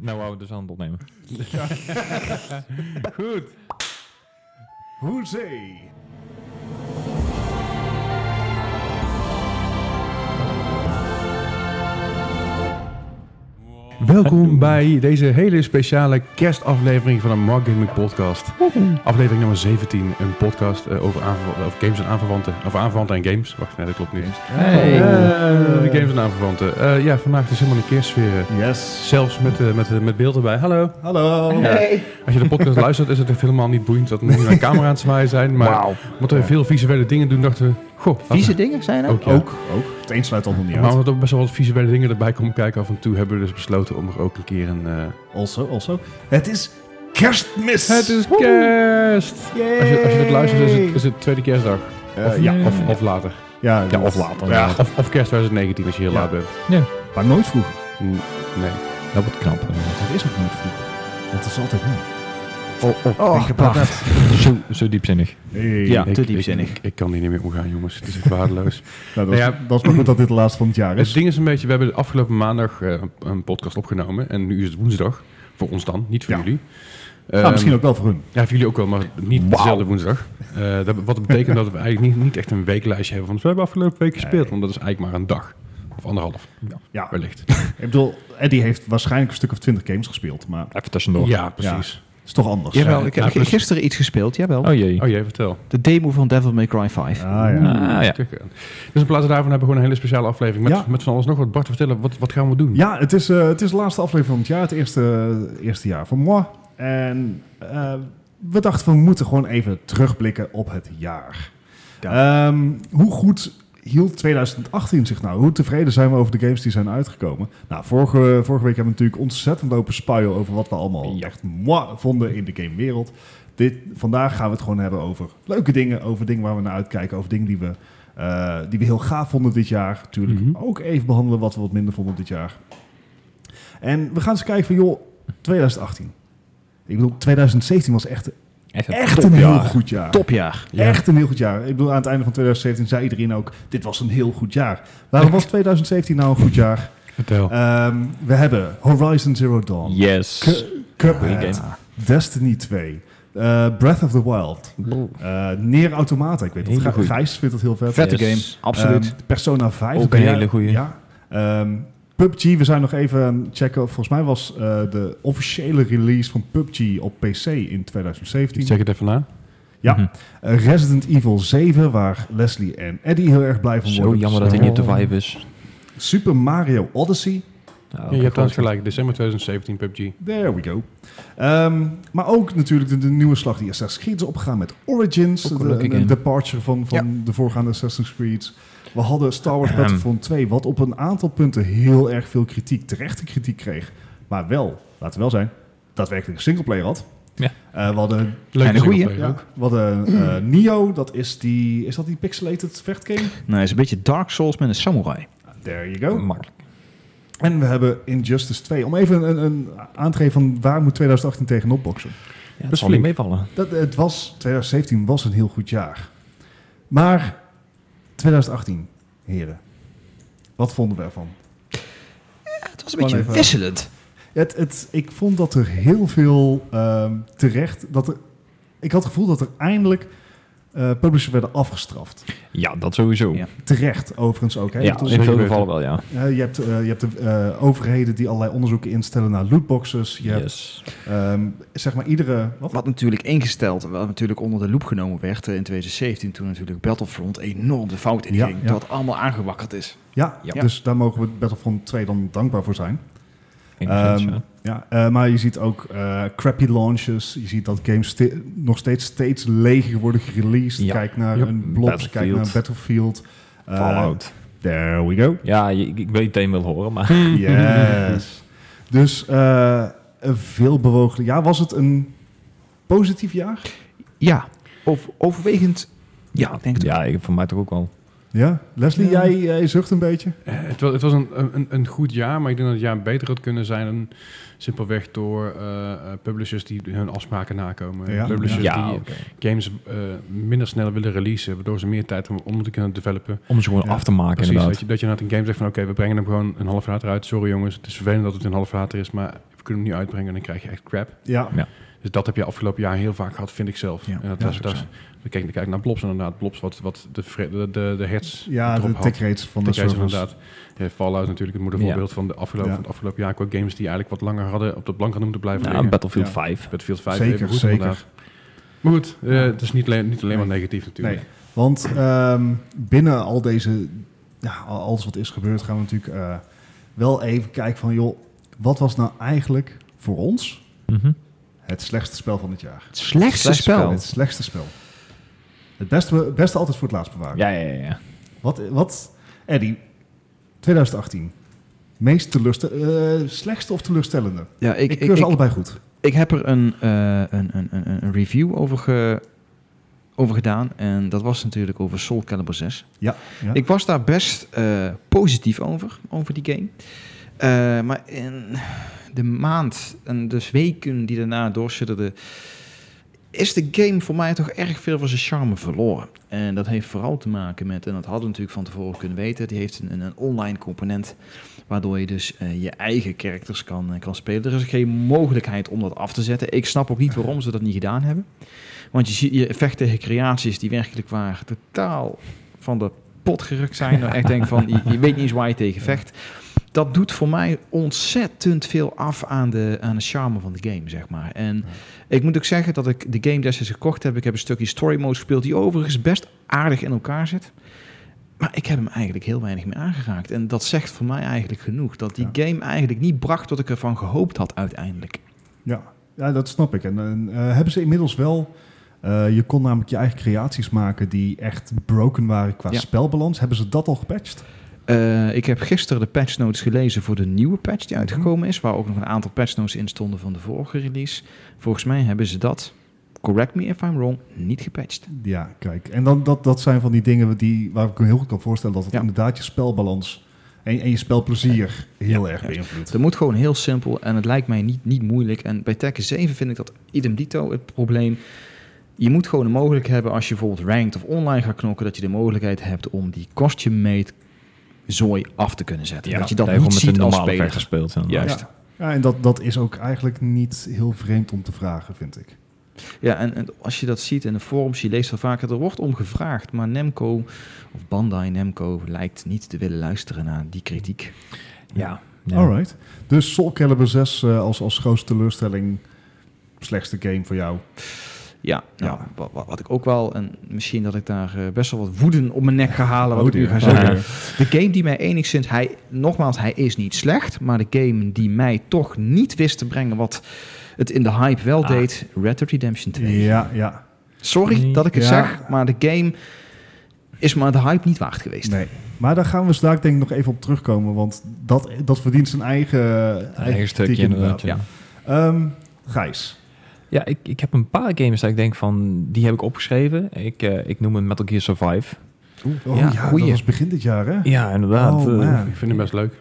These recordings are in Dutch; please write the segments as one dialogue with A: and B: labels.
A: nou wou ik dus aan het opnemen.
B: Goed. Hoezee. Welkom bij deze hele speciale kerstaflevering van de Mark Gaming Podcast. Aflevering nummer 17, een podcast eh, over, aanverwa- of games en aanverwanten. Of aanverwanten en games. Wacht, nee, dat klopt niet.
A: Hey.
B: Eh, games en aanverwanten. Eh, ja, vandaag is helemaal een kerstsfeer. eh,
C: Yes.
B: Zelfs met, eh, met, eh, met beeld erbij. Hallo.
C: Hallo.
B: Als je de podcast luistert, is het echt helemaal niet boeiend dat we nu naar een camera aan het zwaaien zijn. Maar omdat we veel visuele dingen doen, dachten we... Goh, laten we-
A: Vieze dingen zijn er?
B: Ook, ja.
C: Ook, ook. Het een sluit het ander niet
B: Maar
C: uit.
B: omdat er best wel wat visuele dingen erbij komen kijken af en toe, hebben we dus besloten om er ook een keer een... eh,
C: Also, also. Het is kerstmis.
B: Het is kerst!
C: Yay.
B: Als je, als je dit luistert, is het, is het tweede kerstdag.
C: Eh,
B: Of,
C: ja.
B: of, of later.
C: Ja,
B: Ja,
C: dat-
B: of later.
C: Ja.
B: Of, of kerst 2019 als je heel
C: Ja.
B: laat bent.
C: Maar nooit vroeger.
B: N- Nee.
A: Dat wordt knap.
C: Het is ook nooit vroeger. Het is altijd nu.
B: Oh, oh,
D: Oh, prachtig.
A: Zo, zo diepzinnig.
C: Hey.
D: Ja.
B: ik-
D: te
B: ik-
D: diepzinnig.
B: Ik, ik, kan hier niet meer omgaan, jongens. Het is echt waardeloos.
C: Nou, dat, is,
B: Nou ja.
C: dat is maar goed dat dit de laatste van het jaar
B: het
C: is.
B: ding is een beetje, we hebben de afgelopen maandag eh, een- een podcast opgenomen. En nu is het woensdag. Voor ons dan, niet voor
C: Ja.
B: jullie.
C: Nou,
B: Ehm,
C: misschien ook wel voor hun.
B: Ja, voor jullie ook wel, maar niet
C: Wauw.
B: dezelfde woensdag. Eh, dat, wat betekent dat we eigenlijk niet, niet echt een weeklijstje hebben van we hebben afgelopen week
C: Nee.
B: gespeeld. Want dat is eigenlijk maar een dag. Of anderhalf,
C: Ja.
B: wellicht.
C: Ik bedoel, Eddie heeft waarschijnlijk een stuk of twintig games gespeeld. Maar
A: Even tussendoor.
B: Ja,
C: precies. het is toch anders.
D: Jawel,
B: Ja,
D: ik
B: ja,
D: heb g-
B: plus-
D: gisteren iets gespeeld, jawel.
A: Oh jee.
B: Oh jee, vertel.
D: De demo van Devil May Cry 5.
C: Ah, ja.
A: Ah, ja.
B: Kijk aan. Dus in plaats daarvan hebben we gewoon een hele speciale aflevering met,
C: Ja.
B: met van alles nog wat. Bart, vertellen, wat, wat gaan we doen?
C: Ja, het is, eh, het is de laatste aflevering van het jaar. Het eerste, eerste jaar van moi. En eh, we dachten, we moeten gewoon even terugblikken op het jaar. Ehm, hoe goed hield 2018 zich nou? Hoe tevreden zijn we over de games die zijn uitgekomen? Nou, vorige, vorige week hebben we natuurlijk ontzettend lopen spuien over wat we allemaal
B: Ja.
C: echt moi vonden in de gamewereld. Dit, vandaag gaan we het gewoon hebben over leuke dingen, over dingen waar we naar uitkijken, over dingen die we, eh, die we heel gaaf vonden dit jaar. Natuurlijk
B: Mhm.
C: ook even behandelen wat we wat minder vonden dit jaar. En we gaan eens kijken van, joh, 2018. Ik bedoel, 2017 was echt,
A: Echt,
C: echt een heel
A: topjaar.
C: goed jaar.
D: Topjaar.
B: Ja.
C: Echt een heel goed jaar. Ik bedoel, aan het einde van 2017 zei iedereen ook, dit was een heel goed jaar. Waarom was 2017 nou een goed jaar?
B: Vertel.
C: Ehm, we hebben Horizon Zero Dawn,
A: Yes.
C: Cu-
A: Goeie
C: Cuphead,
A: game.
C: Destiny 2, eh, Breath of the Wild, eh Neer Automata. Ik weet dat
A: Hele
C: Gij-
A: goeie.
C: Gijs vindt dat heel vet.
D: Vette
A: Yes.
D: game, absoluut.
C: Ehm, Persona 5.
D: Ook een
C: Ja,
D: hele goeie.
C: Ja. Ehm, PUBG, we zijn nog even aan het checken. Volgens mij was eh, de officiële release van PUBG op PC in 2017.
B: Zeg het even na.
C: Ja.
A: Mhm.
C: Eh, Resident Evil 7, waar Leslie en Eddie heel erg blij van worden. Dus, eh,
D: Zo jammer dat hij niet op de vibe is.
C: Super Mario Odyssey.
A: Oh,
B: Ja, je hebt trouwens gelijk, december 2017 PUBG.
C: There we go. Ehm, maar ook natuurlijk de, de nieuwe slag die Assassin's Creed is opgegaan met Origins.
D: Ook een
C: De,
D: leuke
C: een
D: game.
C: departure van, van de voorgaande Assassin's Creed. We hadden Star Wars
A: Ahem.
C: Battlefront 2, wat op een aantal punten heel erg veel kritiek, terechte kritiek kreeg. Maar wel, laten we wel zijn, daadwerkelijk een singleplayer had.
A: Ja.
C: Eh, we hadden,
B: Leuk
D: En een goeie.
C: ja, we hadden eh, Nio, dat is, die, is dat die pixelated vechtgame?
D: Nee, het is een beetje Dark Souls met een samurai.
C: There you go.
A: Makkelijk.
C: En we hebben Injustice 2. Om even een, een aan te geven van waar moet 2018 tegenop boksen.
A: Ja, het
B: Best
A: zal niet
B: flink.
A: meevallen.
C: Dat, het was, 2017 was een heel goed jaar. Maar 2018, heren. Wat vonden we ervan?
D: Het was
C: Gewoon
D: een beetje
C: even-
D: wisselend.
C: Het, het, ik vond dat er heel veel ehm, terecht... Dat er, ik had het gevoel dat er eindelijk eh publishers werden afgestraft.
A: Ja, dat sowieso.
D: Ja.
C: Terecht overigens ook. Hè? Ik
A: Ja,
C: bedoel,
A: in veel
B: Zeker
A: gevallen wel, ja.
C: eh, je hebt, eh, je hebt de eh, overheden die allerlei onderzoeken instellen naar lootboxes. Je hebt
A: Yes.
C: ehm, zeg maar iedere... Wat?
D: Wat natuurlijk ingesteld, en wat natuurlijk onder de loep genomen werd eh, in 2017, toen natuurlijk Battlefront enorm de fout inging.
C: Ja, ja.
D: Dat allemaal aangewakkerd is.
C: Ja,
D: Ja.
C: dus daar mogen we Battlefront 2 dan dankbaar voor zijn.
A: Enigszins,
C: Ehm,
A: ja.
C: ja, eh, maar je ziet ook eh, crappy launches. Je ziet dat games ste- nog steeds, steeds leger worden gereleased.
A: Ja.
C: Kijk naar
B: Yep.
C: een Blobs, kijk naar een
A: Battlefield.
C: Battlefield. Eh,
A: Fallout.
C: there we go.
A: Ja, je- ik, ik weet dat je hem wil horen, maar...
C: Yes. dus eh, een veel bewogen... Ja, was het een positief jaar?
D: Ja, over- overwegend. Ja, ik denk het
A: Ja, ik, voor mij toch ook wel.
C: Ja? Leslie,
B: Ja.
C: jij, jij zucht een beetje?
B: Eh, Het was, het was een, een, een goed jaar, maar ik denk dat het jaar beter had kunnen zijn. dan simpelweg door eh, eh, publishers die hun afspraken nakomen.
C: Ja.
B: Publishers
A: Ja,
B: die
A: oké.
B: games eh, minder snel willen releasen, waardoor ze meer tijd hebben om te kunnen developen.
A: Om ze gewoon
C: Ja,
A: af te maken,
B: Precies, dat
A: inderdaad.
B: je, dat je naar een game zegt van oké, we brengen hem gewoon een half jaar later uit. Sorry jongens, het is vervelend dat het een half jaar later is, maar we kunnen hem nu uitbrengen en dan krijg je echt crap.
C: Ja.
B: Dus dat heb je afgelopen jaar heel vaak gehad, vind ik zelf.
D: Ja,
B: en dat
C: ja,
B: was,
C: dat
B: dat
C: is
B: is- we kijken kijken naar Blobs inderdaad. Blobs wat, wat de, fre- de, de, de hertz
C: Ja,
B: erop
C: de
B: had.
C: tick rates van de
B: Dat is
C: servers.
B: inderdaad. Eh, Fallout natuurlijk het moedervoorbeeld van, de afgelopen,
C: Ja.
B: van het afgelopen jaar qua games die eigenlijk wat langer hadden op de plank hadden moeten blijven
A: Nou,
B: liggen.
A: Battlefield
C: Ja.
A: 5.
B: Battlefield 5
C: Zeker,
B: even goed
C: zeker.
B: inderdaad. Maar goed, eh, het is niet alleen, niet alleen
C: Nee.
B: maar negatief natuurlijk.
C: Nee, want ehm, binnen al deze, ja, al- alles wat is gebeurd, gaan we natuurlijk eh, wel even kijken van, joh, wat was nou eigenlijk voor ons
A: Mhm.
C: het slechtste spel van het jaar?
D: Het slechtste
A: Slecht
D: spel.
A: spel.
C: Het slechtste spel. Het beste, het beste altijd voor het laatst bewaren.
A: Ja, ja, ja, ja.
C: Wat, wat, Eddie, 2018. Meest teleurstellende, slechtste of teleurstellende?
D: Ja, ik,
C: Ik,
D: ik,
C: keur ze
D: ik,
C: allebei goed.
D: ik heb er een, eh, een, een, een, een review over, ge- over gedaan. En dat was natuurlijk over Soul Calibur 6.
C: Ja, ja.
D: Ik was daar best eh, positief over, over die game. Eh, maar in de maand en dus weken die daarna doorschitterden, is de game voor mij toch erg veel van zijn charme verloren. En dat heeft vooral te maken met, en dat hadden we natuurlijk van tevoren kunnen weten, die heeft een, een, een online component waardoor je dus eh, je eigen characters kan, eh, kan spelen. Er is geen mogelijkheid om dat af te zetten. Ik snap ook niet waarom ze dat niet gedaan hebben. Want je, ziet, je vecht tegen creaties die werkelijk waar totaal van de pot gerukt zijn. Nou, echt denk van, je, je weet niet eens waar je tegen vecht. Dat doet voor mij ontzettend veel af aan de, aan de charme van de game, zeg maar. En ik moet ook zeggen dat ik de game destijds gekocht heb. Ik heb een stukje story mode gespeeld, die overigens best aardig in elkaar zit. Maar ik heb hem eigenlijk heel weinig meer aangeraakt. En dat zegt voor mij eigenlijk genoeg. Dat die game eigenlijk niet bracht wat ik ervan gehoopt had uiteindelijk.
C: Ja, ja dat snap ik. En, en, eh, hebben ze inmiddels wel... eh, je kon namelijk je eigen creaties maken die echt broken waren qua
D: Ja.
C: spelbalans. Hebben ze dat al gepatcht?
D: Eh, ik heb gisteren de patch notes gelezen voor de nieuwe patch
A: Mhm.
D: die uitgekomen is, waar ook nog een aantal patch notes in stonden van de vorige release. Volgens mij hebben ze dat, correct me if I'm wrong, niet gepatcht.
C: Ja, kijk. En dan, dat, dat zijn van die dingen die, waar ik me heel goed kan voorstellen... dat het
D: Ja.
C: inderdaad je spelbalans en, en je spelplezier heel erg beïnvloedt.
D: Het moet gewoon heel simpel en het lijkt mij niet, niet moeilijk. En bij Tekken 7 vind ik dat idem dito het probleem. Je moet gewoon de mogelijkheid hebben als je bijvoorbeeld ranked of online gaat knokken, dat je de mogelijkheid hebt om die costume mate zooi af te kunnen zetten. dat je dat
A: heeft
D: niet
A: gewoon met
D: ziet
A: een
D: als
A: normale
D: speler.
A: vecht gespeeld.
D: Ja.
A: inderdaad.
D: juist.
C: Ja. Ja, en dat, dat is ook eigenlijk niet heel vreemd om te vragen, vind ik.
D: Ja, en, en als je dat ziet in de forums, je leest wel vaker, er wordt om gevraagd, maar Nemco of Bandai Nemco lijkt niet te willen luisteren naar die kritiek.
A: Ja.
C: Alright. Dus Soul Calibur 6 eh, als, als grootste teleurstelling, slechtste game voor jou.
D: Ja, nou,
C: Ja.
D: wa- wa- Wat, ik ook wel, en misschien dat ik daar eh, best wel wat woeden op mijn nek ga halen, wat
C: Oh
D: ik nu
C: dear.
D: ga
C: Oh
D: zeggen.
C: dear.
D: De game die mij enigszins, hij, nogmaals, hij is niet slecht, maar de game die mij toch niet wist te brengen wat het in de hype wel
A: Ah.
D: deed, Red Dead Redemption 2.
C: Ja, ja.
D: Sorry
A: Nee.
D: dat ik het
C: Ja.
D: zeg, maar de game is maar de hype niet waard geweest.
C: Nee. Maar daar gaan we straks denk ik nog even op terugkomen, want dat, dat verdient zijn eigen,
A: Een eigen stukje
C: kritiek
A: inderdaad.
D: Ja.
A: Ja,
C: Ehm, Gijs.
A: ja ik, ik heb een paar games dat ik denk van, die heb ik opgeschreven. Ik, eh, ik noem een Metal Gear Survive.
C: Oh ja,
A: Ja, goeie.
C: dat was begin dit jaar, hè?
A: Ja, inderdaad.
C: Oh,
A: Eh,
C: man.
B: Ik vind hem best leuk.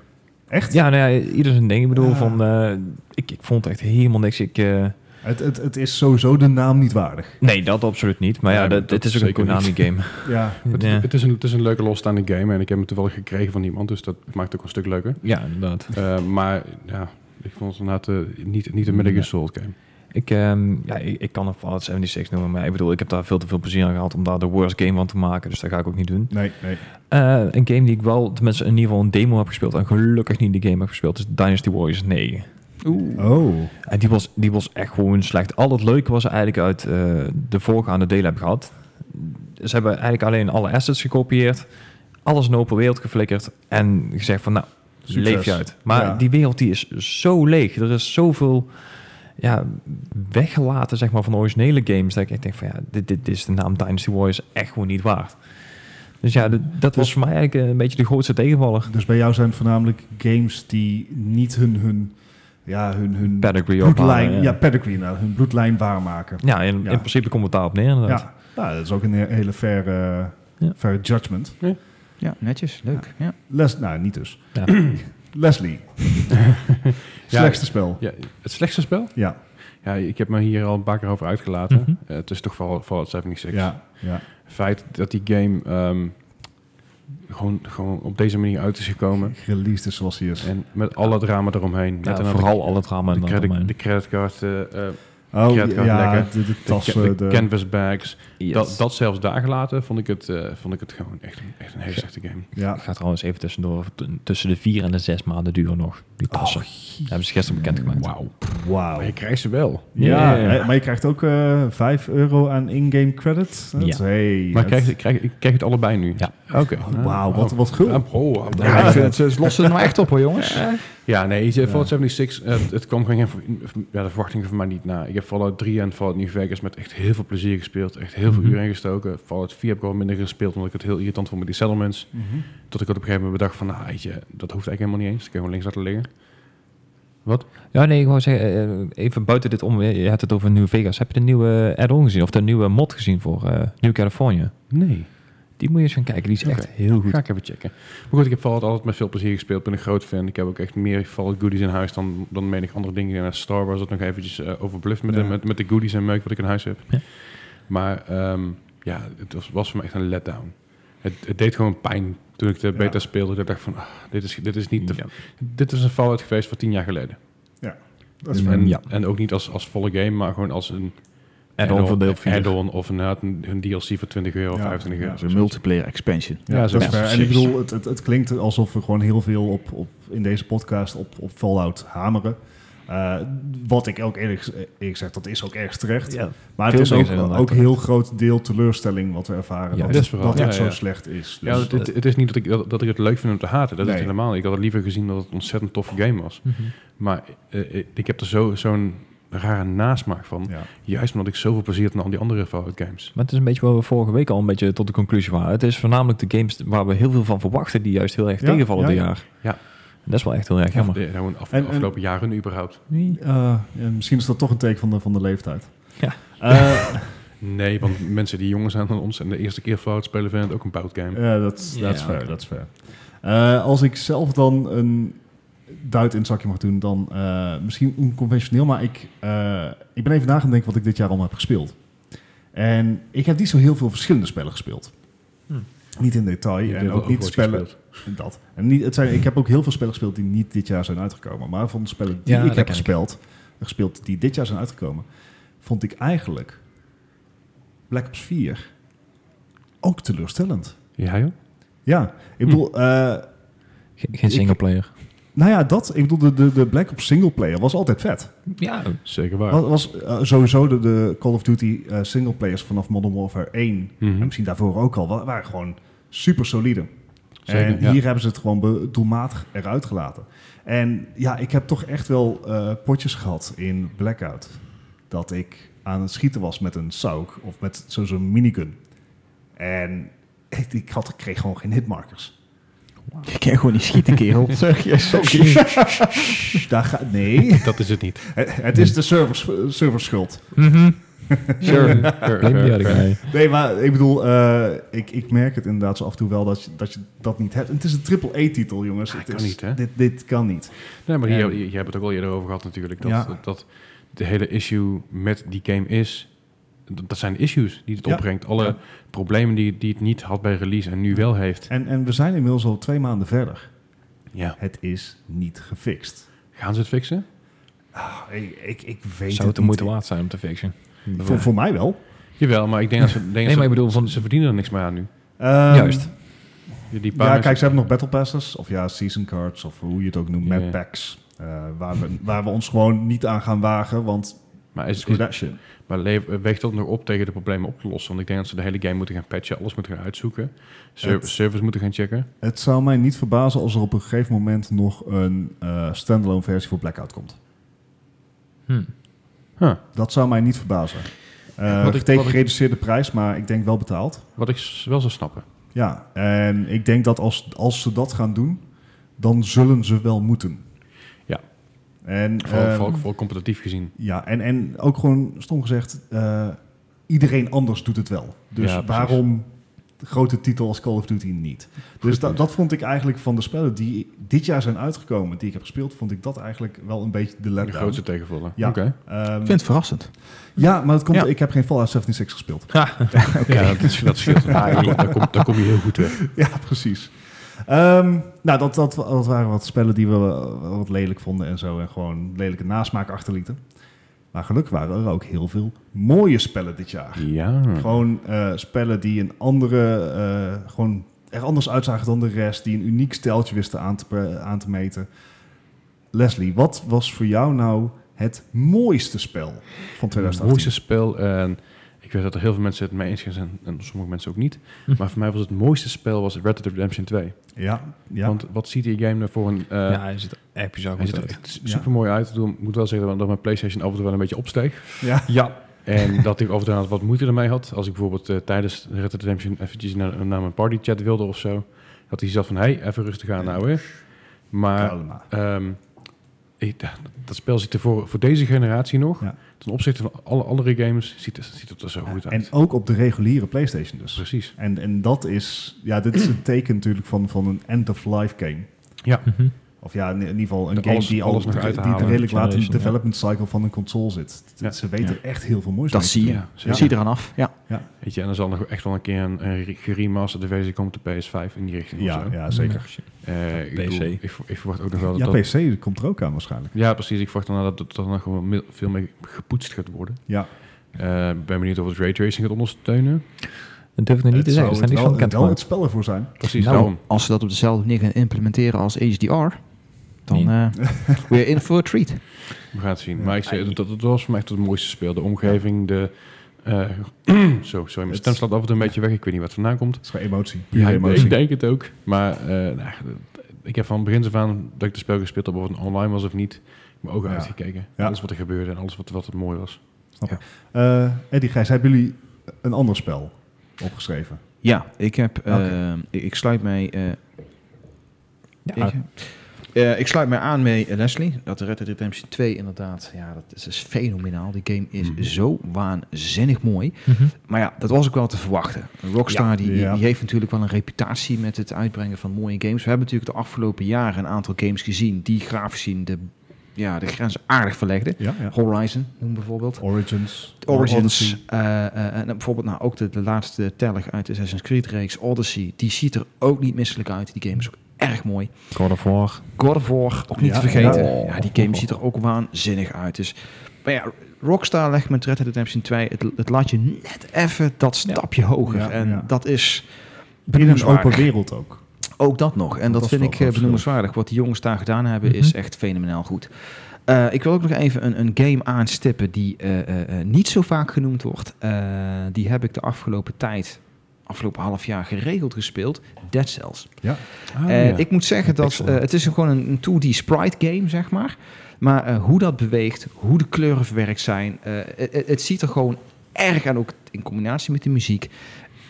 C: Echt?
A: ja, nou ja, ieder zijn ding. Ik bedoel,
C: Ja.
A: van, eh, ik, ik vond echt helemaal niks. Ik, eh,
C: Het, het, het is sowieso de naam niet waardig.
A: nee, dat absoluut niet. Maar ja,
B: Nee,
A: dat,
B: dat
A: het is ook een
B: zeker niet.
A: Konami-game.
C: Ja.
B: Het,
A: ja.
B: het, is een, het is een leuke losstaande game en ik heb hem toevallig gekregen van iemand, dus dat maakt het ook een stuk leuker.
A: ja, inderdaad.
B: Eh, maar ja, ik vond het inderdaad eh, niet, niet een Metal Gear Solid game.
A: Ik, ehm, ja, ik, ik kan een Fallout 76 noemen, maar ik bedoel, ik heb daar veel te veel plezier aan gehad om daar de worst game van te maken, dus dat ga ik ook niet doen.
C: Nee, nee.
A: Eh, een game die ik wel, tenminste in ieder geval een demo heb gespeeld en gelukkig niet de game heb gespeeld, is Dynasty Warriors 9.
D: Oeh.
C: Oh.
A: En die was, die was echt gewoon slecht. Al het leuke was er eigenlijk uit eh, de voorgaande delen hebben gehad. Ze hebben eigenlijk alleen alle assets gekopieerd, alles in de open wereld geflikkerd en gezegd van nou,
C: Succes.
A: leef je uit. Maar
C: Ja.
A: die wereld die is zo leeg. Er is zoveel ja, weggelaten zeg maar, van de originele games dat ik echt denk van ja, dit, dit, dit is de naam Dynasty Warriors echt gewoon niet waard. Dus ja, d- dat was voor mij eigenlijk een beetje de grootste tegenvaller.
C: Dus bij jou zijn het voornamelijk games die niet hun, hun, ja, hun, hun
A: Pedigree
C: bloedlijn,
A: ophalen,
C: ja.
A: ja.
C: pedigree, nou, hun bloedlijn waarmaken.
A: Ja, in,
C: Ja.
A: in principe komt het daarop neer inderdaad.
C: Ja, nou, dat is ook een hele faire, eh,
A: Ja.
C: faire judgment.
B: Ja.
D: Ja, netjes. Leuk. Ja.
C: Les, nou, niet dus.
A: Ja.
C: Leslie. Slechtste spel.
B: Ja, het slechtste spel?
C: Ja,
B: Ja, ik heb me hier al een paar keer over uitgelaten.
A: Mhm.
B: Eh, het is toch vooral Fallout 76.
C: ja, ja.
B: Het feit dat die game ehm, gewoon, gewoon op deze manier uit is gekomen.
C: Released is zoals hij is.
B: En met alle drama eromheen. Met
A: Ja,
B: inderdaad
A: vooral al het drama
B: de,
A: en
B: de,
A: dat
B: credit,
A: eromheen.
B: de creditcard, eh, eh,
C: Oh,
B: Ja, het gaat
C: ja,
B: lekker.
C: de, de
B: de,
C: tassen.
B: ca-
C: De,
B: eh, de canvas bags.
A: Yes.
B: Dat, dat zelfs daar gelaten vond ik het, eh, vond ik het gewoon echt, een- echt een hele
A: Ja.
B: slechte game.
C: ja.
A: Het gaat trouwens even tussendoor. t- Tussen de vier en de zes maanden duren nog die tassen. dat hebben ze gisteren bekendgemaakt.
B: Wauw.
C: Wauw.
B: Maar je krijgt ze wel.
C: Ja,
A: Ja.
C: hè, maar je krijgt ook eh 5 euro aan in-game credit. Dat
A: Ja.
C: is- hey,
B: Maar ik
C: dat-
B: krijg, ik krijg, ik krijg het allebei nu.
A: Ja.
B: Oké.
C: Oh, Wauw, wat, wat gul.
B: Ja, oh,
D: Ja,
B: ja,
D: ik vind het, ze lossen het nou echt op hoor, jongens.
B: Ja, nee, ze- Fallout 76, eh, het, het kwam gewoon geen ja, de verwachtingen van mij niet na. Ik heb Fallout 3 en Fallout New Vegas met echt heel veel plezier gespeeld. Echt heel veel
A: Mhm.
B: uren ingestoken. Fallout 4 heb ik wel minder gespeeld, omdat ik het heel irritant vond met die settlements.
C: Mhm.
B: Tot ik op een gegeven moment bedacht van, nou, weet je, dat hoeft eigenlijk helemaal niet eens. Dat kun je gewoon links laten liggen.
A: Ja, nee, ik wou zeggen, eh, even buiten dit om. Je had het over New Vegas. Heb je de nieuwe add-on gezien? Of de nieuwe mod gezien voor eh, New California?
B: Nee.
A: Die moet je eens gaan kijken. Die is echt
B: Oké.
A: heel goed.
B: Ga ik even checken. Maar goed, ik heb Fallout altijd met veel plezier gespeeld. Ben een groot fan. Ik heb ook echt meer Fallout goodies in huis dan, dan menig andere dingen. En Star Wars dat nog eventjes eh overbluft met, de,
C: Ja.
B: met, met de goodies en meuk wat ik in huis heb.
A: Ja.
B: Maar ehm, ja, het was, was voor me echt een letdown. Het, het deed gewoon pijn toen ik de beta
C: Ja.
B: speelde. Dat ik dacht van, ah, dit, is, dit is niet... de-
A: Ja.
B: Dit is een Fallout geweest van tien jaar geleden.
C: Dat is
A: Ja.
C: fijn.
B: En, en ook niet als, als volle game, maar gewoon als een
A: Add-on voor deel vier.
B: add-on of inderdaad een, een DLC voor 20 euro of
C: Ja.
B: 25 euro.
C: Ja.
D: Dat is een multiplayer expansion.
C: Ja,
B: Ja,
C: dat
B: zo
C: is
B: is
C: fair.
D: het.
C: En ik
D: Precies.
C: bedoel, het, het, het klinkt alsof we gewoon heel veel op, op, in deze podcast op, op Fallout hameren. Eh, wat ik ook eerlijk, eerlijk zeg, dat is ook erg terecht.
A: Ja.
C: maar het
A: veel
C: is
A: dingen
C: ook,
A: zijn inderdaad
C: ook
A: terecht.
C: heel groot deel teleurstelling wat we ervaren.
A: Ja,
C: dat
B: dat is
C: dat,
B: vooral,
C: het
B: ja,
C: zo
B: ja.
C: slecht is.
B: Ja,
C: Dus,
B: het, het, het is niet dat ik, dat, dat ik het leuk vind om te haten. Dat is
C: Nee.
B: het helemaal niet. Ik had het liever gezien dat het een ontzettend toffe game was.
A: Mhm.
B: Maar eh, eh, ik heb er zo- zo'n rare nasmaak van.
C: ja.
B: Juist omdat ik zoveel plezier had aan al die andere Fallout games.
A: Maar het is een beetje wat we vorige week al een beetje tot de conclusie waren. Het is voornamelijk de games waar we heel veel van verwachten, die juist heel erg
C: Ja,
A: tegenvallen
C: ja,
A: dit
C: ja.
A: jaar.
B: Ja.
A: En dat is wel echt heel erg jammer.
B: Of de, gewoon af,
C: En- en-
B: afgelopen jaren überhaupt.
C: Eh, ja, misschien is dat toch een teken van de, van de leeftijd.
A: Ja.
C: Eh,
B: Nee, want mensen die jonger zijn dan ons en de eerste keer Fallout spelen vinden het ook een bout game.
C: Eh, Ja, dat is
A: Ja,
C: dat is fair,
A: oké.
C: dat is fair. Eh, als ik zelf dan een duit in het zakje mag doen, dan eh, misschien onconventioneel, maar ik, eh, ik ben even na gaan denken wat ik dit jaar allemaal heb gespeeld. En ik heb niet zo heel veel verschillende spellen gespeeld.
A: Hm.
C: Niet in detail
B: Je hebt
C: en
B: heel
C: ook
B: veel
C: niet
B: Overwatch
C: spellen.
B: gespeeld.
C: Dat. En niet, het zijn, ik heb ook heel veel spellen gespeeld die niet dit jaar zijn uitgekomen. Maar van de spellen die
A: Ja,
C: ik
A: dat
C: heb
A: ken ik.
C: gespeeld, gespeeld, die dit jaar zijn uitgekomen, vond ik eigenlijk Black Ops 4 ook teleurstellend.
B: Ja joh?
C: Ja,
A: Hm.
C: ik bedoel, eh,
A: Ge- geen singleplayer.
C: nou ja, dat. Ik bedoel, de, de, de Black Ops singleplayer was altijd vet.
A: Ja,
B: Zeker waar.
C: Was, was eh, sowieso de, de Call of Duty single singleplayers vanaf Modern Warfare 1, en
B: Mhm.
C: misschien daarvoor ook al, wa- waren gewoon super solide.
B: Zeker,
C: en
B: ja.
C: hier hebben ze het gewoon be- doelmatig eruit gelaten. En ja, ik heb toch echt wel eh, potjes gehad in Blackout. Dat ik aan het schieten was met een sauk of met zo- zo'n minigun. En ik, ik had, ik kreeg gewoon geen hitmarkers.
D: Ik kan gewoon niet schieten, kerel. Zeg je,
C: Daar ga, nee,
B: Dat is het niet.
C: het het is de servers, eh, serverschuld.
D: Mhm.
A: sure.
B: Fair,
A: Blame die
B: fair,
A: other
B: fair.
A: guy.
C: Nee, maar ik bedoel, eh, ik, ik merk het inderdaad zo af en toe wel dat je dat, je dat niet hebt. En het is een triple-E-titel, jongens.
B: Ja,
C: Het
B: kan
C: is-
B: niet, hè?
C: Dit, dit kan niet.
B: Nee, maar hier,
C: En-
B: je, je hebt het ook al eerder over gehad natuurlijk. Dat,
C: Ja.
B: dat, dat de hele issue met die game is... Dat, dat zijn de issues die het
C: Ja.
B: opbrengt. Alle
C: Ja.
B: problemen die, die het niet had bij release en nu wel heeft.
C: En, en we zijn inmiddels al twee maanden verder.
B: Ja.
C: Het is niet gefixt.
B: Gaan ze het fixen?
C: Ah, ik, ik, ik weet
A: Zou het de
C: niet.
A: moeite waard zijn om te fixen?
C: Voor, voor mij wel.
B: Jawel, maar ik denk dat ze... Denk dat
A: Nee,
B: ze-
A: maar ik bedoel van-
B: Ze verdienen er niks meer aan nu.
C: Ehm,
A: Juist.
B: Die, die paar
C: Ja,
B: mensen-
C: kijk, ze hebben nog battle passes. Of ja, season cards. Of hoe je het ook noemt,
B: Ja.
C: map packs. eh, waar, we, waar we ons gewoon niet aan gaan wagen, want
B: Maar, is,
C: screw
B: is,
C: that shit.
B: maar le- weegt dat nog op tegen de problemen op te lossen? Want ik denk dat ze de hele game moeten gaan patchen. Alles moeten gaan uitzoeken. Ser
C: Het-
B: servers moeten gaan checken.
C: Het zou mij niet verbazen als er op een gegeven moment nog een eh, standalone versie voor Blackout komt.
A: Hm.
B: Huh.
C: Dat zou mij niet verbazen. Eh,
B: Wat ik-
C: tegen
B: wat ik-
C: gereduceerde prijs, maar ik denk wel betaald.
B: Wat ik s- wel zou snappen.
C: Ja, en ik denk dat als, als ze dat gaan doen, dan zullen ze wel moeten.
B: Ja.
C: En,
B: Vooral,
C: eh,
B: vooral, vooral competitief gezien.
C: ja, en, en ook gewoon stom gezegd, eh, iedereen anders doet het wel. Dus
B: Ja, precies.
C: waarom grote titel als Call of Duty niet. Dus da- dat vond ik eigenlijk van de spellen die dit jaar zijn uitgekomen, die ik heb gespeeld, vond ik dat eigenlijk wel een beetje de
B: De
C: letdown.
B: grootste tegenvaller.
C: Ja.
B: Oké.
C: Ehm,
D: Ik vind het verrassend.
C: ja, maar dat komt,
D: Ja.
C: ik heb geen Fallout 76 gespeeld.
B: Ja, dat, dat scheelt. Daar kom- daar, kom, daar kom je heel goed weg.
C: ja, precies. Ehm, nou, dat, dat, dat waren wat spellen die we eh, wat lelijk vonden en zo. En gewoon lelijke nasmaak achterlieten. Maar gelukkig waren er ook heel veel mooie spellen dit jaar.
B: Ja.
C: Gewoon eh, spellen die een andere, eh, gewoon er anders uitzagen dan de rest. Die een uniek steltje wisten aan te, pe- aan te meten. Leslie, wat was voor jou nou het mooiste spel van
B: Het
C: 2018?
B: mooiste spel. En ik weet dat er heel veel mensen het mee eens zijn en sommige mensen ook niet.
A: Hm.
B: Maar voor mij was het mooiste spel was Red Dead Redemption 2.
C: Ja, ja.
B: Want wat ziet die game nou voor een... eh,
A: ja, hij ziet er echt bizar
B: hij
A: goed
B: ziet er
A: uit.
B: echt super mooi uit. Ik moet wel zeggen dat mijn PlayStation af en toe wel een beetje opsteeg.
C: ja.
A: Ja,
B: En dat ik af en toe wat moeite ermee had. Als ik bijvoorbeeld eh, tijdens Red Dead Redemption eventjes naar, naar mijn partychat wilde of zo. Dat hij zat van, hey, even rustig aan nou hè. Maar
C: Kalma.
B: ehm, ik, dat spel ziet er voor, voor deze generatie nog,
C: Ja.
B: ten opzichte van alle andere games, ziet, het- ziet het er zo goed
C: En
B: uit.
C: ook op de reguliere PlayStation dus.
B: Precies.
C: En, en dat is, ja, dit is een teken natuurlijk van, van een end-of-life game.
A: Mhm.
C: Of ja, in in ieder geval een
B: Dat
C: game
B: alles-
C: die al
B: alles nog
C: die
B: uit te
C: die
B: halen.
C: redelijk laat in de
A: Generation, ja.
C: development cycle van een console zit.
B: Ja.
C: Ze weten
B: Ja.
C: echt heel veel moois.
D: Dat
C: mee
D: zie
C: te
D: je.
C: doen.
B: Ja,
D: Ik
B: zeker.
D: Zie je eraan af. Ja. Nou,
B: Weet je, en er zal nog echt wel een keer een, een geremasterde versie komen op de PS5 in die richting. of
C: Ja,
B: zo.
C: ja, zeker.
A: Mhm.
B: Eh, ik bedoel,
A: PC.
B: ik, ver- ik verwacht ook nog wel dat...
C: Ja,
B: dat-
C: PC komt er ook aan waarschijnlijk.
B: ja, precies. Ik verwacht dan dat dat er nog wel me- veel meer gepoetst gaat worden. Eh,
C: Ja,
B: Ik ben benieuwd of het raytracing gaat ondersteunen.
A: Dat durf ik nog niet te
C: het zou
A: zeggen. Er zijn
C: het
A: niks
C: wel,
A: van
C: het,
A: bekend
C: wel het
A: gemaakt.
C: spel ervoor zijn.
B: Precies
A: Nou,
B: daarom.
D: Als ze dat op dezelfde manier gaan implementeren als HDR, dan eh we're in for a treat.
B: We gaan het zien.
C: Ja.
B: Maar ik zei,
A: Ai.
B: dat, dat was voor mij echt het mooiste speel. De omgeving, de... eh, zo, sorry, mijn
C: Het-
B: stem slaat af en toe een beetje weg. Ik weet niet wat vandaan komt.
C: Het is gewoon emotie. Pure
B: Ja, ik,
C: emotie.
B: ik denk het ook. Maar eh, nou, ik heb van begin af aan dat ik de spel gespeeld heb, of het online was of niet, maar ook
C: Ja.
B: uitgekeken.
C: Ja.
B: Alles wat er gebeurde en alles wat, wat het mooi was.
C: Eh, Eddie Gijs, hebben jullie een ander spel opgeschreven?
D: Ja, ik heb. eh,
C: Oké.
D: ik, ik sluit mij. eh,
A: Ja.
D: ik, eh, ik sluit mij aan met Leslie. Dat Red Dead Redemption 2 inderdaad. Ja, dat is, is fenomenaal. Die game is
B: Mhm.
D: zo waanzinnig mooi.
A: Mhm.
D: Maar ja, dat was ook wel te verwachten. Rockstar die, die-
C: Ja.
D: die heeft natuurlijk wel een reputatie met het uitbrengen van mooie games. We hebben natuurlijk de afgelopen jaren een aantal games gezien die grafisch zien de, ja, de grens aardig verlegden.
C: Ja, ja.
D: Horizon noem bijvoorbeeld.
C: Origins.
D: Origins.
C: Odyssey.
D: eh, eh, en bijvoorbeeld nou, ook de, de laatste telg uit de Assassin's Creed reeks, Odyssey. Die ziet er ook niet misselijk uit. Die game is ook erg mooi.
A: God of War.
D: God of War, ook niet
C: Ja,
D: te vergeten.
C: ja.
D: Ja. die game ziet er ook waanzinnig uit. Dus, maar ja, Rockstar legt met Red Dead Redemption 2 het, het laat je net even dat stapje hoger.
C: Ja,
D: en
C: ja.
D: dat is
C: In een
D: benoemenswaardig.
C: open wereld ook.
D: Ook dat nog. En dat,
C: Dat is
D: vind
C: wel
D: ik
C: een
D: eh,
C: groot
D: benoemenswaardig. Wat die jongens daar gedaan hebben is
A: Mhm.
D: echt fenomenaal goed. Eh, ik wil ook nog even een, een game aanstippen die eh, eh, eh, niet zo vaak genoemd wordt. Eh, die heb ik de afgelopen tijd, afgelopen half jaar geregeld gespeeld. Dead Cells. En ik moet zeggen dat
A: Excellent.
D: eh, het is een- gewoon een, een 2D sprite game, zeg maar. Maar eh, hoe dat beweegt, hoe de kleuren verwerkt zijn. eh, het- het- het ziet er gewoon erg aan, ook in combinatie met de muziek.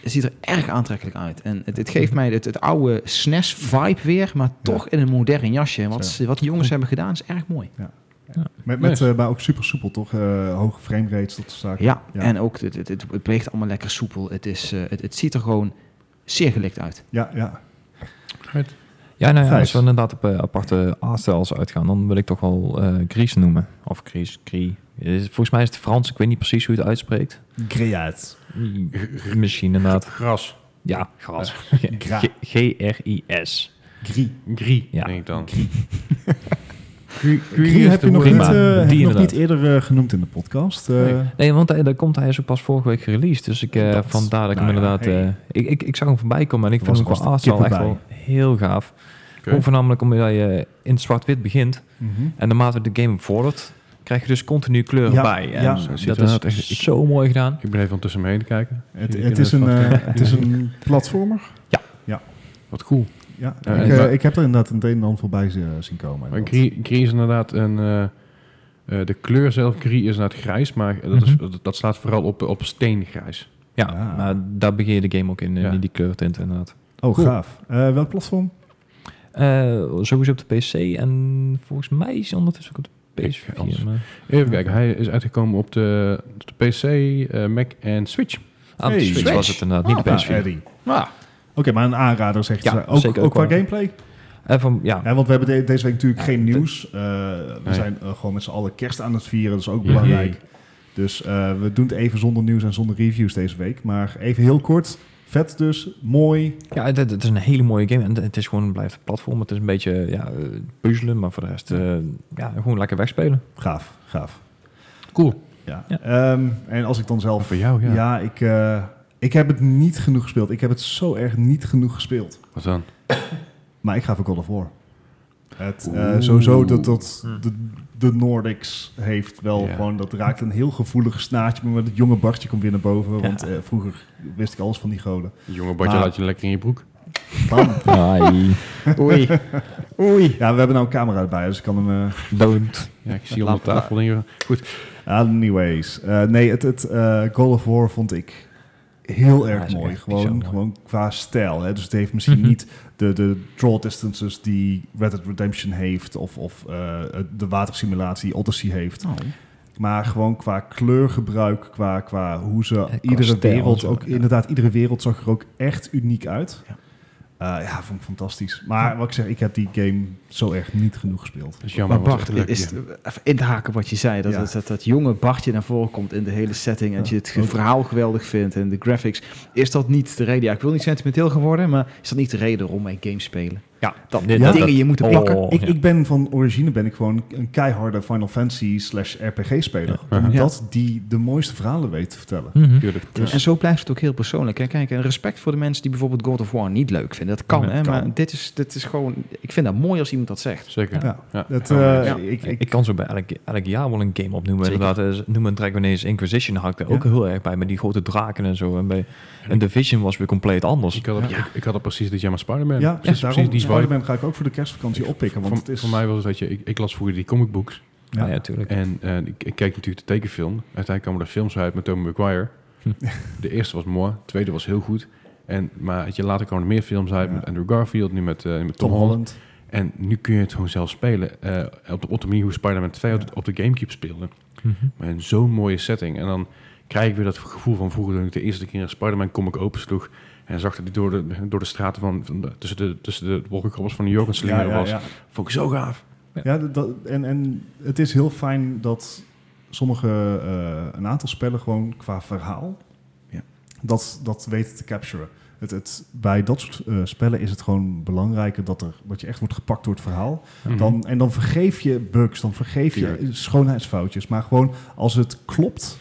D: Het ziet er erg aantrekkelijk uit. En het, het geeft mij het, het oude SNES-vibe weer, maar toch in een modern jasje. En Wat,
C: Zo.
D: ze- wat die jongens hebben gedaan is erg mooi.
C: Met, met,
B: Nice.
C: eh, maar ook super soepel, toch? Eh, hoge frame rates, dat soort zaken.
D: Ja,
C: Ja.
D: en ook het, het, het, het beweegt allemaal lekker soepel. Het, is, eh, het, het ziet er gewoon zeer gelikt uit.
C: Ja, ja.
A: Ja, nou ja,
C: Gijs.
A: als we inderdaad op eh, aparte artstyles uitgaan, dan wil ik toch wel eh Gries noemen. Of Gries, Gris. Is- Volgens mij is het Frans, ik weet niet precies hoe je het uitspreekt.
C: Great.
A: Mm, Misschien inderdaad.
B: Gras.
A: Ja, gras.
C: Gra-
A: G- G-R-I-S.
C: Grie.
B: Grie,
A: Ja.
B: denk ik dan.
C: Grie,
A: Grie is
C: heb je
A: de
C: nog niet,
A: moeilijke.
C: eh,
A: Prima.
C: heb
A: Die
C: je nog niet
A: inderdaad.
C: eerder eh, genoemd in de podcast. eh.
B: Nee.
A: Nee, want hij, daar komt hij is ook pas vorige week gereleased. Dus ik, eh
C: Dat-
A: vandaar dat ik
C: nou
A: hem
C: ja,
A: inderdaad...
C: hey.
A: eh, ik, ik, ik zag hem voorbij komen en ik
C: Er
A: vind
C: was
A: hem qua
C: vast een
A: artstyle
C: kippen
A: echt wel heel gaaf. Ook voornamelijk omdat je in het zwart-wit begint.
C: Mhm.
A: En naarmate de game vordert, krijg je dus continu kleuren
C: Ja,
A: bij. En
C: ja.
B: Zo ziet
A: dat
B: het eruit.
A: is echt zo mooi gedaan.
B: Ik ben even ondertussen omheen te kijken.
C: Het,
B: Zie ik
C: het,
B: in
C: is een,
B: vast-
C: eh, het is een platformer.
B: Wat cool.
C: Ja.
B: Ja,
C: ik,
B: en
C: eh,
B: waar-
C: ik heb er inderdaad een het een en ander voorbij zi- zien komen.
B: Maar grie, grie is inderdaad een... eh, eh, de kleur zelf, grie, is inderdaad grijs, maar eh, dat, is, dat, dat slaat vooral op, op steengrijs.
A: Ja,
C: Ja.
A: maar daar begin je de game ook in, eh,
B: Ja.
A: in die kleurtint inderdaad.
C: Oh,
B: Cool.
C: gaaf. Eh, welk platform?
A: Eh, sowieso op de PC en volgens mij is hij ondertussen ook op de
B: Ik-
A: PS4.
B: anders.
A: maar-
B: Even kijken, hij is uitgekomen op de, op de PC, eh, Mac en Switch.
A: Ah, op de
C: Hey,
A: Ah, Switch
D: Switch.
A: was het inderdaad, niet
D: Ah,
A: de PS4.
C: Eddie.
D: Nou,
C: Oké, maar een aanrader zeg je.
A: Ja,
C: ook,
A: zeker
C: ook
A: ook
C: qua
A: wel.
C: gameplay?
A: En Eh, van, ja,
C: Ja, want we hebben de- deze week natuurlijk geen
A: dit-
C: nieuws. Eh, we
B: Nee.
C: zijn eh, gewoon met z'n allen kerst aan het vieren. Dat is ook
B: Ja.
C: belangrijk. Dus eh, we doen het even zonder nieuws en zonder reviews deze week. Maar even heel kort. Vet dus. Mooi.
A: ja het, het is een hele mooie game. En het is gewoon, het blijft een platform. Het is een beetje ja, eh, puzzelen, maar voor de rest eh, ja, gewoon lekker wegspelen.
C: Gaaf. Gaaf.
D: cool.
C: Ja.
A: Ja.
C: Ehm, en als ik dan
B: Of
C: zelf...
B: voor jou, ja.
C: Ja, ik, eh, ik heb het niet genoeg gespeeld. Ik heb het zo erg niet genoeg gespeeld.
B: Wat dan?
C: Maar ik ga voor God of War. Het, eh,
D: Oeh.
C: sowieso dat, dat
A: Hm.
C: de, de Nordics heeft wel
B: Ja.
C: gewoon... Dat raakt een heel gevoelig snaadje. Maar het jonge Bartje komt weer naar boven. Want eh, vroeger wist ik alles van die goden.
B: Jonge Bartje,
C: Maar-
B: laat je lekker in je broek.
C: Bam.
A: Ai,
D: Oei. Oei.
C: ja, we hebben nou een camera erbij. Dus ik kan hem... eh,
A: don't.
B: Ja, ik zie onder de
D: Laat maar.
B: tafel dingen. Goed.
C: Anyways, eh, nee, het, het eh, God of War vond ik heel
A: Ja,
C: erg
A: is
C: mooi.
A: echt
C: Gewoon,
A: bizar mooi.
C: gewoon qua stijl. Hè? Dus het heeft misschien
A: Mhm.
C: niet de, de draw distances die Red Dead Redemption heeft... of, of eh, de watersimulatie die Odyssey heeft. Maar gewoon qua kleurgebruik, qua, qua hoe ze
A: qua
C: iedere
A: stijl en
C: wereld...
A: zo,
C: ook
A: ja.
C: Inderdaad, iedere wereld zag er ook echt uniek uit.
D: Ja.
C: Ja, ja vond ik fantastisch. Maar wat ik zeg, ik heb die game zo erg niet genoeg gespeeld.
B: Dat is jammer.
D: Maar
B: want
D: Bart,
B: het leuk
D: is
B: hier.
D: het- even in te haken wat je zei. Dat,
C: Ja.
D: dat, dat, dat jonge Bartje naar voren komt in de hele setting. En dat je het ge- verhaal geweldig vindt en de graphics. Is dat niet de reden? Ja, ik wil niet sentimenteel gaan worden, maar is dat niet de reden waarom wij games spelen?
A: Ja,
D: Dat
A: dit-
C: dat-
D: dingen je moeten
A: oh,
D: plakken.
C: ik,
A: ja.
C: ik ben van origine ben ik gewoon een keiharde Final Fantasy slash RPG speler.
B: Ja.
C: Omdat die de mooiste verhalen weet te vertellen.
A: Mhm.
B: Tuurlijk.
D: Ja, En zo blijft het ook heel persoonlijk. En kijk, en respect voor de mensen die bijvoorbeeld God of War niet leuk vinden. Dat kan,
B: Ja,
D: hè?
C: kan.
D: Maar dit is, dit is gewoon... Ik vind dat mooi als iemand dat zegt.
B: Zeker.
C: Ja.
B: Ja.
C: Dat,
B: Ja,
C: eh,
D: Ja.
C: ik,
A: Ik,
C: ik,
A: kan zo bij elk, elk jaar wel een game opnoemen.
D: Zeker.
A: Inderdaad, eh, noem een Dragon Age Inquisition hakt er ook
C: Ja.
A: heel erg bij. Met die grote draken en zo. En, bij, en Division was weer compleet anders.
B: Ik had, het, ik, ik had het precies dit jaar met Spider-Man.
C: ja,
B: precies,
C: daarom
B: precies die vibe.
C: Spider-Man ga ik ook voor de kerstvakantie oppikken. Want
B: voor,
C: het is,
B: voor mij was het, weet je, ik, ik las vroeger die comic books.
A: Ja,
C: ja.
A: ja, tuurlijk.
B: En eh, ik, ik keek natuurlijk de tekenfilm. Uiteindelijk kwamen er films uit met Tobey Maguire.
A: Hm.
B: De eerste was mooi, de tweede was heel goed. En, maar weet je, later kwamen er meer films uit
C: Ja.
B: met Andrew Garfield, nu met, eh, met Tom,
C: Tom
B: Holland.
C: Holland.
B: En nu kun je het gewoon zelf spelen. eh, op, de, op de manier hoe Spider-Man 2 op, de, op de Gamecube speelde.
A: Mhm.
B: Maar in zo'n mooie setting. En dan krijg ik weer dat gevoel van vroeger toen ik de eerste keer een Spider-Man comic opensloeg. En zag dat hij door de, door de straten van, van de- tussen de, tussen de wolkenkrabbers van New York aan het
C: Ja,
B: slingeren
C: ja,
B: was.
C: ja.
B: Vond ik zo gaaf.
C: Ja, dat- dat, en, en het is heel fijn dat sommige, eh, een aantal spellen gewoon qua verhaal
D: Ja.
C: dat, dat weten te capturen. Het, het, bij dat soort eh, spellen is het gewoon belangrijker dat, er, dat je echt wordt gepakt door het verhaal.
B: Mhm.
C: Dan, en dan vergeef je bugs, dan vergeef je
B: Tuurlijk.
C: schoonheidsfoutjes. Maar gewoon als het klopt,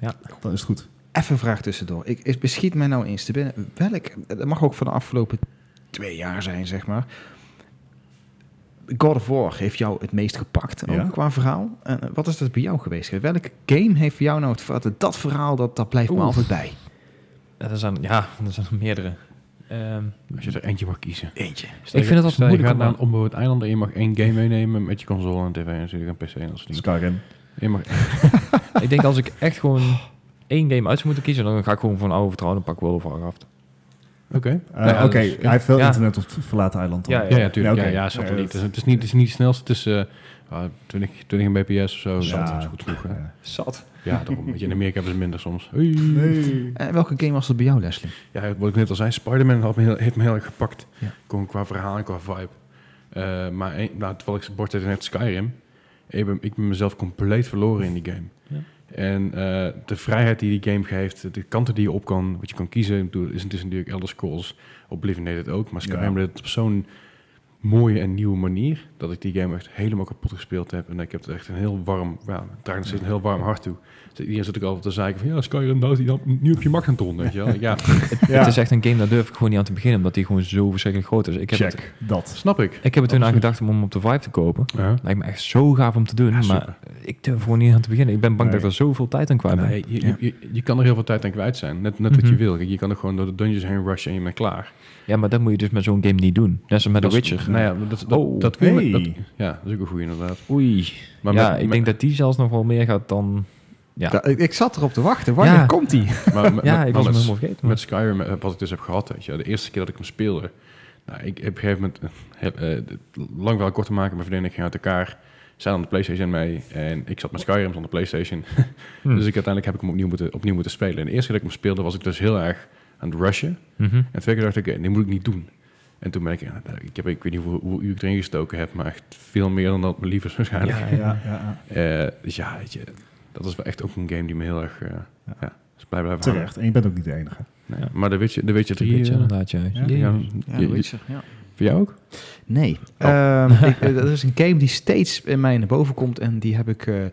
A: Ja.
C: dan is het goed.
D: Even een vraag tussendoor. Ik, ik beschiet mij nou eens te binnen. Welk, dat mag ook van de afgelopen twee jaar zijn, zeg maar. God of War heeft jou het meest gepakt, ook
C: Ja.
D: qua verhaal. En eh, wat is dat bij jou geweest? Welke game heeft voor jou nou het verhaal? Dat verhaal, dat, dat blijft me
A: Oeh.
D: altijd bij.
A: Ja, er zijn, ja, er zijn er meerdere. Ehm,
B: Als je er eentje mag kiezen.
D: Eentje.
A: ik vind het altijd moeilijk.
B: Je gaat
A: om-
B: naar een onbewoond eiland en je mag één game meenemen met je console en tv en natuurlijk een pc en
C: Dus
B: dat soort dingen.
C: Skyrim.
B: Je mag
A: ik denk als ik echt gewoon één game uit zou moeten kiezen, dan ga ik gewoon van oude vertrouwen en pak World of Warcraft.
B: Oké. Nou,
C: Eh,
A: Ja,
C: Oké,
A: dus-
C: hij heeft wel
A: ja.
C: internet op het verlaten eiland dan.
A: Ja,
B: Ja, ja, tuurlijk.
C: Ja,
B: Ja,
C: oké.
B: ja, is altijd
C: Ja,
B: niet.
C: dat-
B: Het is niet, het is niet het snelste. Het is eh, ah, 20, 20 bps of zo.
C: Ja.
B: Dat is goed genoeg. Hè?
C: Ja.
A: Zat.
B: Ja, daarom. Weet je, in Amerika hebben ze minder soms. Oei.
C: Nee.
D: En welke game was dat bij jou, Leslie?
B: Ja, wat ik net al zei, Spider-Man had me heel, heeft me heel erg gepakt.
D: Ja.
B: Gewoon qua verhaal en qua vibe. Eh, maar een, nou, terwijl ik bord net Skyrim. Ik ben, ik ben mezelf compleet verloren in die game.
A: Ja.
B: En eh, de vrijheid die die game geeft, de kanten die je op kan, wat je kan kiezen. Ik bedoel, is, het is natuurlijk Elder Scrolls, Oblivion deed het ook. Maar Skyrim
C: Ja.
B: deed het op zo'n mooie en nieuwe manier, dat ik die game echt helemaal kapot gespeeld heb. En ik heb er echt een heel warm, ja, ik draag nog steeds een heel warm hart toe. Dus Iedereen zit ook altijd te zeiken van, ja, Skyrim, nou is die dan nu op je magnetron, weet je wel. Ja,
C: Ja.
A: Het is echt een game, daar durf ik gewoon niet aan te beginnen, omdat die gewoon zo verschrikkelijk groot is. Ik heb, het,
C: Check dat.
B: snap ik.
A: ik heb er toen aan
B: Absoluut.
A: gedacht om hem op de Vive te kopen.
B: Ja.
A: Lijkt me echt zo gaaf om te doen,
B: Ja,
A: maar ik durf gewoon niet aan te beginnen. Ik ben bang
C: Nee.
A: dat ik er zoveel tijd aan kwijt ben.
B: Nee, je, je-
D: Ja.
B: je, je kan er heel veel tijd aan kwijt zijn. Net, net wat
A: Mhm.
B: je wil. Kijk, Je kan er gewoon door de dungeons heen rushen en je bent klaar.
A: Ja, maar dat moet je dus met zo'n game niet doen. Net als met The
B: Dat is-
A: Witcher.
B: Nou ja, dat, dat,
A: Oh,
B: dat kun je.
C: hey.
B: dat- ja, dat is ook een goede inderdaad.
A: Oei.
B: Maar
A: ja,
B: met-
A: ik denk dat die zelfs nog wel meer gaat dan... Ja,
D: Da- ik, ik zat erop te wachten. Wanneer
A: Ja.
D: komt die?
B: maar met-
A: ja
B: met-
A: ik
B: maar
A: was hem
B: met-
A: helemaal vergeten. maar-
B: Met Skyrim, eh, wat ik dus heb gehad, weet je, de eerste keer dat ik hem speelde, nou, ik heb op een gegeven moment, eh, heb, eh, dit- lang wel kort te maken, mijn vriendin en ik ging uit elkaar, zij aan de PlayStation mee en ik zat met Skyrim aan de PlayStation.
A: Hmm.
B: Dus ik, uiteindelijk heb ik hem opnieuw moeten, opnieuw moeten spelen. En de eerste keer dat ik hem speelde, was ik dus heel erg aan het rushen.
A: Mhm.
B: En twee keer dacht ik, oké, dit moet ik niet doen. En toen ben ik, ja, ik, heb, ik weet niet hoe, hoe uur ik erin gestoken heb, maar echt veel meer dan dat me lief is waarschijnlijk.
A: Ja,
C: Ja, ja, ja.
B: Eh, dus ja, weet je, dat is wel echt ook een game die me heel erg eh ja. is blij blijven
C: Terecht. En je bent ook niet de enige.
B: hangen. Nee, Maar de Witcher, de Witcher
A: Dat
B: 3,
A: weet je
B: eh,
A: inderdaad, ja.
C: Ja.
B: ja,
A: Jee.
D: Ja,
B: je-
D: The
B: je-
D: Witcher, ja.
B: voor jou ook?
D: Nee. Ehm, ik- eh, dat is een game die steeds in mij naar boven komt. En die heb ik... eh, eh,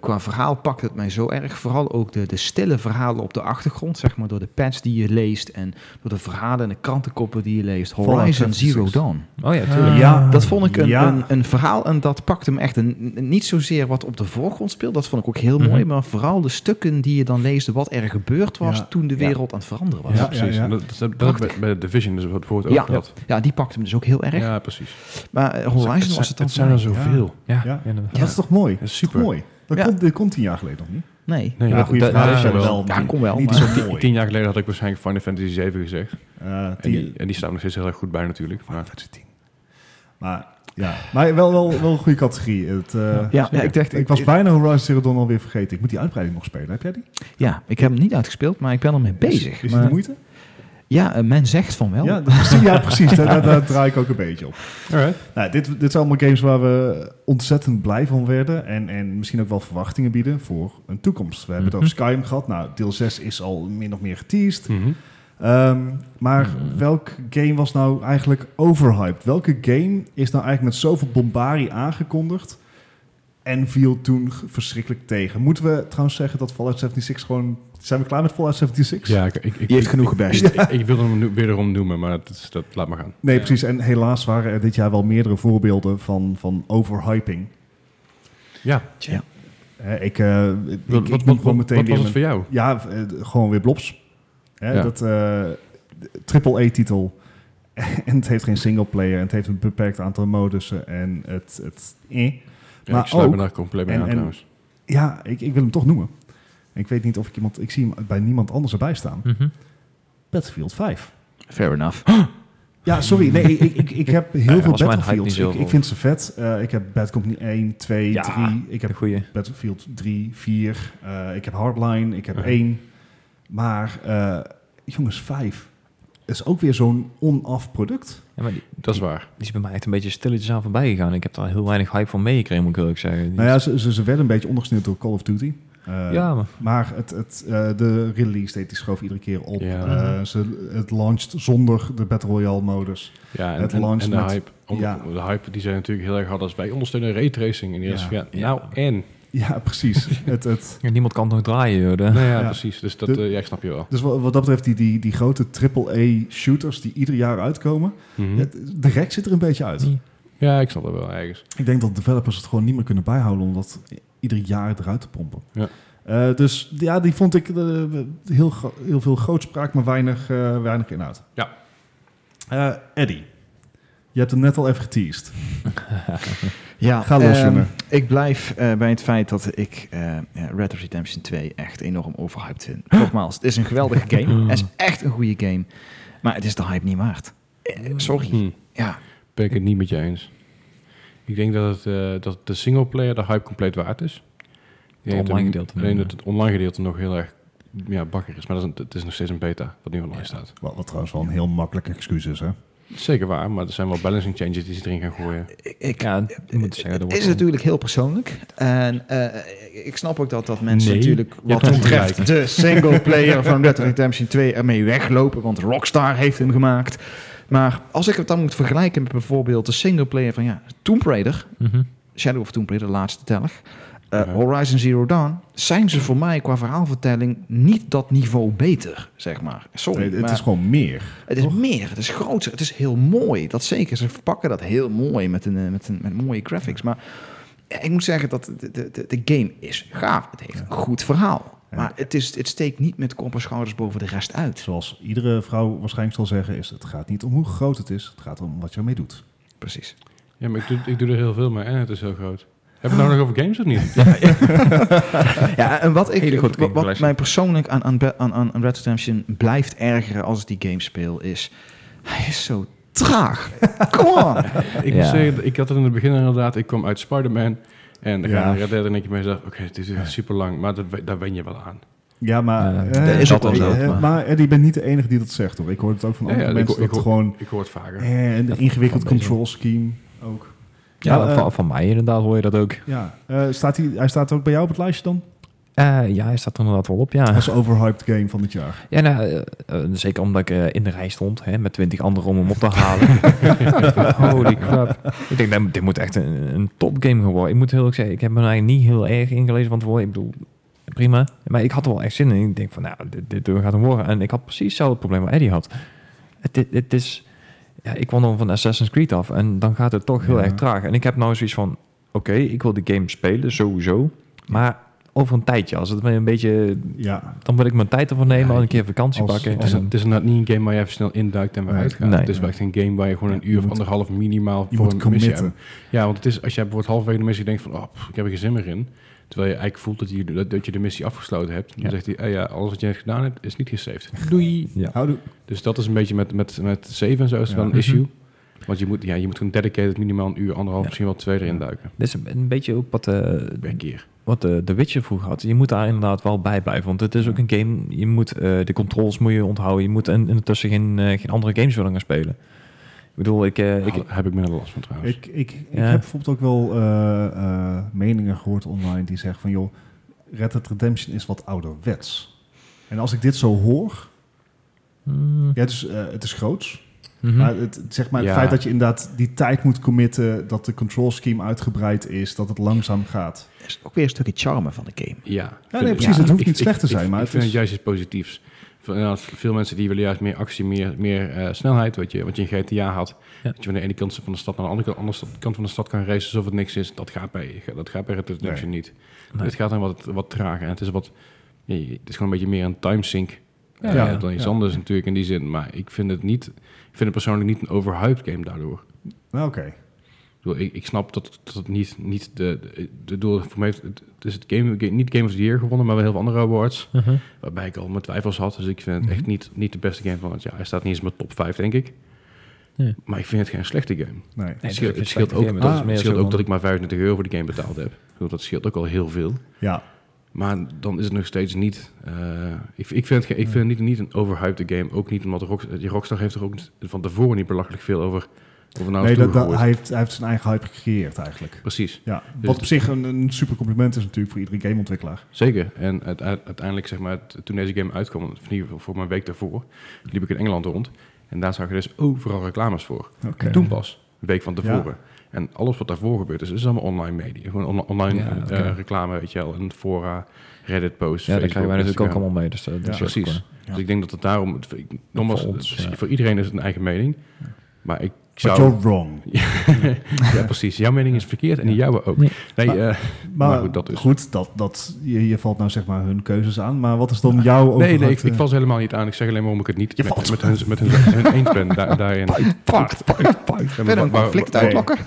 D: qua verhaal pakt het mij zo erg. Vooral ook de, de stille verhalen op de achtergrond. Zeg maar door de pads die je leest. En door de verhalen en de krantenkoppen die je leest.
C: Fallout
D: Horizon
C: 76.
D: Zero Dawn.
A: Oh ja,
C: Ah.
A: tuurlijk.
C: Ja.
D: Dat vond ik een,
C: Ja.
D: een, een verhaal en dat pakte hem echt een, niet zozeer wat op de voorgrond speelt. Dat vond ik ook heel mooi.
A: Mhm.
D: Maar vooral de stukken die je dan leesde wat er gebeurd was
C: Ja.
D: toen de
A: Ja.
D: wereld aan het veranderen was.
C: Ja,
D: Ja.
B: precies.
C: ja.
B: En Dat, dat, dat
D: Prachtig.
B: heb ik bij, bij Division dus wat voor het
D: Ja.
B: ook gehad.
D: die pakte hem dus ook heel erg.
B: Ja, precies.
D: Maar eh, Horizon was het dan
B: Het zijn
D: voor
B: er
D: mij.
C: ja.
B: zoveel.
A: Ja,
C: Ja.
A: inderdaad.
C: Dat is toch mooi? Dat is
B: Super.
C: toch mooi. Dat
D: Ja.
C: komt, dit komt tien jaar geleden nog niet.
D: Nee.
B: Nee,
C: Ja,
B: ja,
C: goede
A: dat-
C: vraag.
A: dat is er wel.
D: Ja, kom wel,
C: Niet
D: maar-
C: zo
B: tien,
C: mooi.
B: tien jaar geleden had ik waarschijnlijk Final Fantasy 7 gezegd.
C: Eh,
B: En
C: tien-
B: die, en die staan nog steeds heel erg goed bij natuurlijk. Maar,
C: Final Fantasy 10. Maar ja, maar wel, wel, wel een goede categorie. Het, eh,
D: Ja, ja, ik dacht,
C: Ik was bijna Horizon Zero Dawn alweer vergeten. Ik moet die uitbreiding nog spelen. Heb jij die?
D: ja, ik heb hem niet uitgespeeld, maar ik ben ermee bezig.
C: Is, is het
D: Maar-
C: de moeite?
D: ja, eh, men zegt van wel.
C: Ja, dat- ja, precies. Daar, daar, daar draai ik ook een beetje op.
B: alright.
C: Nou, dit, dit zijn allemaal games waar we ontzettend blij van werden. En, en misschien ook wel verwachtingen bieden voor een toekomst. We hebben het
D: Mhm.
C: over Skyrim gehad. Nou, deel 6 is al min of meer geteased.
B: Mhm.
C: Ehm, maar welk game was nou eigenlijk overhyped? Welke game is nou eigenlijk met zoveel bombarie aangekondigd en viel toen g- verschrikkelijk tegen? Moeten we trouwens zeggen dat Fallout 76 gewoon... Zijn we klaar met Fallout 76?
B: Ja, ik, ik, ik,
D: Die heeft
B: ik-
D: genoeg
B: ik-
D: gebashed.
B: Ik, ik wilde hem nu, wederom noemen, maar dat, is- dat laat maar gaan.
C: Nee, precies. En helaas waren er dit jaar wel meerdere voorbeelden van, van overhyping.
B: Ja,
C: Hè, ik, eh, ik,
B: wat,
C: ik
B: wat,
C: noem
B: wat,
C: gewoon meteen
B: wat
C: weer
B: was
C: mijn-
B: het voor jou?
C: Ja, eh, d- gewoon weer blobs. Hè,
B: Ja.
C: Dat eh, triple A-titel. en het heeft geen singleplayer. En het heeft een beperkt aantal modussen. En het... het eh.
B: Ja,
C: Maar
B: ik sluit
C: ook-
B: me daar compleet mee
C: en-
B: aan
C: en-
B: trouwens.
C: Ja, ik, ik wil hem toch noemen. Ik weet niet of ik iemand... Ik zie hem bij niemand anders erbij staan.
A: Mhm.
C: Battlefield 5.
D: Fair enough.
C: Ja, sorry. Nee, ik, ik, ik heb heel
A: Ja,
C: veel
A: was mijn hype niet
C: Battlefields.
A: zo
C: Ik, ik
A: hoog.
C: vind ze vet. Eh, ik heb Bad Company 1, 2,
A: Ja,
C: 3. Ik
A: De
C: heb
A: goeie.
C: Battlefield 3, 4. eh, ik heb Hardline, ik heb
B: Ja.
C: 1. Maar eh, jongens, 5 is ook weer zo'n on-off product.
A: Ja, maar die,
B: Dat is waar.
A: die is bij mij echt een beetje stilletjes aan voorbij gegaan. Ik heb daar heel weinig hype van meegekregen, moet ik eerlijk zeggen. Die
C: Nou ja,
A: is-
C: ze, ze, ze werden een beetje ondergesneeuwd door Call of Duty. Eh,
A: ja, maar
C: Maar het, het, eh, de release date die schoof iedere keer op.
B: Ja.
C: Eh, ze, het launched zonder de Battle Royale modus.
B: Ja, en,
C: Het
B: en,
C: launch
B: en de
C: met-
B: hype. Om,
C: ja.
B: De hype die zij natuurlijk heel erg hadden als wij ondersteunen raytracing. En die
C: Ja.
B: is van, ja,
A: Ja.
B: nou en.
C: Ja, precies. het, het,
A: ja, niemand kan het nog draaien. Joh, de-
B: Nou ja,
C: Ja.
B: precies. Dus dat,
C: De-
B: eh, ja, ik snap je wel.
C: dus wat, wat dat betreft, die, die, die grote AAA-shooters die ieder jaar uitkomen,
B: Hm.
C: het- de rek zit er een beetje uit.
B: Mhm. Ja, ik snap dat wel ergens.
C: Ik denk dat developers het gewoon niet meer kunnen bijhouden om dat ieder jaar eruit te pompen.
B: Ja.
C: Eh, dus ja, die vond ik eh, heel, gro- heel veel grootspraak, maar weinig, eh, weinig inhoud.
B: Ja.
C: Eh, Eddie, je hebt het net al even geteased.
D: Ja,
C: Ga los,
D: ehm,
C: jongen.
D: Ik blijf eh, bij het feit dat ik eh, ja, Red Dead Redemption 2 echt enorm overhyped vind. Nogmaals, het is een geweldige game. Het is echt een goede game. Maar het is de hype niet waard. Eh,
C: Hmm.
D: sorry.
B: Hm,
D: Ja,
B: Ben ik het niet met je eens. Ik denk dat, het, eh, dat de singleplayer de hype compleet waard is. Ik denk dat
A: online
B: het-
A: gedeelte
B: Alleen
A: dan,
B: dat het online gedeelte nog heel erg ja, bakker is. Maar dat is, een- het is nog steeds een beta wat nu online
A: Ja.
B: staat.
C: Wat, wat trouwens wel een heel makkelijk excuus is, hè?
B: Zeker waar, maar er zijn wel balancing changes die ze erin gaan gooien.
D: ik, ik,
A: Ja, ik moet zeggen, dat
D: Eh, het
A: wordt
D: is
A: wel-
D: natuurlijk heel persoonlijk. En eh, ik snap ook dat, dat mensen
B: Nee,
D: natuurlijk
B: je
D: wat
B: hebt
D: betreft de singleplayer van Red Dead Redemption 2 ermee weglopen. Want Rockstar heeft hem gemaakt. Maar als ik het dan moet vergelijken met bijvoorbeeld de singleplayer van ja, Tomb Raider.
A: Mhm.
D: Shadow of Tomb Raider, de laatste telg. Eh,
B: Ja.
D: Horizon Zero Dawn. Zijn ze voor mij qua verhaalvertelling niet dat niveau beter, zeg maar. Sorry,
C: Nee, het
D: maar
C: is gewoon meer.
D: het is meer, het is groter, het is heel mooi. Dat zeker, ze verpakken dat heel mooi met, een, eh, met, een, met mooie graphics. Maar ik moet zeggen dat de, de, de, de game is gaaf. Het heeft een goed verhaal.
C: Ja.
D: Maar het, is, het steekt niet met kop en schouders boven de rest uit.
C: Zoals iedere vrouw waarschijnlijk zal zeggen, is het gaat niet om hoe groot het is. Het gaat om wat je ermee doet.
D: Precies.
B: Ja, maar ik doe, ik doe er heel veel mee en het is heel groot. Hebben we het nou nog over games of niet?
D: Ja, en wat,
A: Hele
D: ik,
A: goed
D: wat- wat,
A: klinkt,
D: mij persoonlijk aan, aan, Be- aan, aan aan Red Dead Redemption blijft ergeren als ik die game speel, is hij is zo traag. Come on.
B: Ik moet
A: Ja.
B: zeggen, ik had het in het begin inderdaad. Ik kwam uit Spider-Man en dan
C: Ja.
B: ga je Red Dead en ik mee zeggen, oké, dit is super lang, maar dat, we- daar wen je wel aan.
C: Ja, maar...
A: Ja,
C: eh,
A: dat is
D: ook wel zo,
C: eh,
D: maar-
C: Maar Eddie, je bent niet de enige die dat zegt, hoor. Ik hoor het ook van
B: Ja,
C: andere
B: ja, ik
C: mensen
B: hoor- ik
C: dat het gewoon...
B: Ik hoor het vaker.
C: eh, een
A: van-
C: ingewikkeld
A: van deze.
C: control scheme ook.
A: Ja,
C: Ja, eh,
A: van, van mij inderdaad hoor je dat ook.
C: Ja. Eh, staat hij, hij staat ook bij jou op het lijstje dan?
A: Eh, ja, hij staat er inderdaad wel op,
B: Ah.
A: ja.
C: Als overhyped game van het jaar.
A: Ja, nou, eh, eh, zeker omdat ik eh, in de rij stond hè, met twintig anderen om hem op te halen. Holy crap. Ik denk, nou, dit moet echt een, een topgame gaan worden. Ik moet heel erg zeggen, ik heb me er eigenlijk niet heel erg ingelezen van tevoren. Ik bedoel, prima. Maar ik had er wel echt zin in. Ik denk van, nou, dit, dit gaat hem worden. En ik had precies hetzelfde probleem wat Eddie had. Het, het, het is... Ja, ik kwam dan van Assassin's Creed af en dan gaat het toch heel
C: Ja.
A: erg traag. En ik heb nou zoiets van, oké, ik wil die game spelen, sowieso. Maar over een tijdje, als het me een beetje
C: Ja.
A: dan wil ik mijn tijd ervoor nemen
B: Ja,
A: en een keer vakantie
C: als-
A: pakken.
B: Het is,
A: En-
B: het is inderdaad niet een game waar je even snel induikt en weer
C: Nee.
B: uitgaat.
A: Nee.
B: het is wel echt een game waar je gewoon een
C: Ja,
B: uur
C: je
B: of
C: moet-
B: anderhalf minimaal
C: Je
B: voor
C: moet
B: een missie
C: committen.
B: hebt. Ja, want het is, als je bijvoorbeeld halverwege de missie denkt van, oh, pff, ik heb er geen zin meer in. Terwijl je eigenlijk voelt dat je, dat, dat je de missie afgesloten hebt. Dan
A: Ja.
B: zegt hij, eh, ja, alles wat jij gedaan hebt, is niet gesaved. Doei.
C: Houdoe.
B: Dus dat is een beetje met, met, met save en zo is het
C: Ja.
B: wel een issue. Want je moet, ja, je moet gewoon dedicated minimaal een uur, anderhalf,
A: Ja.
B: misschien wel twee erin duiken.
A: Dit is een, een beetje ook wat, eh,
B: Per keer.
A: wat de, de Witcher vroeger had. Je moet daar inderdaad wel bij blijven. Want het is ook een game, je moet eh, de controls moet je onthouden. Je moet in- intussen geen, eh, geen andere games willen gaan spelen. Ik bedoel, ik... eh, ik
B: Daar heb ik minder last van trouwens.
C: Ik, ik, ik
A: Ja.
C: heb bijvoorbeeld ook wel eh, eh, meningen gehoord online die zeggen van... joh, Red Dead Redemption is wat ouderwets. En als ik dit zo hoor...
A: Mm,
C: Ja, dus, eh, het is groots.
A: mhm.
C: Maar het, het- zeg maar het
B: Ja.
C: feit dat je inderdaad die tijd moet committen... dat de control scheme uitgebreid is, dat het langzaam gaat.
D: Dat is ook weer een stukje charme van de game.
B: Ja,
C: nee,
B: Vind-
C: precies, het hoeft
B: ik-
C: niet
B: ik-
C: slecht te
B: ik-
C: zijn, maar
B: ik
C: het
B: vind
C: is-
B: het juist iets positiefs. Van, inderdaad, veel mensen die willen juist meer actie, meer, meer eh, snelheid, wat je, wat je in GTA had.
A: Ja.
B: Dat je van de ene kant van de stad naar de andere kant, andere stad- kant van de stad kan racen alsof het niks is. Dat gaat bij, dat gaat bij Red Dead Redemption niet.
A: Nee.
B: Het gaat dan wat, wat trager en het is wat, ja, het is gewoon een beetje meer een timesync
A: Ja,
B: eh,
A: ja,
B: dan iets
C: ja.
B: anders natuurlijk in die zin. Maar ik vind het niet, ik vind het persoonlijk niet een overhyped game daardoor.
C: Nou, oké.
B: Ik, bedoel, ik, ik snap dat, dat het niet, niet de, de, de doel voor mij heeft, het het is het game, niet Game of the Year gewonnen, maar wel heel veel andere awards.
A: Mhm.
B: Waarbij ik al mijn twijfels had. Dus ik vind het echt niet, niet de beste game van het jaar. Hij staat niet eens in mijn top 5, denk ik.
A: Nee.
B: Maar ik vind het geen slechte game.
C: Nee.
B: het
A: dat
B: scheelt,
A: is
B: het scheelt
A: een
B: ook,
A: game,
B: dat,
A: dat is
B: het
A: meer
B: scheelt
A: zo
B: ook
A: van-
B: dat ik maar 25 euro voor de game betaald heb. Ik bedoel, Dat scheelt ook al heel veel.
C: Ja,
B: Maar dan is het nog steeds niet... eh, ik, ik vind het, ge- ik vind het niet, niet een overhyped game. Ook niet omdat Rock, die Rockstar heeft er ook van tevoren niet belachelijk veel over, over nou
C: nee, dat, dat-
B: toegegooid.
C: hij, heeft, hij heeft zijn eigen hype gecreëerd eigenlijk.
B: Precies,
C: Ja,
B: Dus
C: wat op
B: het-
C: zich een, een super compliment is natuurlijk voor iedere gameontwikkelaar.
B: zeker. En uite- uiteindelijk, zeg maar, het- toen deze game uitkwam, in ieder geval voor mijn week daarvoor, liep ik in Engeland rond. En daar zag je dus overal reclames voor.
C: Oké.
B: Toen pas, een week van tevoren.
C: Ja.
B: En alles wat daarvoor gebeurd is, is allemaal online media. Gewoon on- online
A: Ja,
B: eh,
A: oké.
B: eh, reclame, weet je wel. En fora, Reddit posts,
A: ja, daar krijgen wij natuurlijk ook
B: Instagram.
A: allemaal mee. Dus, eh, dat
C: Ja,
A: is ook
B: Precies.
A: gewoon-
C: Ja.
B: Dus ik denk dat het daarom... het- ik- Nogmaals,
A: Voor ons,
B: het-
A: ja.
B: voor iedereen is het een eigen mening. Maar ik
C: But
B: zou...
C: you're wrong.
B: ja, precies. Jouw mening is verkeerd en die jouwe ook.
A: Nee.
B: Nee,
C: Maar-
B: eh,
C: Maar,
B: Maar
C: goed,
B: goed,
C: dat
B: dat is-
C: dat, je, je valt nou zeg maar hun keuzes aan. Maar wat is dan jouw overheid?
B: nee, nee ik,
C: eh,
B: ik val ze helemaal niet aan. Ik zeg alleen maar om ik het niet
C: Je
B: met,
C: valt.
B: met, hun, met hun, hun eens ben daar- daarin.
D: Fuck,
B: Ja, maar
D: Verder een
B: waar-
D: conflict
B: waar-
D: uitlokken.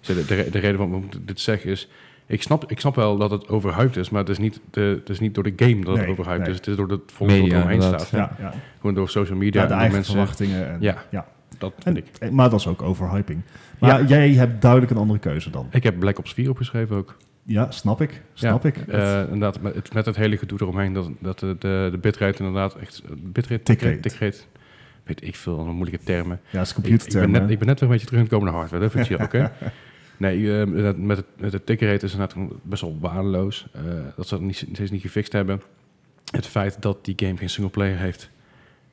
B: Dus De, de, de reden waarom ik dit zeg is... Ik snap, ik snap wel dat het overhyped is, maar het is niet, de, het is niet door de game dat
C: Nee,
B: het overhyped
C: nee.
B: is. Het is door het volgende wat
A: Media,
B: er omheen
A: inderdaad.
B: staat.
C: Ja, ja.
B: Gewoon door social
C: ja,
B: media en
C: de
B: door
C: eigen
B: mensen.
C: verwachtingen. En,
B: Ja.
C: ja.
B: Dat
C: En,
B: vind ik.
C: eh, maar dat is ook overhyping. Maar jij hebt duidelijk een andere keuze dan.
B: Ik heb Black Ops 4 opgeschreven ook.
C: Ja, snap ik. Snap ik.
B: Eh, inderdaad, met het, met het hele gedoe eromheen dat, dat de, de, de bitrate inderdaad echt... eh, Bitrate,
C: Tickrate.
B: tickrate, weet ik veel, allemaal moeilijke termen.
C: ja, het is
B: Ik, ik, ben
C: computertermen.
B: net, ik ben net weer een beetje terug in het komen naar hardware. Dat vind je oké. Nee, eh, inderdaad, met het, met het ticker rate is inderdaad best wel waardeloos. eh, dat ze dat niet, steeds niet gefixt hebben. Het feit dat die game geen singleplayer heeft.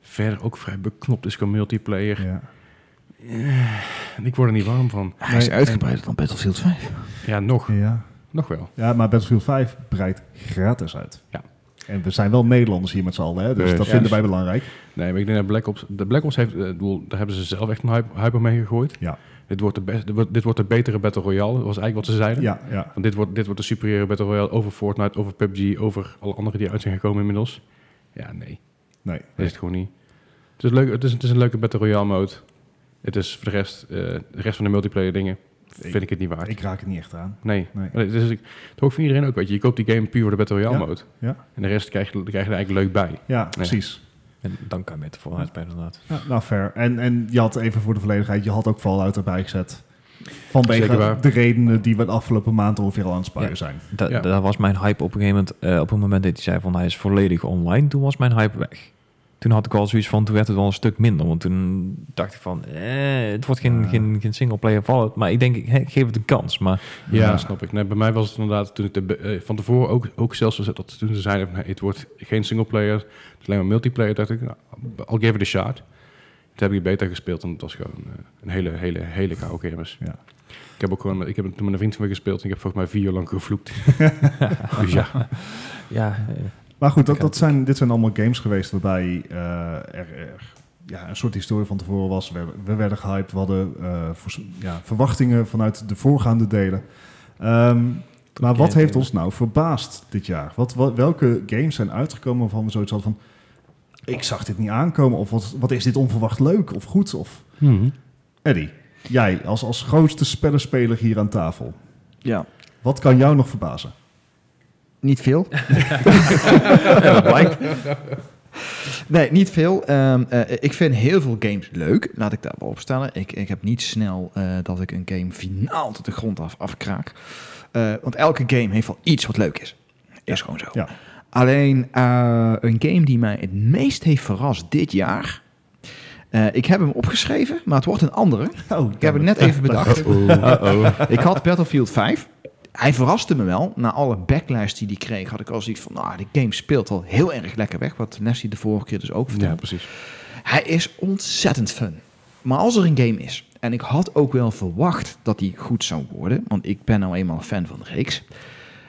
B: Verder ook vrij beknopt is qua multiplayer.
C: ja.
B: En Ik word er niet warm van.
D: Hij is uitgebreider dan Battlefield 5.
B: Ja, nog.
C: Ja.
B: Nog wel.
C: ja, maar Battlefield 5 breidt gratis uit.
B: Ja.
C: En we zijn wel Nederlanders hier met z'n allen, hè? dus
B: Dus-
C: dat
B: Ja.
C: vinden wij belangrijk.
B: Nee, maar ik denk dat Black Ops... De Black Ops heeft... eh, ik bedoel, daar hebben ze zelf echt een hype, hype mee gegooid.
C: Ja.
B: Dit wordt, de best, dit wordt- dit wordt de betere Battle Royale. Dat was eigenlijk wat ze zeiden.
C: Ja, ja.
B: Want dit wordt, dit wordt de superieure Battle Royale over Fortnite, over PUBG, over alle andere die uit zijn gekomen inmiddels. Ja, nee.
C: Nee.
B: Dat is het gewoon niet. Het is, leuk, het, is, het is een leuke Battle Royale mode. Het is voor de rest, eh, de rest van de multiplayer dingen, vind ik het niet waard.
C: Ik raak het niet echt aan.
B: nee.
C: Nee.
B: Maar Het is, het hoort voor iedereen ook, weet je. Je koopt die game puur voor de Battle Royale
C: Ja,
B: mode.
C: ja.
B: En de rest krijg je, krijg je er eigenlijk leuk bij.
C: Ja, precies.
A: En dan kan je met de vooruit spelen inderdaad.
C: Ja, nou, fair. En, en je had even voor de volledigheid, je had ook Fallout erbij gezet.
B: Zeker
C: Vanwege
B: waar.
C: de redenen die we de afgelopen maand ongeveer al aan het spuien
A: Ja.
C: zijn.
A: Da-
B: Ja.
A: Daar was mijn hype op een gegeven moment. eh, op het moment dat hij zei van hij is volledig online, toen was mijn hype weg. Toen had ik al zoiets van, toen werd het wel een stuk minder. Want toen dacht ik van, eh, het wordt geen,
C: Ja.
A: geen, geen singleplayer Fallout. Maar ik denk, ik, ik geef het een kans. Maar
B: Ja,
C: Ja.
B: snap ik. Nee, bij mij was het inderdaad toen ik de, be- eh, van tevoren ook, ook zelfs was het dat toen ze zeiden van, nee, het wordt geen singleplayer, het is alleen maar multiplayer, dacht ik, nou, I'll give it a shot. Toen heb ik beta gespeeld en het was gewoon eh, een hele, hele, hele koude kermis.
C: Ja.
B: Ik heb ook gewoon, ik heb toen met een vriend van me gespeeld en ik heb volgens mij vier uur lang gevloekt. dus ja,
A: ja, eh,
C: Maar goed, dat, dat zijn, dit zijn allemaal games geweest waarbij eh, er, er, ja, een soort historie van tevoren was. We, we werden gehyped, we hadden eh, voors- ja, verwachtingen vanuit de voorgaande delen. Ehm, maar wat
A: game,
C: heeft
A: ja.
C: ons nou verbaasd dit jaar? Wat, wat- welke games zijn uitgekomen waarvan we zoiets hadden van... Ik zag dit niet aankomen. Of wat, wat is dit onverwacht leuk of goed? Of Eddie, jij als, als grootste spellenspeler hier aan tafel.
D: Ja,
C: Wat kan jou nog verbazen?
D: niet veel.
A: ja, dat blijkt.
D: Nee, niet veel. Ehm, eh, ik vind heel veel games leuk. Laat ik daar wel opstellen. Ik, ik heb niet snel eh, dat ik een game finaal tot de grond af afkraak. Eh, want elke game heeft wel iets wat leuk is. Is gewoon zo.
C: Ja.
D: Alleen eh, een game die mij het meest heeft verrast dit jaar. Eh, ik heb hem opgeschreven, maar het wordt een andere.
C: Oh,
D: Ik heb het net even bedacht.
A: Uh-oh.
D: Ik had Battlefield 5. Hij verraste me wel. Na alle backlash die die kreeg, had ik al zoiets van... Nou, de game speelt al heel erg lekker weg. Wat Nessie de vorige keer dus ook vertelde.
B: ja, precies.
D: Hij is ontzettend fun. Maar als er een game is, en ik had ook wel verwacht dat die goed zou worden, want ik ben nou eenmaal fan van de reeks.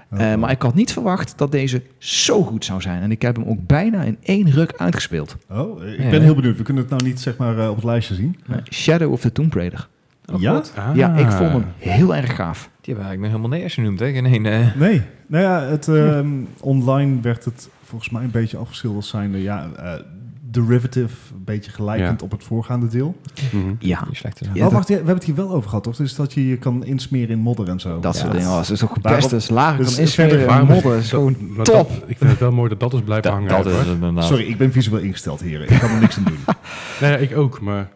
D: Eh, maar ik had niet verwacht dat deze zo goed zou zijn. En ik heb hem ook bijna in één ruk uitgespeeld.
C: Oh, ik
A: Ja.
C: ben heel benieuwd. We kunnen het nou niet zeg maar eh, op het lijstje zien.
D: Eh, Shadow of the Tomb Raider.
C: ja?
D: Ja, ik
B: Ah.
D: vond hem heel erg gaaf.
A: Die hebben eigenlijk nog helemaal nergens genoemd. Hè? Geen één, eh,
C: Nee. Nou ja, het, ehm, online werd het volgens mij een beetje afgeschilderd als zijnde... Ja, eh, derivative, een beetje gelijkend
B: Ja.
C: op het voorgaande deel.
B: Mhm.
D: Ja,
A: die slechte zijn.
D: Ja,
C: oh,
D: dat-
C: wacht, ja, we hebben het hier wel over gehad, toch? Dus dat je je kan insmeren in modder en zo.
D: dat
A: Ja.
D: soort dingen. Oh, Dat is toch
C: Waarom-
D: best een slager
C: dus
D: kan insmeren.
C: verder-
D: en modder.
B: Dat-
D: Gewoon
B: maar
D: top.
B: dat- ik vind het wel mooi dat dat is blijven
A: Dat,
B: hangen.
A: dat
B: hoor.
A: is het inderdaad.
C: Sorry, ik ben visueel ingesteld, heren. Ik kan er niks aan doen.
B: Nee, Nou ja, ik ook, maar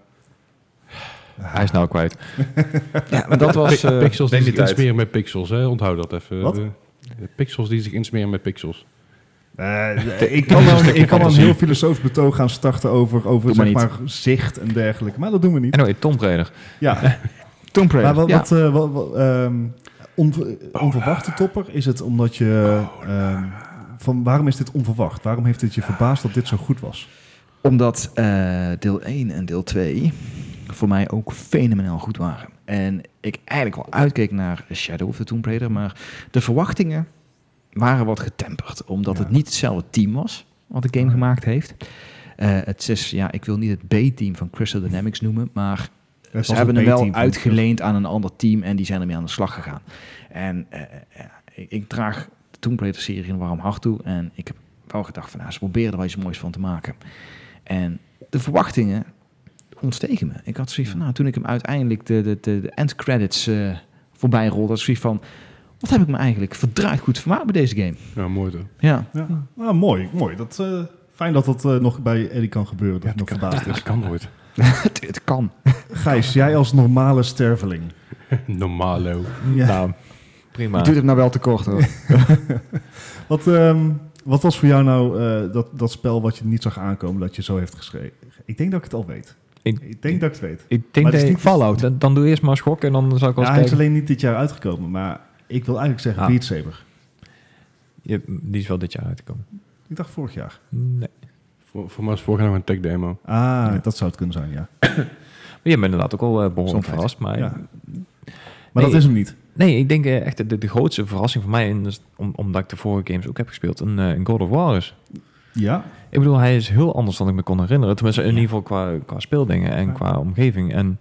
A: Hij is nou kwijt.
D: Ja, maar dat was... eh,
B: pixels die
A: neem je
B: zich
A: tijd.
B: insmeren met pixels, hè? onthoud dat even.
C: Wat?
B: De- de pixels die zich insmeren met pixels.
C: Eh, ik kan wel ik kan
B: stukje
C: wel een
B: fantasie.
C: heel filosofisch betoog gaan starten over, over
D: Doe maar
C: zeg maar, zicht en dergelijke. Maar dat doen we niet.
A: En oh, Tom Raider.
C: Ja,
D: Tomb Raider.
C: Maar wat,
D: ja.
C: wat, eh, wat, wat, ehm, on- onverwachte topper is het omdat je. ehm, van waarom is dit onverwacht? Waarom heeft het je verbaasd dat dit zo goed was?
D: Omdat eh, deel 1 en deel 2 voor mij ook fenomenaal goed waren. En ik eigenlijk wel uitkeek naar Shadow of the Tomb Raider, maar de verwachtingen waren wat getemperd. Omdat
C: Ja.
D: het niet hetzelfde team was wat de game
C: Ja.
D: gemaakt heeft. Eh, het is, ja, ik wil niet het B-team van Crystal Dynamics noemen, maar
C: Het
D: ze
C: was
D: hebben
C: een
D: hem wel
C: B-team van-
D: uitgeleend aan een ander team en die zijn ermee aan de slag gegaan. En eh, eh, ik, ik draag de Tomb Raider-serie een warm hart toe. En ik heb wel gedacht van, nou, ze proberen er wel iets moois van te maken. En de verwachtingen ontstegen me. Ik had zoiets van, nou, toen ik hem uiteindelijk de, de, de, de end credits eh, voorbij rolde, had ik zoiets van, wat heb ik me eigenlijk verdraaid goed vermaakt bij deze game?
B: Ja, mooi toch?
D: Ja,
C: Ja. Nou, mooi, mooi. Dat, eh, fijn dat dat eh, nog bij Eddie kan gebeuren. Dat je nog verbaasd is.
B: Dat kan nooit.
D: het, het kan.
C: Gijs, jij als normale sterveling.
B: Normalo.
C: Ja.
A: Nou, prima.
D: Het doet hem nou wel tekort hoor.
C: Wat, ehm, wat was voor jou nou eh, dat, dat spel wat je niet zag aankomen dat je zo heeft geschreven? Ik denk dat ik het al weet.
A: Ik-
C: Ik denk dat ik het weet.
A: Ik denk
C: Maar het
A: dat
C: is
A: je-
C: niet Fallout.
A: Dan, dan doe eerst maar schok en dan zal ik wel eens
C: Ja, hij is
A: kijken.
C: alleen niet dit jaar uitgekomen, maar ik wil eigenlijk zeggen
A: Ah.
C: Beat Saber.
A: Je- die is wel dit jaar uitgekomen.
C: Ik dacht vorig jaar.
A: Nee.
B: Voor, voor mij is vorig jaar nog een tech demo.
C: Ah, dat zou het kunnen zijn, ja.
A: Maar je bent inderdaad ook al eh, behoorlijk
C: Gezondheid.
A: verrast. Maar
C: Ja. Maar
A: Nee.
C: dat is hem niet.
A: nee, ik denk eh, echt dat de, de grootste verrassing voor mij, en dat is om, omdat ik de vorige games ook heb gespeeld, een, eh, een God of War is.
C: Ja,
A: Ik bedoel, hij is heel anders dan ik me kon herinneren. Tenminste, in ieder geval qua, qua speeldingen en
C: Ja.
A: qua omgeving. En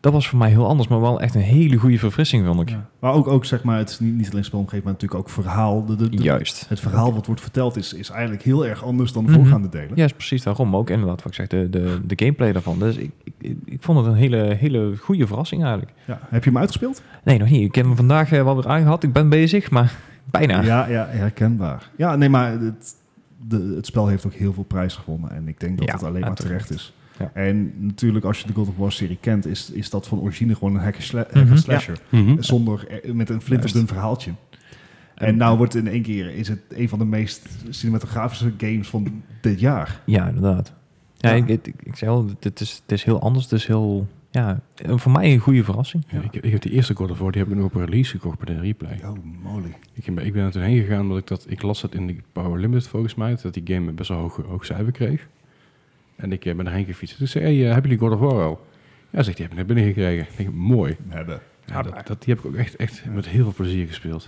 A: dat was voor mij heel anders, maar wel echt een hele goede verfrissing, vond ik.
C: Ja. Maar ook, ook zeg maar, het is niet, niet alleen spelomgeving, maar natuurlijk ook verhaal. De, de, de-
A: Juist.
C: Het verhaal wat wordt verteld is, is eigenlijk heel erg anders dan de
A: Mhm.
C: voorgaande delen.
A: Ja, is precies daarom. Maar ook inderdaad, wat ik zeg, de, de, de gameplay daarvan. Dus ik, ik, ik vond het een hele, hele goede verrassing eigenlijk.
C: Ja. Heb je hem uitgespeeld?
A: Nee, nog niet. Ik heb hem vandaag eh, wel weer aangehad. Ik ben bezig, maar bijna.
C: ja, ja, herkenbaar. Ja, nee, maar het, de, het spel heeft ook heel veel prijs gewonnen. En ik denk dat
A: Ja,
C: het alleen maar
A: uiteraard.
C: terecht is.
A: Ja.
C: En natuurlijk, als je de God of War-serie kent, is, is dat van origine gewoon een hack and sla- hack
A: Mhm.
C: and slasher.
B: Mhm.
C: Zonder, eh, met een flinterdun verhaaltje. En nou wordt in één keer is het een van de meest cinematografische games van dit jaar.
A: Ja, inderdaad. Ja,
C: Ja.
A: Ik, ik, ik zei al, het is, het is heel anders. Het is heel, ja, voor mij een goede verrassing.
B: Ja, ik, heb- ik heb die eerste God of War, die heb ik nog op release gekocht bij de replay.
C: Oh, moly.
B: Ik, heb- ik ben er toen heen gegaan omdat ik dat, ik las dat in de Power Limit volgens mij, dat die game best wel hoog, hoog cijfer kreeg. En ik eh, ben erheen gefietst. Dus ik zei, hey, eh, hebben jullie God of War al? Ja, zegt die heb ik net binnengekregen. Ik denk, mooi.
C: Hebben.
A: Ah,
B: Ja, dat, dat, die heb ik ook echt, echt met heel veel plezier gespeeld.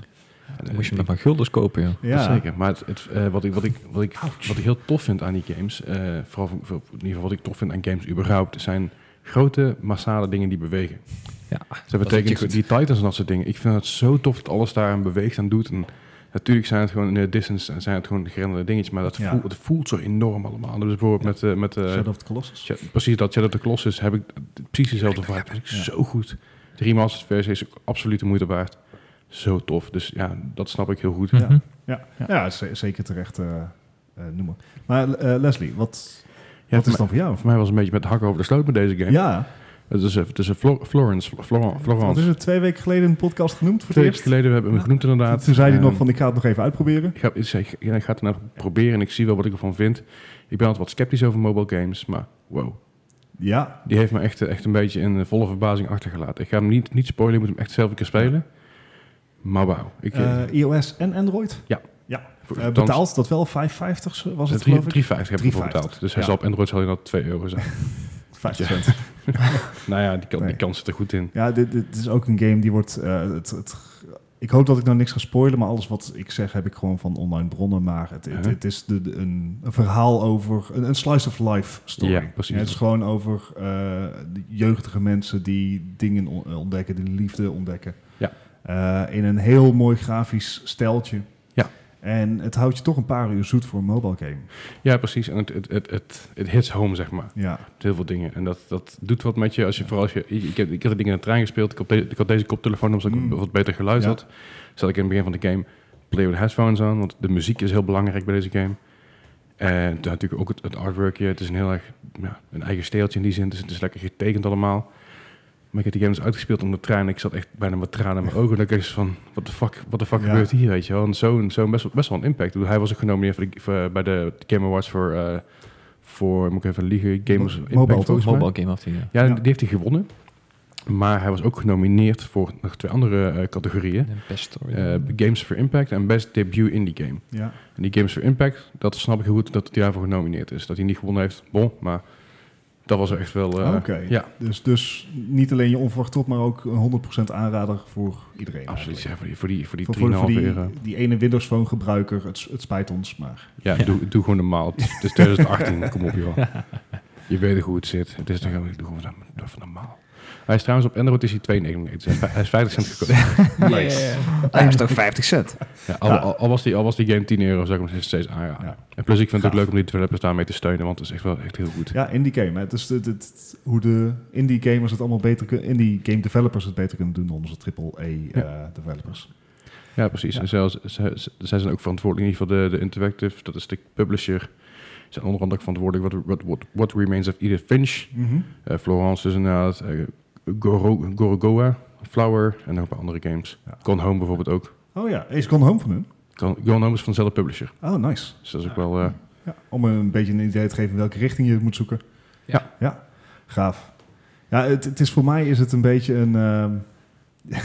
B: En,
A: Dan moest je
B: eh,
A: hem maar gulders kopen, joh.
C: Ja,
B: Dat zeker. Maar het, het, eh, wat, ik, wat, ik, wat, ik, wat ik heel tof vind aan die games, eh, vooral voor- voor- in ieder geval wat ik tof vind aan games überhaupt, zijn grote, massale dingen die bewegen.
A: Ja,
B: Dus dat betekent
A: goed.
B: die Titans en dat soort dingen. Ik vind het zo tof dat alles daarin beweegt en doet. En natuurlijk zijn het gewoon in de distance en zijn het gewoon gerenderde dingetjes, maar dat
C: Ja.
B: voelt, het voelt zo enorm allemaal. Dus bijvoorbeeld met, eh, met eh,
C: Shadow of the Colossus.
B: Sha- precies dat Shadow of the Colossus heb ik precies dezelfde vibe. Dat is
C: Ja.
B: zo goed. De remastered versie is ook absoluut de moeite waard. Zo tof. Dus ja, dat snap ik heel goed.
C: Ja.
A: Mhm.
C: Ja, ze- zeker terecht eh, eh, noemen. Maar eh, Leslie, wat,
B: Ja,
C: wat
B: voor
C: is dan voor jou?
B: Voor mij was het een beetje met de hakken over de sloot met deze game.
C: Ja,
B: Het is, eh, het is een Flo- Florence. Flo- Flor-
C: wat is
B: Florence.
C: het twee weken geleden in de podcast genoemd voor
B: Twee
C: het
B: weken
C: eerst?
B: geleden hebben we hem genoemd inderdaad.
C: Toen zei hij
B: Ehm,
C: nog van, ik ga het nog even uitproberen.
B: Ik ga, ik, zeg, ja, ik ga het nou proberen en ik zie wel wat ik ervan vind. Ik ben altijd wat sceptisch over mobile games, maar wow.
C: Ja,
B: Die heeft me echt, eh, echt een beetje in eh, volle verbazing achtergelaten. Ik ga hem niet, niet spoilen, ik moet hem echt zelf een keer spelen. Maar wauw. Ik, eh,
C: eh, iOS en Android.
B: Ja.
C: ja.
B: voor-
C: Eh,
B: althans,
C: betaalt dat wel? 5,50 was het
B: drie-
C: geloof ik?
B: 3,50 heb ik ervoor
C: 3,50,
B: betaald. Dus hij
C: ja.
B: zal op Android zal hij dat 2 euro zijn.
C: 50
B: Ja.
C: cent.
B: nou ja, die, kan,
C: Nee.
B: die kans zit er goed in.
C: Ja, dit, dit is ook een game die wordt... eh, het, het, ik hoop dat ik nou niks ga spoilen, maar alles wat ik zeg heb ik gewoon van online bronnen. Maar het, het,
B: Ja.
C: het is de, de- een, een verhaal over een, een slice of life story.
B: Ja, precies.
C: het is gewoon over eh, de jeugdige mensen die dingen on- ontdekken, die liefde ontdekken.
B: Ja.
C: Eh, in een heel mooi grafisch steltje.
B: Ja.
C: En het houdt je toch een paar uur zoet voor een mobile game.
B: Ja, precies. En het, het, het, het, het hits home, zeg maar.
C: Ja,
B: met heel veel dingen. En dat, dat doet wat met je. Als je vooral als je, ik, heb, ik heb de dingen in de trein gespeeld. Ik had, de- ik had deze koptelefoon op, zodat ik
C: Mm.
B: wat beter geluid
C: Ja.
B: had. Zat ik in het begin van de game, play with headphones aan. Want de muziek is heel belangrijk bij deze game. En dan natuurlijk ook het, het artworkje. Het is een heel erg ja, een eigen steeltje in die zin. Dus het is lekker getekend allemaal. Maar ik heb die game dus uitgespeeld om de trein. en Ik zat echt bijna met tranen in mijn ogen. En ik dacht van, wat de fuck, what the fuck
C: Ja.
B: gebeurt hier, weet je wel? En zo'n zo best, wel- best wel een impact. Ik bedoel, Hij was ook genomineerd voor de- voor- bij de Game Awards voor, eh, voor, moet ik even liegen, Gamers
C: Mobile,
B: Impact
C: toch?
B: volgens mij.
A: Mobile game of die, ja.
B: Ja,
C: Ja.
B: die heeft hij gewonnen. Maar hij was ook genomineerd voor nog twee andere eh, categorieën.
A: Een Best story.
B: Eh, Games for Impact en Best Debut Indie Game.
C: ja.
B: En die Games for Impact, dat snap ik heel goed dat hij daarvoor genomineerd is. Dat hij niet gewonnen heeft, bon, maar dat was echt wel... eh,
C: Oké.
B: Ja,
C: Dus, dus niet alleen je onverwacht tot, maar ook een 100% aanrader voor iedereen.
B: absoluut.
C: eigenlijk.
B: Ja, voor die, voor die, voor die
C: Voor, voor, voor
B: 3,5
C: die,
B: euro.
C: die ene Windows Phone gebruiker, het, s- het spijt ons, maar...
B: Ja, Doe, doe gewoon normaal. Het is 2018, kom op joh. Je weet hoe het zit. Het is toch doe gewoon normaal. Doe even normaal. Hij is trouwens op Android is hij 2,99. Dus hij is- Hij is 50 cent gekomen.
D: Hij is toch 50 cent?
B: Ja, al, al, al was die, al was die game 10 euro, zou ik hem nog steeds aanraden.
C: Ja.
B: En plus, ik vind het ook
C: Gaaf.
B: leuk om die developers daarmee te steunen, want het is echt wel echt heel goed.
C: Ja, indie game. Hè. Het is de- dit- het- hoe de indie gamers het allemaal beter kunnen... Indie game developers het beter kunnen doen dan onze AAA eh, developers.
B: Ja, precies.
C: Ja.
B: En zelfs, ze- ze- zij zijn ook verantwoordelijk, in ieder geval de, de Interactive, dat is de publisher. Ze zijn onder andere ook verantwoordelijk wat, wat, what, what Remains of Edith Finch, eh, Florence dus inderdaad, eh, Goro, Gorogoa, Flower en nog een paar andere games.
C: Ja.
B: Gone Home bijvoorbeeld ook.
C: Oh ja, Ace Gone Home van hun.
B: Gone Gone Home is van dezelfde publisher.
C: Oh, nice.
B: Dus dat is ook wel... eh,
C: Ja, om een beetje een idee te geven in welke richting je het moet zoeken.
B: Ja.
C: Ja, gaaf. Ja, het, het is voor mij is het een beetje een... ehm,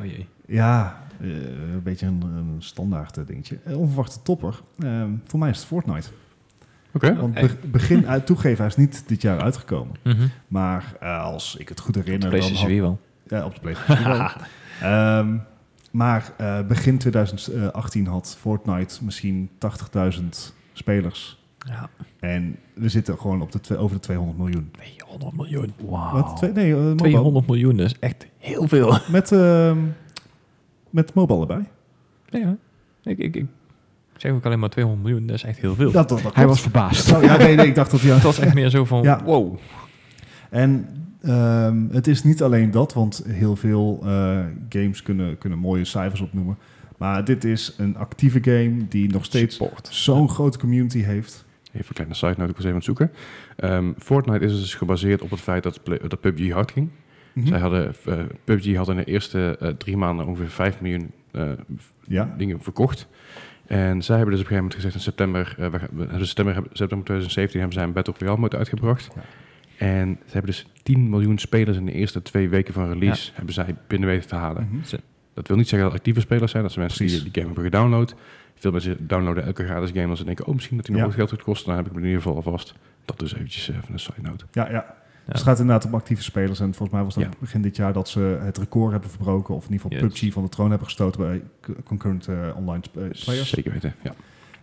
A: Oh jee.
C: Ja, eh, een beetje een, een standaard eh, dingetje. Eh, Onverwachte topper. Eh, voor mij is het Fortnite.
B: Oké.
C: Want
A: Hey.
C: be- begin uit toegeven, hij is niet dit jaar uitgekomen.
A: Mhm.
C: Maar eh, als ik het goed
A: Op de
C: herinner... dan
A: PlayStation
C: had-
A: 4 wel.
C: Ja, op de PlayStation wel. Ehm, maar eh, begin 2018 had Fortnite misschien 80.000 spelers.
A: Ja.
C: En we zitten gewoon op de twe- over de 200 miljoen.
A: 200 miljoen.
D: Oh.
C: Wat? Twee- nee, eh, mobile.
A: 200 miljoen, dat is echt heel veel.
C: Met, ehm, met mobile erbij.
A: Ja, ik, ik, ik zeg ook alleen maar 200 miljoen, dat is echt heel veel.
C: Dat, dat, dat
D: Hij was
C: klopt.
D: verbaasd.
C: Zo, ja, nee, nee, ik dacht dat hij...
A: Het was echt meer zo van,
C: Ja.
A: wow.
C: En ehm, het is niet alleen dat, want heel veel eh, games kunnen, kunnen mooie cijfers opnoemen. Maar dit is een actieve game die nog steeds
A: Support.
C: zo'n grote community heeft.
B: Even een kleine side note, ik was even aan het zoeken. Ehm, Fortnite is dus gebaseerd op het feit dat, Play- dat PUBG hard ging.
C: Mhm.
B: Zij hadden, eh, PUBG had in de eerste eh, drie maanden ongeveer 5 miljoen eh,
C: Ja.
B: dingen verkocht. En zij hebben dus op een gegeven moment gezegd in september, eh, we gaan- we hebben september, september 2017 hebben zij een Battle Royale mode uitgebracht.
C: Ja.
B: En ze hebben dus 10 miljoen spelers in de eerste twee weken van release hebben zij binnen weten te halen.
C: Mhm.
B: Dat wil niet zeggen dat het actieve spelers zijn. Dat zijn mensen
C: Precies.
B: die die game hebben gedownload. Veel mensen downloaden elke gratis game als ze denken, oh misschien dat die nog
C: Ja.
B: wat geld gaat kosten. Dan heb ik hem in ieder geval alvast. Dat dus eventjes eh, even een side note.
C: Ja, ja. Dus het gaat inderdaad om actieve spelers. En volgens mij was dat
B: Ja.
C: begin dit jaar dat ze het record hebben verbroken. Of in ieder geval
A: Yes.
C: PUBG van de troon hebben gestoten bij c- concurrent eh, online sp- eh, players.
B: Zeker weten, ja.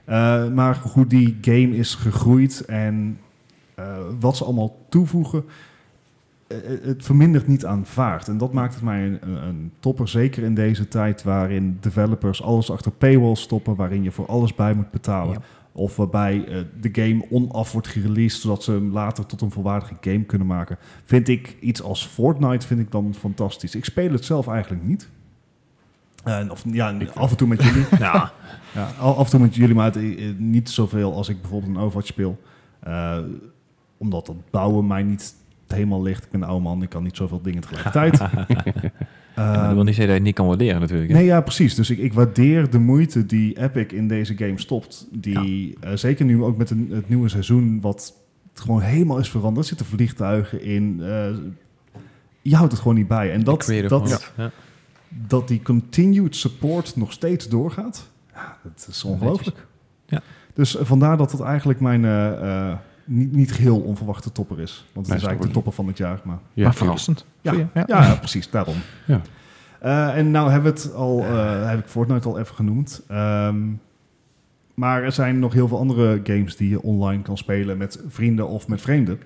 C: Eh, maar goed, die game is gegroeid en eh, wat ze allemaal toevoegen, eh, het vermindert niet aan vaart. En dat maakt het mij een, een, een topper, zeker in deze tijd waarin developers alles achter paywall stoppen, waarin je voor alles bij moet betalen.
A: Ja.
C: Of waarbij eh, de game onaf wordt gereleased, zodat ze hem later tot een volwaardige game kunnen maken. Vind ik iets als Fortnite vind ik dan fantastisch. Ik speel het zelf eigenlijk niet. Eh, En of, ja,
B: Ik wel.
C: af en toe met jullie.
A: Ja,
C: Ja, al- af en toe met jullie, maar het, eh, eh, niet zoveel als ik bijvoorbeeld een Overwatch speel. Eh, omdat dat bouwen mij niet helemaal ligt. Ik ben een oude man, ik kan niet zoveel dingen tegelijkertijd. Eh,
A: maar dat
C: Ehm,
A: wil niet zeggen dat je het niet kan waarderen natuurlijk. hè.
C: nee, ja, precies. Dus ik, ik waardeer de moeite die Epic in deze game stopt. Die, eh, zeker nu ook met een- het nieuwe seizoen, wat gewoon helemaal is veranderd. Er zitten vliegtuigen in. eh, je houdt het gewoon niet bij. En dat,
A: Creative
C: dat,
A: mode, ja.
C: dat die continued support nog steeds doorgaat. Ja, dat is ongelooflijk.
A: Ja.
C: Dus eh, vandaar dat het eigenlijk mijn eh, eh, niet, niet geheel onverwachte topper is. Want het
B: Nee,
C: is eigenlijk de
B: snap
C: topper van het jaar. Maar
B: ja
D: maar verrassend.
C: ja,
D: Vind
C: ja.
D: je? Ja.
C: ja, precies, daarom.
B: Ja.
C: Eh, en nou hebben we het al, eh, heb ik Fortnite al even genoemd. Ehm, maar er zijn nog heel veel andere games die je online kan spelen met vrienden of met vreemden.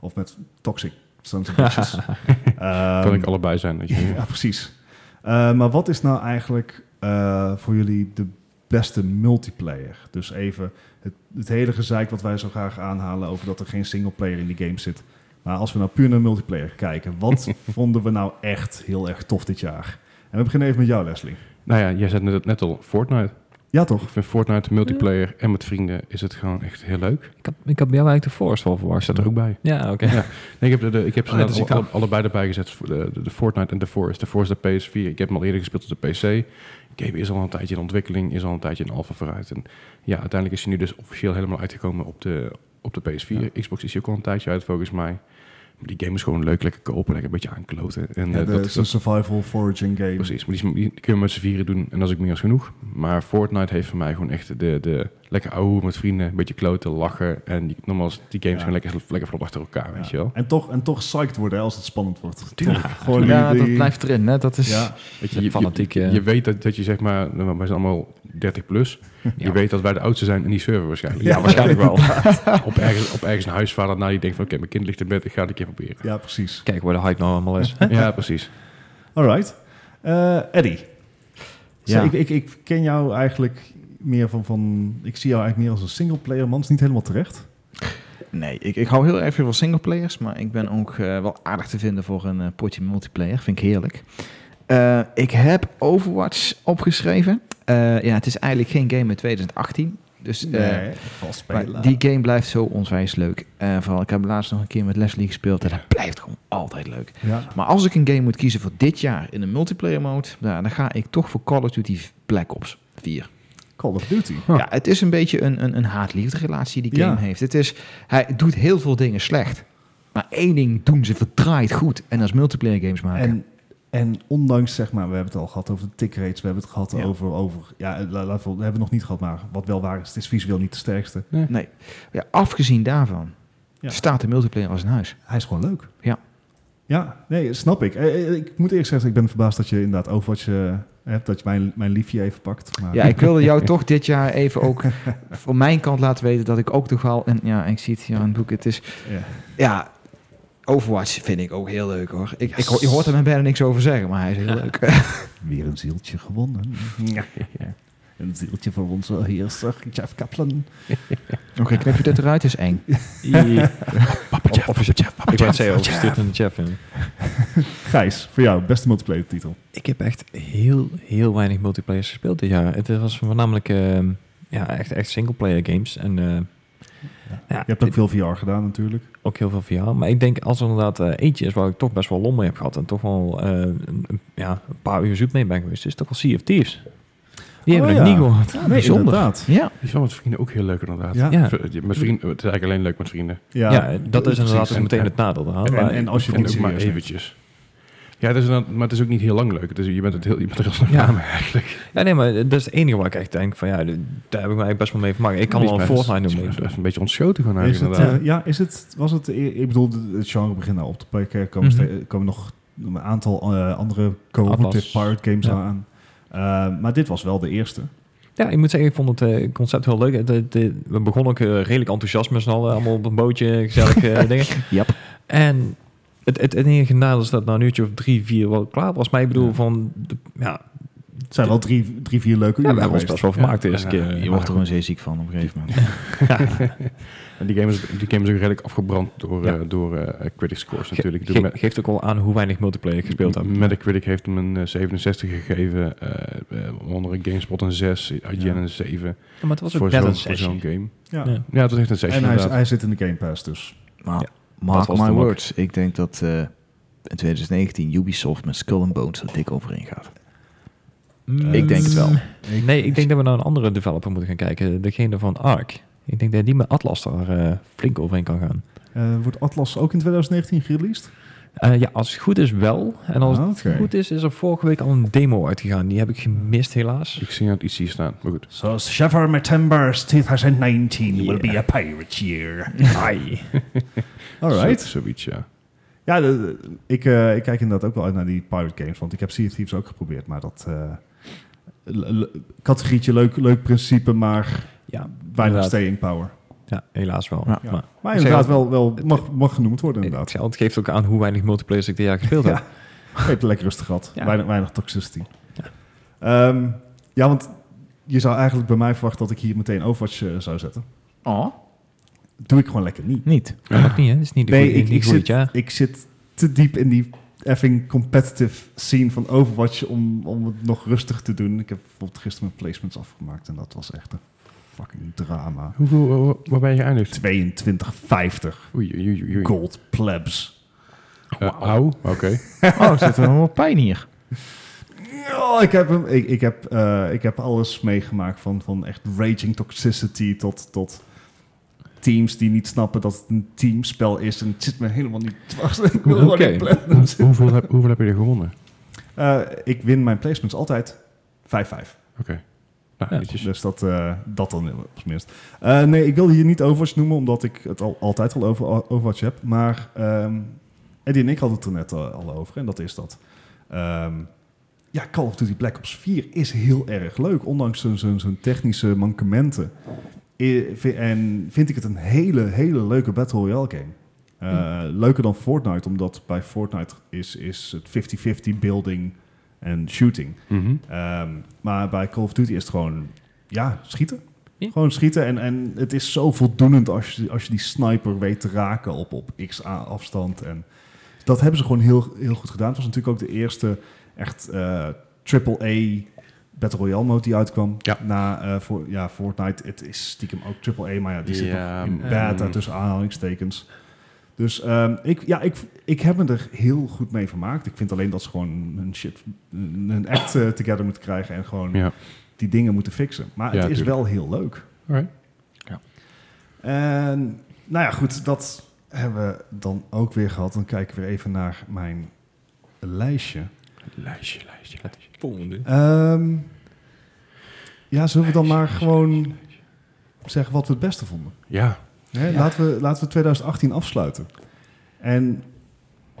C: Of met toxic sons and bitches.
B: Kan
C: Ehm,
B: ik allebei zijn. Weet je.
C: ja, precies. Eh, maar wat is nou eigenlijk eh, voor jullie de beste multiplayer? Dus even het, het hele gezeik wat wij zo graag aanhalen over dat er geen singleplayer in die game zit. Maar als we nou puur naar multiplayer kijken, wat vonden we nou echt heel erg tof dit jaar? En we beginnen even met jou, Leslie.
B: Nou ja, jij zei net, net al Fortnite.
C: Ja, toch?
B: Ik vind Fortnite multiplayer en met vrienden is het gewoon echt heel leuk.
A: Ik, had, ik had bij jou eigenlijk de Forest wel verwacht.
B: Ik zat er ook bij.
A: Ja, oké.
B: Ja. Nee, ik heb, de, ik heb ze
A: Oh, ja, dat
B: net
A: is
B: alle-
A: ik
B: allebei erbij gezet. voor De, de, de Fortnite en de Forest. De Forest op PS4. Ik heb hem al eerder gespeeld op de PC. De game is al een tijdje in ontwikkeling. Is al een tijdje in alpha vooruit. En ja, uiteindelijk is hij nu dus officieel helemaal uitgekomen op de, op de PS4. Xbox is hier ook al een tijdje uit volgens mij. Maar die game is gewoon leuk. Lekker kopen. Lekker een beetje aankloten. En
C: Ja,
B: eh,
C: de,
B: dat,
C: is een survival foraging game.
B: Precies, maar die, die kunnen we met z'n vieren doen en dat is ook meer als genoeg. Maar Fortnite heeft voor mij gewoon echt de, de lekker ouwe met vrienden, een beetje kloten, lachen. En die, nogmaals, die games
C: Ja.
B: zijn lekker, lekker vlot achter elkaar, weet je
C: Ja.
B: wel.
C: En toch, en toch psyched worden hè, als het spannend wordt. Tuurlijk. Gewoon die-
D: Ja, dat
C: die-
D: blijft erin. Hè? Dat is...
C: Ja,
B: Weet je,
A: Ja,
B: je,
A: fanatiek,
B: je,
A: ja.
B: je weet dat, dat je zeg maar, nou, wij zijn allemaal 30 plus. Je weet dat wij de oudste zijn in die server waarschijnlijk.
A: Ja, waarschijnlijk wel.
B: Op, ergens, op ergens een huisvader na die denkt van oké, mijn kind ligt in bed, ik ga het een keer proberen.
C: ja, precies.
A: Kijk waar de hype nou allemaal is.
B: Ja, precies.
C: All right. Eh, Eddie.
D: Ja.
C: Zo, ik, ik, ik ken jou eigenlijk meer van, van... Ik zie jou eigenlijk meer als een singleplayer man. Dat is niet helemaal terecht.
D: Nee, ik, ik hou heel erg veel van singleplayers, maar ik ben ook eh, wel aardig te vinden voor een eh, potje multiplayer. Vind ik heerlijk. Eh, ik heb Overwatch opgeschreven. Eh, ja, het is eigenlijk geen game uit 2018. Dus eh,
C: vast
D: maar die game blijft zo onwijs leuk. Eh, vooral, ik heb laatst nog een keer met Leslie gespeeld en dat blijft gewoon altijd leuk.
C: Ja.
D: Maar als ik een game moet kiezen voor dit jaar in een multiplayer mode, nou, dan ga ik toch voor Call of Duty Black Ops 4.
C: Call of Duty.
B: Huh.
D: Ja, het is een beetje een, een, een haat-liefde relatie die game
C: Ja.
D: heeft. Het is, hij doet heel veel dingen slecht. Maar één ding doen ze verdraaid goed. En dat is multiplayer games maken.
C: En, en ondanks, zeg maar, we hebben het al gehad over de tick rates. We hebben het gehad
D: Ja.
C: over... over ja, la- laten we, we hebben het nog niet gehad, maar wat wel waar is. Het is visueel niet de sterkste.
D: Nee. Ja, afgezien daarvan
C: Ja.
D: staat de multiplayer als een huis.
C: Hij is gewoon leuk.
D: Ja.
C: Ja, nee, snap ik. Eh, eh, Ik moet eerlijk zeggen, ik ben verbaasd dat je inderdaad Overwatch eh, hebt. Dat je mijn, mijn liefje even pakt. Maar
D: Ja, ik wilde jou toch dit jaar even ook van mijn kant laten weten dat ik ook toch wel... En ja, ik zie het hier aan het boek. Het is,
C: ja.
D: ja, Overwatch vind ik ook heel leuk hoor. Ik, ik,
C: Yes.
D: je hoort er bijna niks over zeggen, maar hij is heel leuk.
C: Weer een zieltje gewonnen. Een zieltje voor onze heerser, Jeff Kaplan.
D: Oké, knip je dit eruit? Het is eng.
A: Of- of is het- Ik wou het zeggen, of is dit een Jeff in?
C: Gijs, voor jou, beste multiplayer titel.
A: Ik heb echt heel, heel weinig multiplayers gespeeld dit jaar. Het was voornamelijk ehm ja, echt, echt singleplayer games. En eh,
C: Je hebt ook veel VR gedaan natuurlijk.
A: ook heel veel VR. Maar ik denk als er inderdaad eh, eentje is waar ik toch best wel lol mee heb gehad en toch wel eh, een, een- ja, een paar uur zoet mee ben geweest, is toch wel Sea of Thieves. Die hebben
C: Oh,
A: we
C: ja.
A: nog niet gehoord.
C: Nee,
D: bijzonder.
C: inderdaad.
D: Ja,
B: Die is wel met vrienden ook heel leuk inderdaad.
C: Ja.
A: Ja.
B: Met vrienden, het is eigenlijk alleen leuk met vrienden.
A: Ja,
C: Ja.
A: dat is inderdaad
B: precies.
A: dus meteen het nadeel. daar.
C: En,
A: Maar-
C: en als je het
B: En
C: niet
B: ook maar
C: serieus neemt.
B: eventjes. Ja, het is inderdaad- maar het is ook niet heel lang leuk. Het is, je, bent het heel, je bent er heel snel
A: Ja.
B: klaar mee eigenlijk.
A: Ja, nee, maar dat is het enige waar ik echt denk van ja, d- daar heb ik me eigenlijk best wel mee vermaakt. Ik kan
B: Die
A: wel een
B: is best-
A: Fortnite
B: die
A: noemen.
B: is best een beetje ontschoten gewoon
C: Is
B: eigenlijk
C: het, eh,
B: inderdaad.
C: ja, is het, was het, eh, ik bedoel, de- het genre begint nou op te pikken. Er komen,
A: Mhm.
C: ste- er komen nog een aantal eh, andere cooperative
A: Atlas.
C: pirate games
A: Ja.
C: aan. Eh, maar dit was wel de eerste.
A: Ja, ik moet zeggen, ik vond het eh, concept heel leuk. Het- het- het- we begonnen ook eh, redelijk enthousiast met z'n allen, allemaal op een bootje, gezellig eh, dingen.
D: Yep.
A: En het, het, het enige nadeel is dat na een uurtje of drie, vier wel klaar was. Maar ik bedoel,
B: Ja.
A: van, de- ja,
C: Het zijn wel drie, drie vier leuke
A: ja, we
C: uren
A: hebben ons best
C: geweest.
A: wel vermaakt de eerste
B: Ja, ja,
A: keer.
B: ja.
D: je wordt er gewoon zeeziek van op een gegeven moment.
C: eh,
B: En die game, is, die game is ook redelijk afgebrand door,
A: Ja.
B: eh, door eh, critic scores
A: Ge-
B: natuurlijk.
A: ge-
B: Door met-
A: geeft ook al aan hoe weinig multiplayer ik gespeeld heb.
B: Metacritic heeft hem een eh, 67 gegeven. eh, eh, onder andere GameSpot een 6, IGN
C: Ja.
B: een 7.
A: Ja, maar het was ook
B: voor
A: net
B: zo'n-
A: een
B: voor zo'n
A: sessie.
B: game.
C: Ja.
A: Ja.
B: Ja, het was echt een 6
C: En hij, is-
B: inderdaad.
C: hij zit in de Game Pass dus.
D: Maar
A: Ja,
D: mark
A: was de
D: my
A: mak.
D: words, ik denk dat eh, in 2019 Ubisoft met Skull and Bones er dik overheen gaat. Mm. Ik denk het wel.
A: Nee, ik denk dat we naar een andere developer moeten gaan kijken. Degene van Ark. Ik denk dat die met Atlas daar eh, flink overheen kan gaan.
C: Eh, wordt Atlas ook in 2019 gereleased?
A: Eh, ja, als het goed is wel. En als
C: Ah,
A: het
C: oké.
A: goed is, is er vorige week al een demo uitgegaan. Die heb ik gemist helaas.
B: Ik zie het iets hier staan, maar goed.
C: So, Shiver September 2019
A: will be
C: a pirate year.
A: Ai.
C: All
B: Zo-
C: right.
B: Zoiets, ja.
C: Ja, de- de- ik, eh, ik kijk inderdaad ook wel uit naar die pirate games, want ik heb Sea of Thieves ook geprobeerd, maar dat eh, le- le- categorietje leuk, leuk principe, maar
A: Ja,
C: weinig
A: inderdaad.
C: staying power.
A: ja, helaas wel.
D: Ja.
A: Maar,
C: Maar
A: Ik
C: inderdaad
A: zei
C: wel, wel mag, mag genoemd worden
A: ik
C: inderdaad.
A: zei al, het geeft ook aan hoe weinig multiplayer ik dit jaar gespeeld heb.
C: Ja. Ik heb het lekker rustig gehad.
A: Ja.
C: Weinig, weinig toxicity.
A: Ja.
C: Ja. ja, want je zou eigenlijk bij mij verwachten dat ik hier meteen Overwatch eh, zou zetten.
D: Oh,
C: Doe ik gewoon lekker niet.
D: niet.
A: Dat mag niet, hè? Dat is niet de
C: Nee,
A: goeie-
C: ik,
A: niet
C: ik,
A: goed,
C: zit,
A: ja.
C: ik zit te diep in die effing competitive scene van Overwatch om, om het nog rustig te doen. Ik heb bijvoorbeeld gisteren mijn placements afgemaakt en dat was echt een fucking drama.
B: Hoeveel, wa- wa- waar ben je geëindigd?
C: 22,50
B: Oei, oei, oei, oei.
C: gold plebs.
B: Eh, au, oké.
D: Oh, zit er nog wel pijn hier.
C: Oh, ik, heb hem, ik, ik, heb, eh, ik heb alles meegemaakt van, van echt raging toxicity tot, tot teams die niet snappen dat het een teamspel is. En het zit me helemaal niet dwars. Ik wil gewoon
A: Oké.
C: die platinums.
B: Hoe- hoeveel, heb, hoeveel heb je er gewonnen?
C: Eh, ik win mijn placements altijd 5-5.
B: Nou,
A: Ja.
B: netjes.
C: Dus dat, eh, dat dan op zijn minst. Eh, nee, ik wil hier niet Overwatch noemen, omdat ik het al, altijd al over Overwatch heb. Maar ehm Eddie en ik hadden het er net al, al over en dat is dat. ehm, ja, Call of Duty Black Ops 4 is heel erg leuk, ondanks zijn- zijn zijn technische mankementen. I- vi- En vind ik het een hele, hele leuke Battle Royale game. Eh, Leuker dan Fortnite, omdat bij Fortnite is, is het 50-50 building en shooting.
B: Mhm.
C: Ehm, maar bij Call of Duty is het gewoon, ja, schieten.
A: Ja.
C: Gewoon schieten. En, en het is zo voldoenend als je, als je die sniper weet te raken op, op x a- afstand. En dat hebben ze gewoon heel, heel goed gedaan. Het was natuurlijk ook de eerste echt eh AAA Battle Royale mode die uitkwam.
B: Ja.
C: Na eh, voor, ja, Fortnite. Het is stiekem ook AAA, maar ja, die zit
B: Ja,
C: nog in
B: mm.
C: beta tussen aanhalingstekens. Dus ehm, ik, ja, ik, ik heb me er heel goed mee vermaakt. Ik vind alleen dat ze gewoon een shit, een een act eh, together moeten krijgen en gewoon
B: Mhm. Ja.
C: die dingen moeten fixen. Maar
B: Ja,
C: het is
B: tuurlijk.
C: wel heel leuk.
B: Alright.
D: Ja.
C: En nou ja, goed, dat hebben we dan ook weer gehad. Dan kijken we weer even naar mijn lijstje.
B: Lijstje, lijstje, lijstje.
C: Ehm, ja, zullen we dan maar gewoon zeggen wat we het beste vonden?
B: Ja,
C: Hè,
D: Ja.
C: Laten, we, laten we 2018 afsluiten. En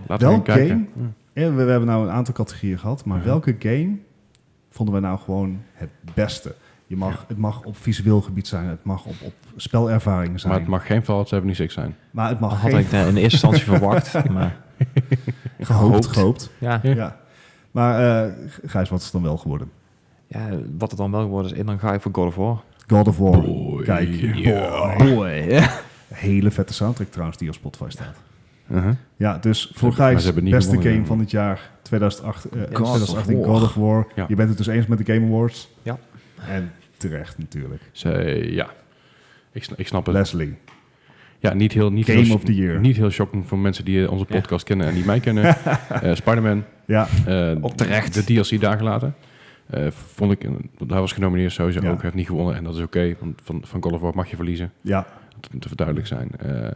B: laten we
C: Welk
B: gaan kijken. Ja.
C: eh, we, we hebben nou een aantal categorieën gehad, maar
B: Ja.
C: welke game vonden we nou gewoon het beste? Je mag, Het mag op visueel gebied zijn, het mag op, op spelervaringen zijn,
B: Maar het mag geen Fallout 76 zijn.
A: Had
C: geen
A: ik eh, in eerste instantie verwacht. Maar
C: gehoopt, gehoopt.
A: ja,
B: Ja.
C: Ja. Maar eh, G- Gijs, wat is het dan wel geworden?
A: ja, wat het dan wel geworden is, en dan ga ik voor God of War.
C: God of War.
B: Boy.
C: Kijk,
B: Ja.
C: boy.
D: Boy, ja.
C: Hele vette soundtrack trouwens die op Spotify staat.
B: Uh-huh.
C: Ja, dus voor
B: hebben- maar
C: Gijs,
B: ze hebben
C: beste
B: niet gewonnen, eh,
C: game
B: ja.
C: van het jaar 2008, eh,
A: God
C: 2018
A: of War.
C: God of War.
B: Ja.
C: Je bent het dus eens met de Game Awards.
A: Ja.
C: En terecht natuurlijk.
B: Zij- ja. Ik, sna- ik snap het.
C: Leslie.
B: Ja, niet heel... Niet
C: Game
B: heel,
C: of the year.
B: Niet heel shocking voor mensen die eh, onze
D: Ja.
B: podcast kennen en die mij kennen. Eh, Spider-Man.
C: Ja,
B: eh,
D: Ook terecht.
B: De DLC daar gelaten. Eh, vond ik, een- want hij was genomineerd sowieso
C: Ja.
B: ook, heeft niet gewonnen. En dat is oké, want van, van Call of War mag je verliezen.
C: ja.
B: Om te verduidelijk zijn. Eh,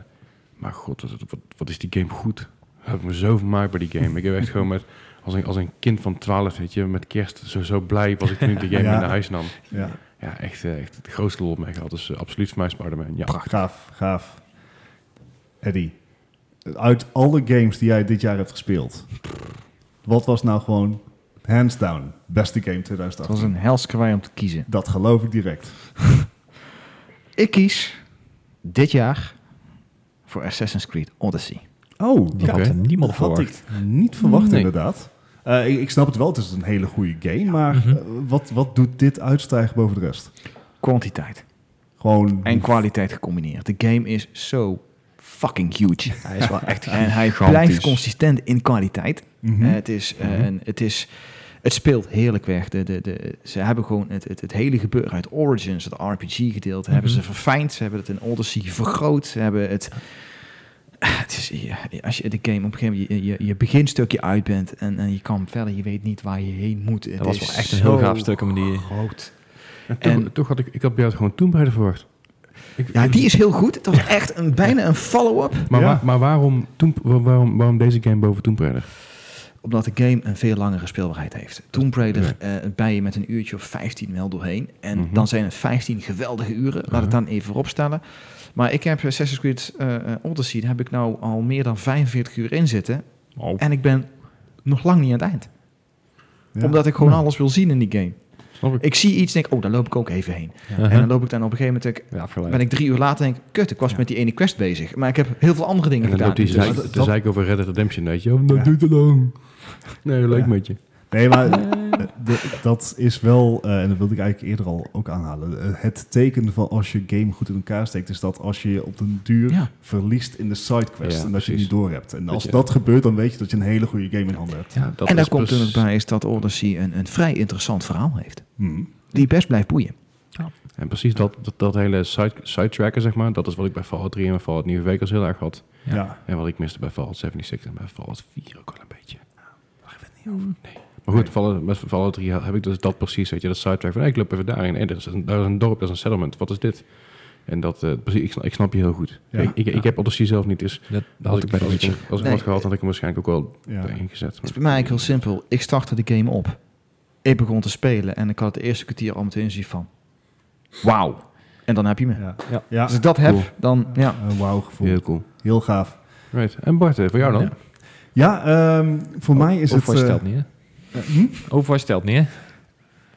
B: maar god, wat, wat, wat is die game goed. Ik heb me zo vermaakt bij die game. Ik heb echt gewoon met, als een, als een kind van 12, weet je, met kerst, zo, zo blij was ik toen ik die game
C: Ja.
B: mee naar huis nam.
C: ja.
B: Ja, echt, eh, echt de grootste lol op mij gehad. Dus eh, absoluut voor mij Spider-Man. Ja.
C: Gaaf, gaaf. Eddie, uit alle games die jij dit jaar hebt gespeeld, wat was nou gewoon hands down beste game
D: Het
C: 2018?
D: was een hels kwaai om te kiezen.
C: Dat geloof ik direct.
D: Ik kies dit jaar voor Assassin's Creed Odyssey.
C: Oh,
A: Die had er niemand
C: dat had
A: voor.
C: ik niet verwacht
B: Nee.
C: inderdaad. Eh, ik, ik snap het wel, het is een hele goede game, maar
A: Mhm.
C: eh, wat, wat doet dit uitstijgen boven de rest?
D: Kwantiteit
C: Gewoon
D: en kwaliteit gecombineerd. De game is zo fucking huge.
A: Hij is wel echt
D: En hij blijft consistent in kwaliteit.
C: Mhm.
D: Eh, het, is, eh, een- het, is, het speelt heerlijk weg. De, de, de, ze hebben gewoon het, het, het hele gebeuren uit Origins, het RPG-gedeelte, hebben ze
A: Mhm.
D: verfijnd. Ze hebben het in Odyssey vergroot. Ze hebben het... het is, ja, als je de game op een gegeven moment je, je, je beginstukje uit bent en, en je kan verder, je weet niet waar je heen moet. Het
A: was
D: is
A: wel echt een heel
D: zo
A: gaaf stuk om die-
D: Groot.
B: En toch,
D: En-
B: toch had ik, ik had bij jou gewoon toen bij de verwacht. Ik-
D: Ja, die is heel goed. Het was echt een, bijna een follow-up.
B: Maar,
C: Ja.
B: waar- maar waarom, toen, waarom, waarom deze game boven Tomb Raider?
D: Omdat de game een veel langere speelbaarheid heeft. Tomb Raider eh ben je met een uurtje of 15 wel doorheen. En
B: Mhm.
D: dan zijn het 15 geweldige uren. Laat het dan even vooropstellen. Maar ik heb Assassin's Creed eh, eh, Odyssey, daar heb ik nou al meer dan 45 uur in zitten.
B: Oh.
D: En ik ben nog lang niet aan het eind.
C: Ja.
D: Omdat ik gewoon alles wil zien in die game.
B: Snap ik. Uh-huh.
D: Ik zie iets en denk, oh, daar loop ik ook even heen. En dan loop ik dan op een gegeven moment, denk ik,
A: Ja,
D: ben ik drie uur later en denk ik, kut, ik was met die ene quest bezig. Maar ik heb heel veel andere dingen
B: En dan
D: gedaan.
B: loopt die
D: Dus-
C: dat-
B: zeik, de zeik over Red Dead Redemption, weet je. Oh, dat
C: Ja.
B: duurt te lang. Nee, leuk
C: Ja.
B: met je.
C: Nee, maar eh, d- dat is wel, eh, en dat wilde ik eigenlijk eerder al ook aanhalen. eh, het teken van als je game goed in elkaar steekt, is dat als je je op den duur
D: Ja.
C: verliest in de sidequest.
B: Ja,
C: en dat je het
B: precies.
C: niet door hebt. En als
B: je-
C: dat gebeurt, dan weet je dat je een hele goede game in handen hebt.
A: Ja,
B: Dat
D: en daar
B: is
D: komt
B: precies-
D: natuurlijk bij is dat Odyssey een, een vrij interessant verhaal heeft.
C: Hm.
D: Die best blijft boeien.
B: En precies dat, dat, dat hele side, sidetracken, zeg maar, dat is wat ik bij Fallout 3 en bij Fallout New Vegas heel erg had.
C: Ja.
A: Ja.
B: En wat ik miste bij Fallout 76 en bij Fallout 4 ook al een beetje. Maar goed, Fallout, met Fallout 3 heb ik dus dat precies, weet je, dat sidetrack van, hey, ik loop even daarin. Hey, dat is een, daar is een dorp, dat is een settlement, wat is dit? En dat, eh, precies, ik, snap- ik snap je heel goed.
C: Ja.
B: Ik, ik, ik heb Odyssey zelf niet, dus
A: dat had
B: als
A: ik
B: ik,
A: bij de
B: als ik,
A: Witcher.
B: als ik hem
D: Nee.
B: had gehad, had ik hem waarschijnlijk ook wel
C: Ja.
B: ingezet.
D: Het is bij mij eigenlijk heel simpel. Ik startte de game op. Ik begon te spelen en ik had het eerste kwartier al meteen zien van... Wauw. En dan heb je me.
C: Ja.
A: Ja.
C: Ja.
D: Als ik dat heb,
B: Cool.
D: dan... Ja.
C: Een wauw gevoel.
B: Heel cool.
C: Heel gaaf.
B: Right. En Bart, eh, voor jou dan?
A: Ja.
C: Ja, ehm, voor mij is het...
A: Overwatch
C: eh,
A: stelt niet, hè?
C: eh, hm?
A: Overwatch stelt niet, hè?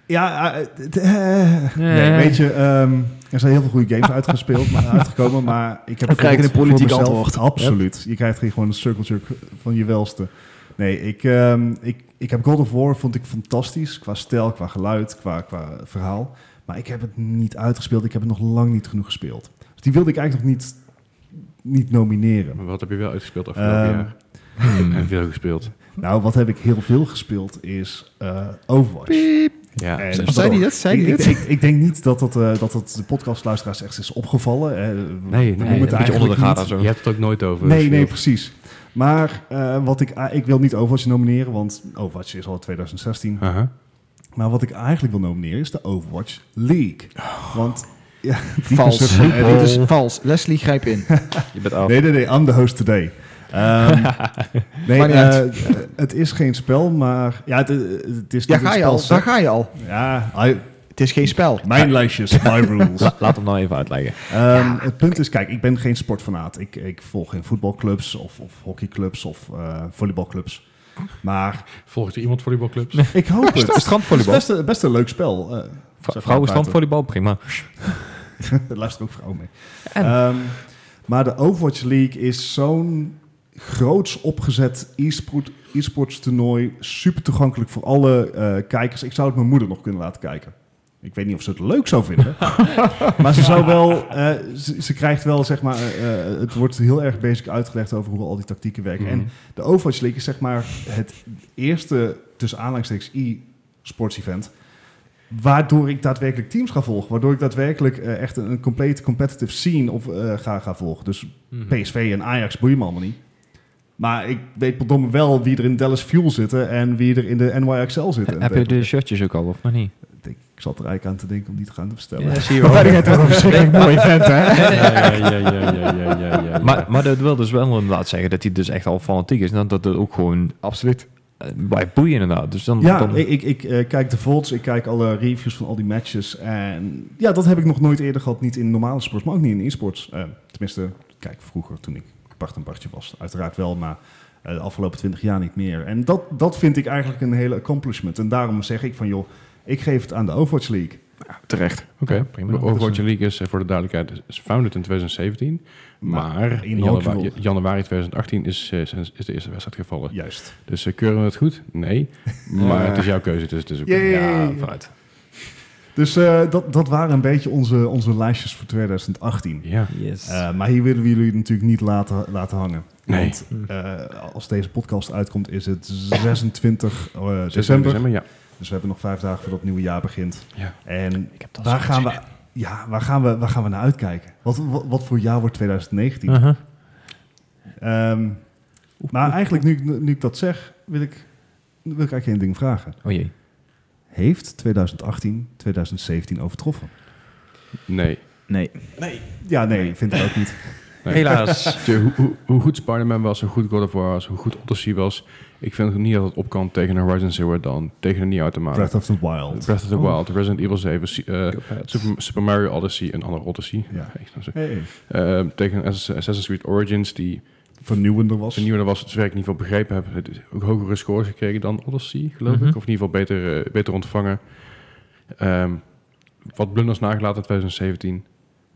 C: Ja, eh, het- eh, nee, weet je, ehm, er zijn heel veel goede games uitgespeeld, maar, uitgekomen, maar ik heb
D: We krijgen een
C: voor
D: politiek
C: mezelf-
D: antwoord.
C: Absoluut. Je krijgt hier gewoon een circle jerk van je welste. Nee, ik, ehm, ik, ik heb God of War vond ik fantastisch qua stijl, qua geluid, qua, qua verhaal, maar ik heb het niet uitgespeeld. Ik heb het nog lang niet genoeg gespeeld. Dus die wilde ik eigenlijk nog niet, niet nomineren.
B: Maar Wat heb je wel uitgespeeld afgelopen
C: Ehm,
B: jaar? En veel gespeeld.
C: Nou, wat heb ik heel veel gespeeld is eh, Overwatch.
B: Ja.
C: En-
D: Zei die dat? Zei
C: ik,
D: die
C: ik,
D: dat?
C: ik, ik denk niet dat dat, eh, dat dat de podcastluisteraars echt is opgevallen. Eh, we
B: nee,
C: noemen
B: een beetje
C: het
A: beetje onder de
C: eigenlijk
A: radar
C: niet.
A: zo.
B: Je hebt het ook nooit over.
C: Nee, nee,
B: gespeeld.
C: precies. Maar eh, wat ik, a- ik wil niet Overwatch nomineren, want Overwatch is al uit 2016.
B: Aha.
C: Maar wat ik eigenlijk wil nomineren is de Overwatch League. Want ja, die
D: Vals.
C: perception- eh,
D: Dit is vals. Leslie, grijp in.
A: Je bent af.
C: Nee, nee, nee, I'm the host today. Ehm, nee,
D: Maar niet
C: eh,
D: uit.
C: eh, het is geen spel, maar ja, het, het is
D: Daar
C: niet
D: ga
C: een
D: je
C: spel.
D: al. Daar ga je al.
C: Ja, I-
D: Het is geen spel.
C: mijn lijstjes, my rules.
A: La- laat hem nou even uitleggen.
C: Ehm, het punt is, kijk, ik ben geen sportfanaat. Ik, ik volg geen voetbalclubs of, of hockeyclubs of eh, volleybalclubs. Maar
B: Volgt er iemand volleybalclubs?
C: ik hoop het. Het is
A: Strandvolleybal.
C: best, een- best een leuk spel. Eh,
A: Vrou-
C: zeg
A: Vrouwen
C: maar buiten.
A: strandvolleybal, prima.
C: Daar luisteren ook vrouwen mee. Ehm, maar de Overwatch League is zo'n groots opgezet e-sport, e-sports toernooi. Super toegankelijk voor alle eh, kijkers. Ik zou het mijn moeder nog kunnen laten kijken. Ik weet niet of ze het leuk zou vinden. maar ze zou wel... eh, ze, ze krijgt wel, zeg maar... eh, eh, het wordt heel erg basic uitgelegd over hoe al die tactieken werken.
B: Mhm.
C: En de Overwatch League is zeg maar het eerste, tussen aanhalingstekens, e-sports event... Waardoor ik daadwerkelijk teams ga volgen. Waardoor ik daadwerkelijk eh, echt een, een complete competitive scene of, eh, ga, ga volgen. Dus PSV en Ajax boeien me allemaal niet. Maar ik weet verdomme wel wie er in Dallas Fuel zitten en wie er in de NYXL zitten. en
A: Heb je de
C: dergelijke.
A: shirtjes ook al, of nog niet?
C: Ik zat er eigenlijk aan te denken om die te gaan bestellen.
A: zie je
C: Maar verder gaat het toch een verschrikkelijk mooi event, hè?
B: Ja, ja, ja, ja, ja, ja, ja, ja, ja.
A: Maar, maar dat wil dus wel inderdaad zeggen dat hij dus echt al fanatiek is. En dat dat ook gewoon
C: Absoluut.
A: eh, blijft boeien inderdaad. Dus dan,
C: Ja,
A: dan-
C: ik, ik, ik eh, kijk de volts, ik kijk alle reviews van al die matches. En ja, dat heb ik nog nooit eerder gehad. Niet in normale sports, maar ook niet in e-sports. Eh, tenminste, kijk, vroeger toen ik Bart en Bartje was. Uiteraard wel, maar eh, de afgelopen twintig jaar niet meer. En dat, dat vind ik eigenlijk een hele accomplishment. En daarom zeg ik van, joh, ik geef het aan de Overwatch League.
D: Ja, terecht.
B: Oké,
A: prima.
B: De Overwatch League is eh, voor de duidelijkheid is founded in 2017.
C: Nou,
B: Maar in
C: inhoudelijk
B: januari, januari 2018 is, eh, zijn- is de eerste wedstrijd gevallen.
C: Juist.
B: Dus eh, keuren we het goed? Nee. Maar het is jouw keuze, dus het is ook...
C: Yay.
B: Ja, vanuit.
C: Dus eh, dat, dat waren een beetje onze, onze lijstjes voor 2018.
B: Ja.
A: Yes.
C: Eh, maar hier willen we jullie natuurlijk niet laten, laten hangen.
B: Nee.
C: Want eh, als deze podcast uitkomt is het 26 eh, december.
B: December. ja.
C: Dus we hebben nog vijf dagen voordat het nieuwe jaar begint.
B: ja.
C: En
A: ik heb
C: waar gaan, we, ja, waar, gaan we, waar gaan we naar uitkijken? Wat, wat, wat voor jaar wordt 2019?
A: Uh-huh.
C: Ehm, maar eigenlijk, nu, ik- nu ik dat zeg, wil ik, wil ik eigenlijk één ding vragen.
A: Oh jee.
C: Heeft 2018 2017 overtroffen?
B: Nee.
D: Nee.
C: Ja, nee, vind ik ook niet.
B: Nee.
A: Helaas.
B: Tje, hoe, hoe, hoe goed Spider-Man was, hoe goed God of War was, hoe goed Odyssey was. Ik vind het niet dat het op kan tegen een Horizon Zero Dawn, tegen een Nier Automata,
C: Breath of the Wild.
B: Breath of the
C: Oh.
B: Wild, Resident Evil 7, si- eh, Super, Super Mario Odyssey, een andere Odyssey.
C: Ja.
B: Echt, dat is-
C: Hey,
B: Eh, tegen Ass- Assassin's Creed Origins, die
C: vernieuwender was.
B: vernieuwende was, zover ik in ieder geval begrepen heb, het is ook hogere scores gekregen dan Odyssey, geloof
A: Mhm.
B: ik. Of in ieder geval beter, eh, beter ontvangen. Ehm, wat blunders nagelaten in 2017.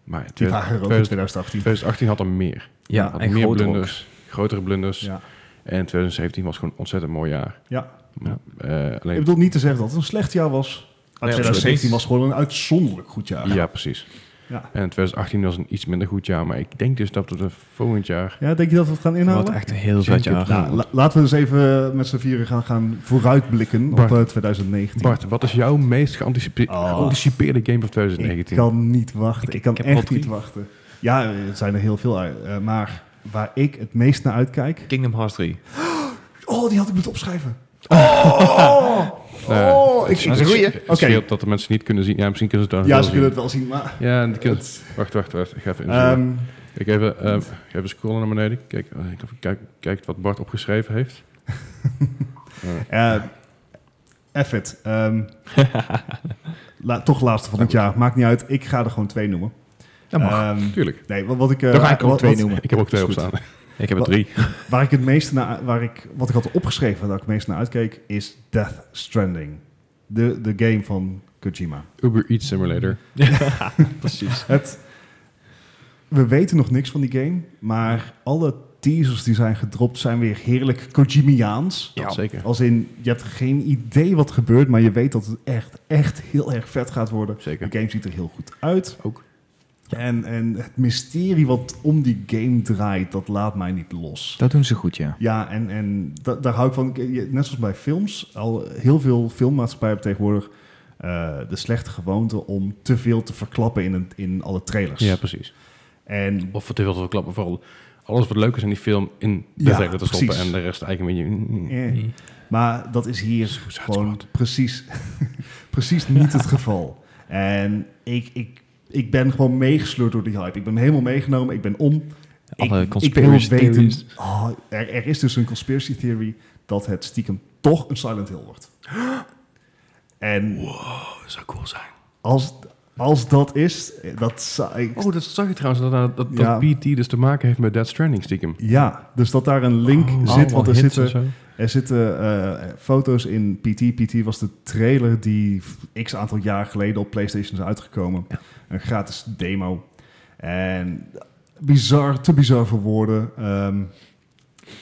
B: Maar
C: Die waren er ook in
B: 2000-
C: 2018.
B: 2018 had er meer.
A: Ja,
B: had
A: en
B: meer
A: grotere
B: blunders, grotere blunders.
C: Ja.
B: En 2017 was gewoon een ontzettend mooi jaar.
C: Ja.
A: Ja.
B: Eh,
C: Ik
B: alleen,
C: bedoel niet te zeggen dat het een slecht jaar was. Maar
A: Nee,
C: 2017
A: absoluut
C: was
A: niet.
C: gewoon een uitzonderlijk goed jaar.
B: ja, precies.
C: Ja.
B: En 2018 was een iets minder goed jaar. Maar ik denk dus dat we de volgend jaar...
C: Ja, denk je dat we het gaan inhalen?
A: Wat echt een heel vet
B: Jacob,
A: jaar.
C: Nou, la- laten we eens even eh, met z'n vieren gaan, gaan vooruitblikken
B: Bart.
C: op eh, 2019.
B: Bart, wat is jouw meest geanticipe-
C: Ah.
B: geanticipeerde game van
C: ik
B: 2019?
C: kan niet wachten. Ik,
A: Ik-
C: kan
A: ik heb er
C: echt
A: al drie.
C: niet wachten. Ja, eh, het zijn er heel veel uit. eh, maar waar ik het meest naar uitkijk...
A: Kingdom Hearts 3.
C: Oh, die had ik moeten opschrijven. Oh,
B: Eh,
C: oh ik,
D: Dat is een goeie.
B: Het
C: Oké.
B: scheelt dat de mensen niet kunnen zien. Ja, misschien kunnen ze het daar
C: ja, ze
B: wel
C: kunnen het wel zien, maar...
B: zien. Ja, die kunnen het- Wacht, wacht, wacht. Ik ga even inzoomen.
C: Ehm,
B: ik, even, ehm, ik ga even scrollen naar beneden. Kijk, eh, ik even kijk, kijk wat Bart opgeschreven heeft.
C: eh F it. Ehm, la- toch laatste van het jaar. Maakt niet uit. Ik ga er gewoon twee noemen.
D: Nou Dat mag.
C: Ehm,
B: Tuurlijk.
C: nee, wat, wat ik... eh,
D: Dan ga ik er ook
C: wat-
D: twee
C: wat-
D: noemen.
B: Ik heb ook twee
C: Is goed.
B: opstaan.
A: Ik heb er
C: Wat-
A: drie.
C: Waar ik het meeste naar, waar ik, wat ik had opgeschreven, waar ik het meest naar uitkeek, is Death Stranding. De, de game van Kojima.
B: Uber Eats Simulator.
A: Precies.
C: Het, we weten nog niks van die game, maar alle teasers die zijn gedropt zijn weer heerlijk Kojimiaans.
B: Ja,
A: Ja.
B: zeker.
C: Als in, je hebt geen idee wat gebeurt, maar je weet dat het echt, echt heel erg vet gaat worden.
B: Zeker.
C: De game ziet er heel goed uit.
B: Ook.
C: En, en het mysterie wat om die game draait, dat laat mij niet los.
D: Dat doen ze goed, ja.
C: Ja, en, en da- daar hou ik van. Ik- je- Net zoals bij films, al heel veel filmmaatschappijen hebben tegenwoordig eh, de slechte gewoonte om te veel te verklappen in, een, in alle trailers.
B: Ja, precies.
C: En
B: Of te veel te klappen. Vooral alles wat leuk is in die film in de
C: Ja,
B: trailer te
C: precies.
B: stoppen. En de rest eigenlijk een beetje...
C: eh, Maar dat is hier
B: Suicide
C: gewoon
B: Squad.
C: precies, precies niet het geval. En ik, ik, ik ben gewoon meegesleurd door die hype. Ik ben helemaal meegenomen, ik ben om.
A: Alle
C: ik, ik wil
A: conspiracy
C: weten,
A: theories.
C: oh, er, er is dus een conspiracy theory dat het stiekem toch een Silent Hill wordt. En
B: Oh, dat zou cool zijn.
C: Als, als dat is, eh, dat zou ik-
B: Oh, dat zag je trouwens. Dat, dat, dat,
C: Ja.
B: PT dus te maken heeft met Dead Stranding stiekem.
C: Ja, dus dat daar een
B: Oh,
C: link
A: Oh,
C: zit. Want er zitten, er zitten eh, foto's in PT. PT was de trailer die x aantal jaar geleden op PlayStation is uitgekomen. Een gratis demo. En bizar, te bizar voor woorden. Ehm,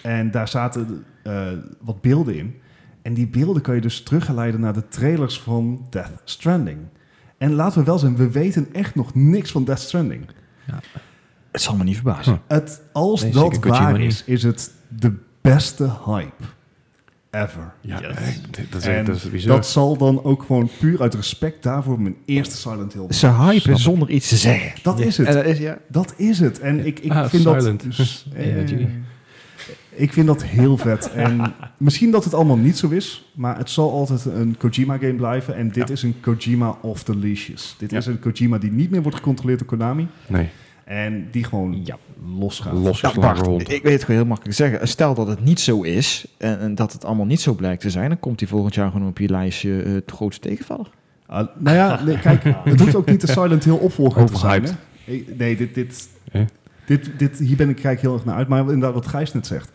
C: en daar zaten eh, wat beelden in. En die beelden kan je dus teruggeleiden naar de trailers van Death Stranding. En laten we wel zijn, we weten echt nog niks van Death Stranding.
D: Het zal me niet verbazen.
C: Het, als
A: Nee,
C: dat
A: zeker Kojima
C: waar
A: niet.
C: is, is het de beste hype. ever.
B: Ja,
E: Yes.
B: echt, dit- dat is,
C: En
B: echt- dat is bizar.
C: Dat zal dan ook gewoon puur uit respect daarvoor mijn eerste Silent Hill.
D: Ze hypen zonder iets te zeggen.
C: Dat is het.
D: En dat is, ja,
C: Dat is het. En ik, ik
B: Ah,
C: vind
B: silent.
C: dat... Dus,
A: Energy.
C: ik vind dat heel vet. En misschien dat het allemaal niet zo is, maar het zal altijd een Kojima-game blijven. En dit is een Kojima off the leashes. Dit
B: Ja.
C: is een Kojima die niet meer wordt gecontroleerd door Konami.
B: nee,
C: En die gewoon
A: Ja.
C: losgaat.
D: Nou,
B: losgeslagen
D: Bart,
B: hond.
D: ik weet het gewoon heel makkelijk zeggen. Eh, Stel dat het niet zo is en, en dat het allemaal niet zo blijkt te zijn, dan komt hij volgend jaar gewoon op je lijstje eh, het grootste tegenvaller.
C: Ah, nou ja, nee, kijk, het hoeft ook niet de Silent Hill opvolger te zijn. Hè?
B: Overhyped.
C: Ik- Nee, dit, dit,
B: Eh?
C: dit, dit, hier ben ik, kijk heel erg naar uit. Maar inderdaad, wat Gijs net zegt.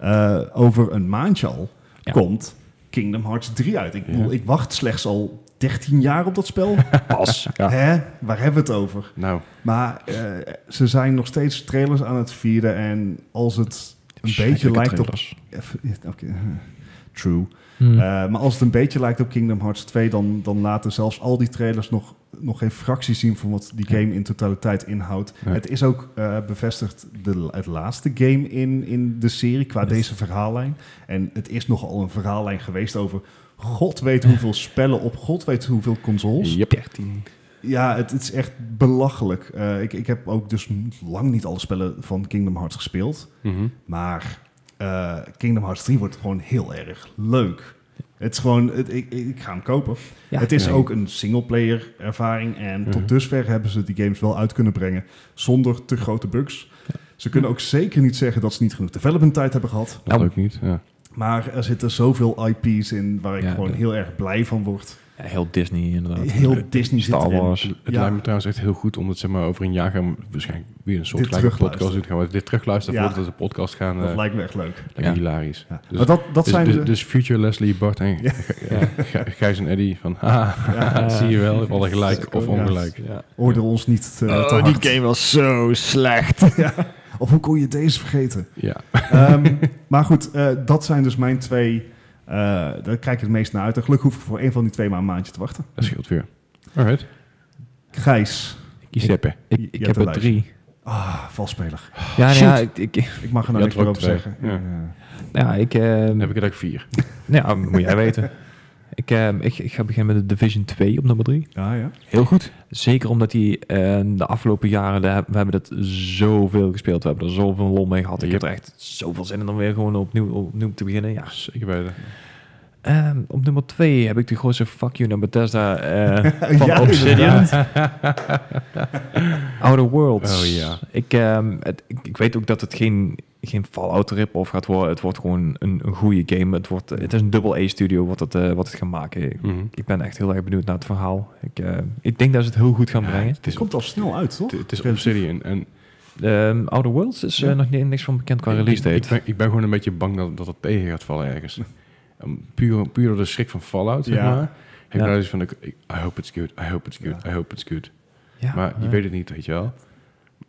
C: eh, over een maandje al
A: Ja.
C: komt Kingdom Hearts 3 uit. Ik,
B: Ja.
C: bedoel, ik wacht slechts al 13 jaar op dat spel. Pas. Hè? Waar hebben we het over?
B: Nou,
C: Maar eh, ze zijn nog steeds trailers aan het vieren. En als het een beetje
A: Schrikkelijke
C: lijkt op...
A: trailers.
C: Oké, eh, True.
A: Hmm.
C: Eh, maar als het een beetje lijkt op Kingdom Hearts 2, dan, dan laten zelfs al die trailers nog, nog geen fractie zien van wat die game in totaliteit inhoudt.
B: Ja.
C: Het is ook eh, bevestigd de, het laatste game in, in de serie qua deze verhaallijn. En het is nogal een verhaallijn geweest over god weet hoeveel spellen op god weet hoeveel consoles.
B: yep.
A: 13.
C: Ja, het, het is echt belachelijk. Eh, ik, ik heb ook dus lang niet alle spellen van Kingdom Hearts gespeeld.
B: Mhm.
C: Maar eh, Kingdom Hearts 3 wordt gewoon heel erg leuk. Het is gewoon, het, ik, ik ik ga hem kopen.
A: Ja.
C: het is
B: Ja.
C: ook een singleplayer ervaring. En tot
B: Mhm.
C: dusver hebben ze die games wel uit kunnen brengen zonder te grote bugs. Ze kunnen ook zeker niet zeggen dat ze niet genoeg development tijd hebben gehad.
B: Dat
A: Nou.
B: ook niet. Ja.
C: Maar er zitten zoveel IP's in waar ik
A: Ja,
C: gewoon
A: dat-
C: heel erg blij van word.
A: Ja, heel Disney inderdaad.
C: Heel Disney zit
A: Star
C: erin.
A: Wars.
B: Het
C: Ja.
B: lijkt me trouwens echt heel goed, omdat zeg maar, over een jaar gaan we waarschijnlijk weer een soort
C: Dit
B: gelijke podcast
C: terugluisteren.
B: doen. Gaan we dit terugluisteren
C: Ja.
B: voordat we de podcast gaan. eh
C: Dat lijkt me echt leuk.
B: lijkt me
A: Ja.
B: hilarisch.
C: Ja.
B: Dus-
C: maar dat, dat
B: dus,
C: zijn
B: dus,
C: de-
B: dus Future Leslie, Bart en
C: Ja.
B: Gij- Gijs en Eddie van, ah,
C: Ja.
B: zie je wel, we hadden gelijk of
C: Ja.
B: ongelijk.
A: Ja.
C: oordeel ons niet eh, te hard.
D: was zo slecht.
C: Of hoe kon je deze vergeten?
B: Ja,
C: Ehm, maar goed, eh, dat zijn dus mijn twee. eh, daar kijk ik het meest naar uit. En gelukkig hoef ik voor één van die twee maar een maandje te wachten.
B: dat scheelt weer. Alright.
C: Gijs.
B: Kies Seppe.
C: Je-
A: Ik,
C: je
A: ik
C: hebt
A: heb
C: een
A: er drie.
C: Ah, valspeler.
A: Ja, nou
C: Shoot.
A: ja, ik, ik,
C: Ik mag er nou
B: Je
C: niks
B: had
C: meer over
B: er ook
C: zeggen.
B: twee, ja.
C: Ja.
A: ja, ik, ehm,
B: Dan heb ik het ook vier.
A: nou ja, moet jij weten. Ik, ehm, ik, ik ga beginnen met de Division 2 op nummer 3.
C: Ja, ja.
D: Heel goed.
A: Zeker omdat die eh, de afgelopen jaren, daar- we hebben dat zoveel gespeeld. We hebben er zoveel lol mee gehad. Ik
B: Yep.
A: heb er echt zoveel zin in om weer gewoon opnieuw, opnieuw te beginnen. Ja.
B: Zeker bij de...
A: Ehm, op nummer 2 heb ik de grootste fuck you naar Bethesda eh, van
C: Ja,
A: Obsidian. Outer Worlds.
B: Oh ja.
A: Ik, ehm, het- ik, ik weet ook dat het geen, geen Fallout rip-off gaat worden. Het wordt gewoon een, een goede game. Het, wordt, het is een double A-studio wat het, eh, wat het gaat maken.
B: Mhm.
A: Ik ben echt heel erg benieuwd naar het verhaal. Ik, eh, ik denk dat ze het heel goed gaan brengen.
B: Het is,
C: komt al snel uit, toch?
B: het, het is Obsidian. En
A: Ehm Outer Worlds is eh,
C: Ja.
A: nog ni- niks van bekend qua
B: ik-
A: release
B: ik,
A: date.
B: ik, ben, ik ben gewoon een beetje bang dat, dat het tegen gaat vallen ergens. Um, puur, puur door de schrik van Fallout, zeg
C: Ja.
B: maar. Heb ik
A: Ja.
B: nou zoiets van, ik, ik- I hope it's good, I hope it's good,
C: Ja.
B: I hope it's good.
A: ja,
B: maar je
A: eh,
B: weet het niet, weet je wel.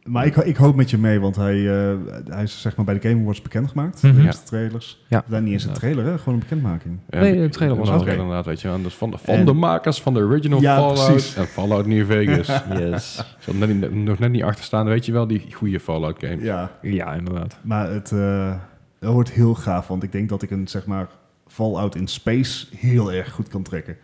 C: Maar ik, ik hoop met je mee, want hij, eh, hij is zeg maar bij de Game Awards bekendgemaakt.
A: Mhm.
C: De
B: Ja.
C: eerste trailers.
A: Ja.
C: Daar niet eens een trailer, hè? gewoon een bekendmaking.
B: Ja,
A: Nee, de trailer was
B: een
C: oké.
B: trailer inderdaad, weet je wel. En dat is van de, van
C: En-
B: de makers van de original
C: Ja,
B: Fallout
C: precies.
B: en Fallout New Vegas. Ik
A: Yes.
B: zal net, niet- nog net niet achter staan, weet je wel, die goede Fallout game.
C: Ja,
A: ja, inderdaad.
C: maar het eh, dat wordt heel gaaf, want ik denk dat ik een zeg maar Fallout in Space heel erg goed kan trekken.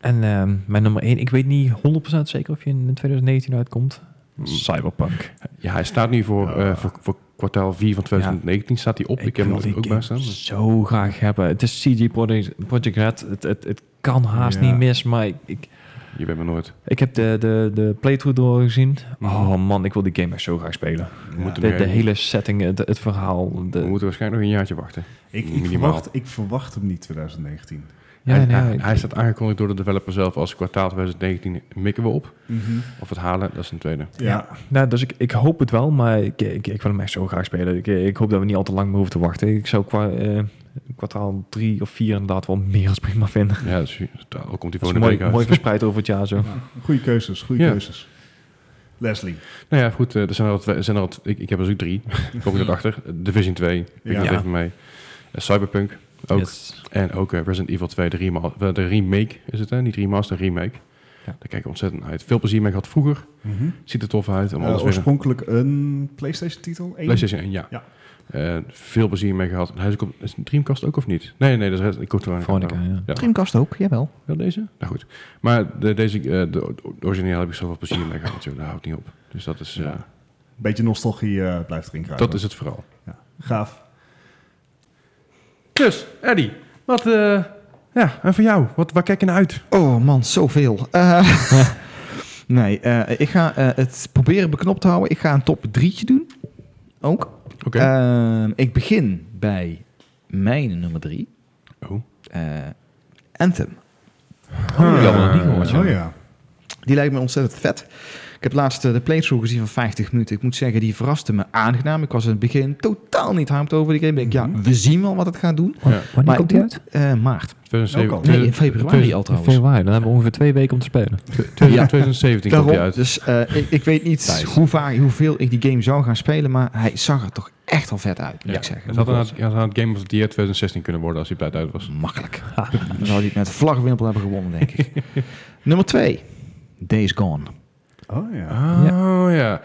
A: En ehm, mijn nummer 1, ik weet niet 100% zeker of je in 2019 uitkomt.
B: Mm.
A: Cyberpunk.
B: Ja, hij staat nu voor,
C: Ja.
B: eh, voor, voor kwartaal 4 van 2019 staat hij op. Ik, heb
A: wil
B: hem
A: die
B: natuurlijk ook
A: game
B: bij staan.
A: zo graag hebben. Het is CG Project, Project Red. Het, het, het kan haast
C: Ja.
A: niet mis, maar ik, ik,
B: Je bent me nooit.
A: ik heb de, de, de playthrough doorgezien.
B: Mhm.
A: Oh man, ik wil die game echt zo graag spelen.
C: Ja.
B: moeten
A: De,
B: we-
A: de hele setting, het, het verhaal.
B: We
A: De,
B: moeten waarschijnlijk nog een jaartje wachten.
C: Ik, ik,
B: Minimaal.
C: verwacht, ik verwacht hem niet 2019.
A: ja,
B: hij,
A: nee,
B: hij,
A: ik-
B: hij staat aangekondigd door de developer zelf als kwartaal 2019 mikken we op. Of het halen, dat is een tweede.
C: Ja.
A: Nou, dus ik, ik hoop het wel, maar ik, ik, ik wil hem echt zo graag spelen. Ik, ik hoop dat we niet al te lang meer hoeven te wachten. Ik zou qua, eh, kwartaal drie of vier inderdaad wel meer als prima vinden.
B: Ja, dat is, dat- al komt hij
A: Dat is
B: volgende week
A: mooi,
B: uit.
A: mooi verspreid over het jaar zo.
C: goede keuzes, goede
B: Ja.
C: keuzes. Leslie.
B: Nou ja, goed, eh, er zijn er al, twee- er zijn er al t- ik, ik heb er dus ook drie. ik kom er achter. Division 2, ik
C: Ja.
B: ja. even mee. Eh, Cyberpunk ook.
A: Yes.
B: En ook eh, Resident Evil 2, de, rema- eh, de remake is het, hè? niet remaster, remake. Daar kijk ik ontzettend naar uit. Veel plezier mee gehad vroeger. Ziet er tof uit. En
C: Eh,
B: alles weer een
C: oorspronkelijk een PlayStation-titel? Eén?
B: PlayStation 1, ja.
C: Ja.
B: Eh, veel plezier mee gehad. Hij is, ook op, is een Dreamcast ook of niet? Nee, nee, dat is, ik kocht er een
A: Veronica, ja.
B: Ja.
D: Dreamcast ook, jawel.
B: Wel deze? Nou goed. Maar de, deze, eh, de, de originele heb ik zoveel plezier mee gehad natuurlijk. Dat houdt niet op. Dus dat is, eh,
C: Ja. Beetje nostalgie eh, blijft erin kruipen.
B: dat is het vooral.
C: Gaaf.
B: Dus, Eddie, wat, eh, ja, en voor jou, wat, waar kijk je naar uit?
D: Oh man, zoveel. Eh, nee, eh, ik ga eh, het proberen beknopt te houden. Ik ga een top drietje doen. Ook.
B: Oké.
D: Ehm, ik begin bij mijn nummer drie.
B: oh.
D: eh, Anthem.
A: Oh, jammer, niet gehoord,
C: Oh ja.
D: Die lijkt me ontzettend vet. Ik heb laatst eh, de playthrough gezien van 50 minuten. Ik moet zeggen, die verraste me aangenaam. Ik was in het begin totaal niet hyped over die game. Ik denk, ja, we zien wel wat het gaat doen.
A: Wa- Wanneer
D: Maar-
A: komt die uit?
D: Eh, maart.
C: Ook al.
B: 2017,
D: Nee, in februari al
A: In
D: trouwens.
A: februari. Dan hebben we ongeveer twee weken om te spelen.
B: 2017 komt hij
D: Daarom,
B: uit.
D: dus eh, ik, ik weet niet
A: Thijs.
D: hoe vaak, hoeveel ik die game zou gaan spelen, maar hij zag er toch echt al vet uit, moet
B: Ja.
D: Dus ik zeggen.
B: Het had aan het, had aan het Game of the Year 2016 kunnen worden als hij bij uit was.
D: Makkelijk. Dan zou hij het met vlagwimpel hebben gewonnen, denk ik. Nummer twee, Days Gone.
C: Oh ja.
B: Oh ja.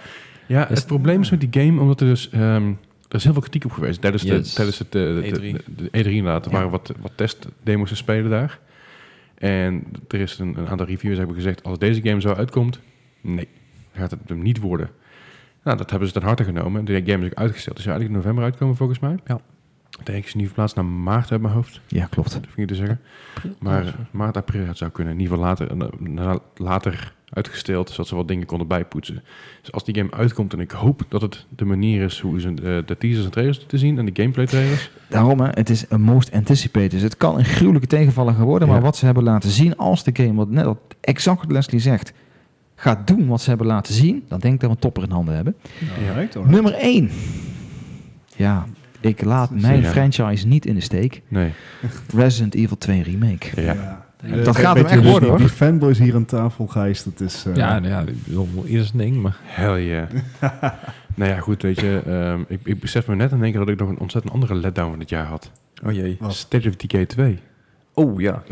B: Ja,
A: Dus-
B: het probleem is met die game, omdat er dus... ehm, er is heel veel kritiek op geweest tijdens,
A: Yes.
B: de, tijdens het, eh, de, de,
A: E3.
B: de- de E3 inderdaad. Er
D: Ja.
B: waren wat, wat testdemos te spelen daar. En er is een, een aantal reviewers hebben gezegd... als deze game zo uitkomt, nee, gaat het hem niet worden. Nou, dat hebben ze ten harte genomen. De game is ook uitgesteld. Die zou eigenlijk in november uitkomen volgens mij.
A: Ja.
B: Ik Denk ik ze nu verplaatst naar maart uit mijn hoofd,
D: Ja, klopt.
B: dat vind ik te zeggen. Maar eh, maart, april het zou kunnen. In ieder geval later, eh, na- later uitgesteld, zodat ze wat dingen konden bijpoetsen. Dus als die game uitkomt, en ik hoop dat het de manier is hoe ze eh, de teasers en trailers te zien en de gameplay trailers.
D: Daarom, hè, het is een most anticipated. Dus het kan een gruwelijke tegenvaller gaan worden, maar
B: Ja.
D: wat ze hebben laten zien als de game, wat net al exact wat Leslie zegt, gaat doen wat ze hebben laten zien, dan denk ik dat we een topper in handen hebben.
C: Alright, alright.
D: Nummer 1. Ja, ik laat mijn
B: Ja.
D: franchise niet in de steek.
B: Nee.
D: Resident Evil 2 Remake.
B: Ja.
C: Eh,
D: Dat gaat hem
C: weet je
D: echt
C: dus
D: worden,
C: niet,
D: hoor.
C: Die fanboys hier aan tafel, Gijs, dat is... eh,
A: Ja, nou ja, ik bedoel, ieder zijn ding, maar...
B: Hell yeah. nou ja, goed, weet je. ehm, ik, ik besef me net in één keer dat ik nog een ontzettend andere letdown van dit jaar had.
A: Oh jee.
C: Wat?
B: State of Decay 2.
A: Oh ja.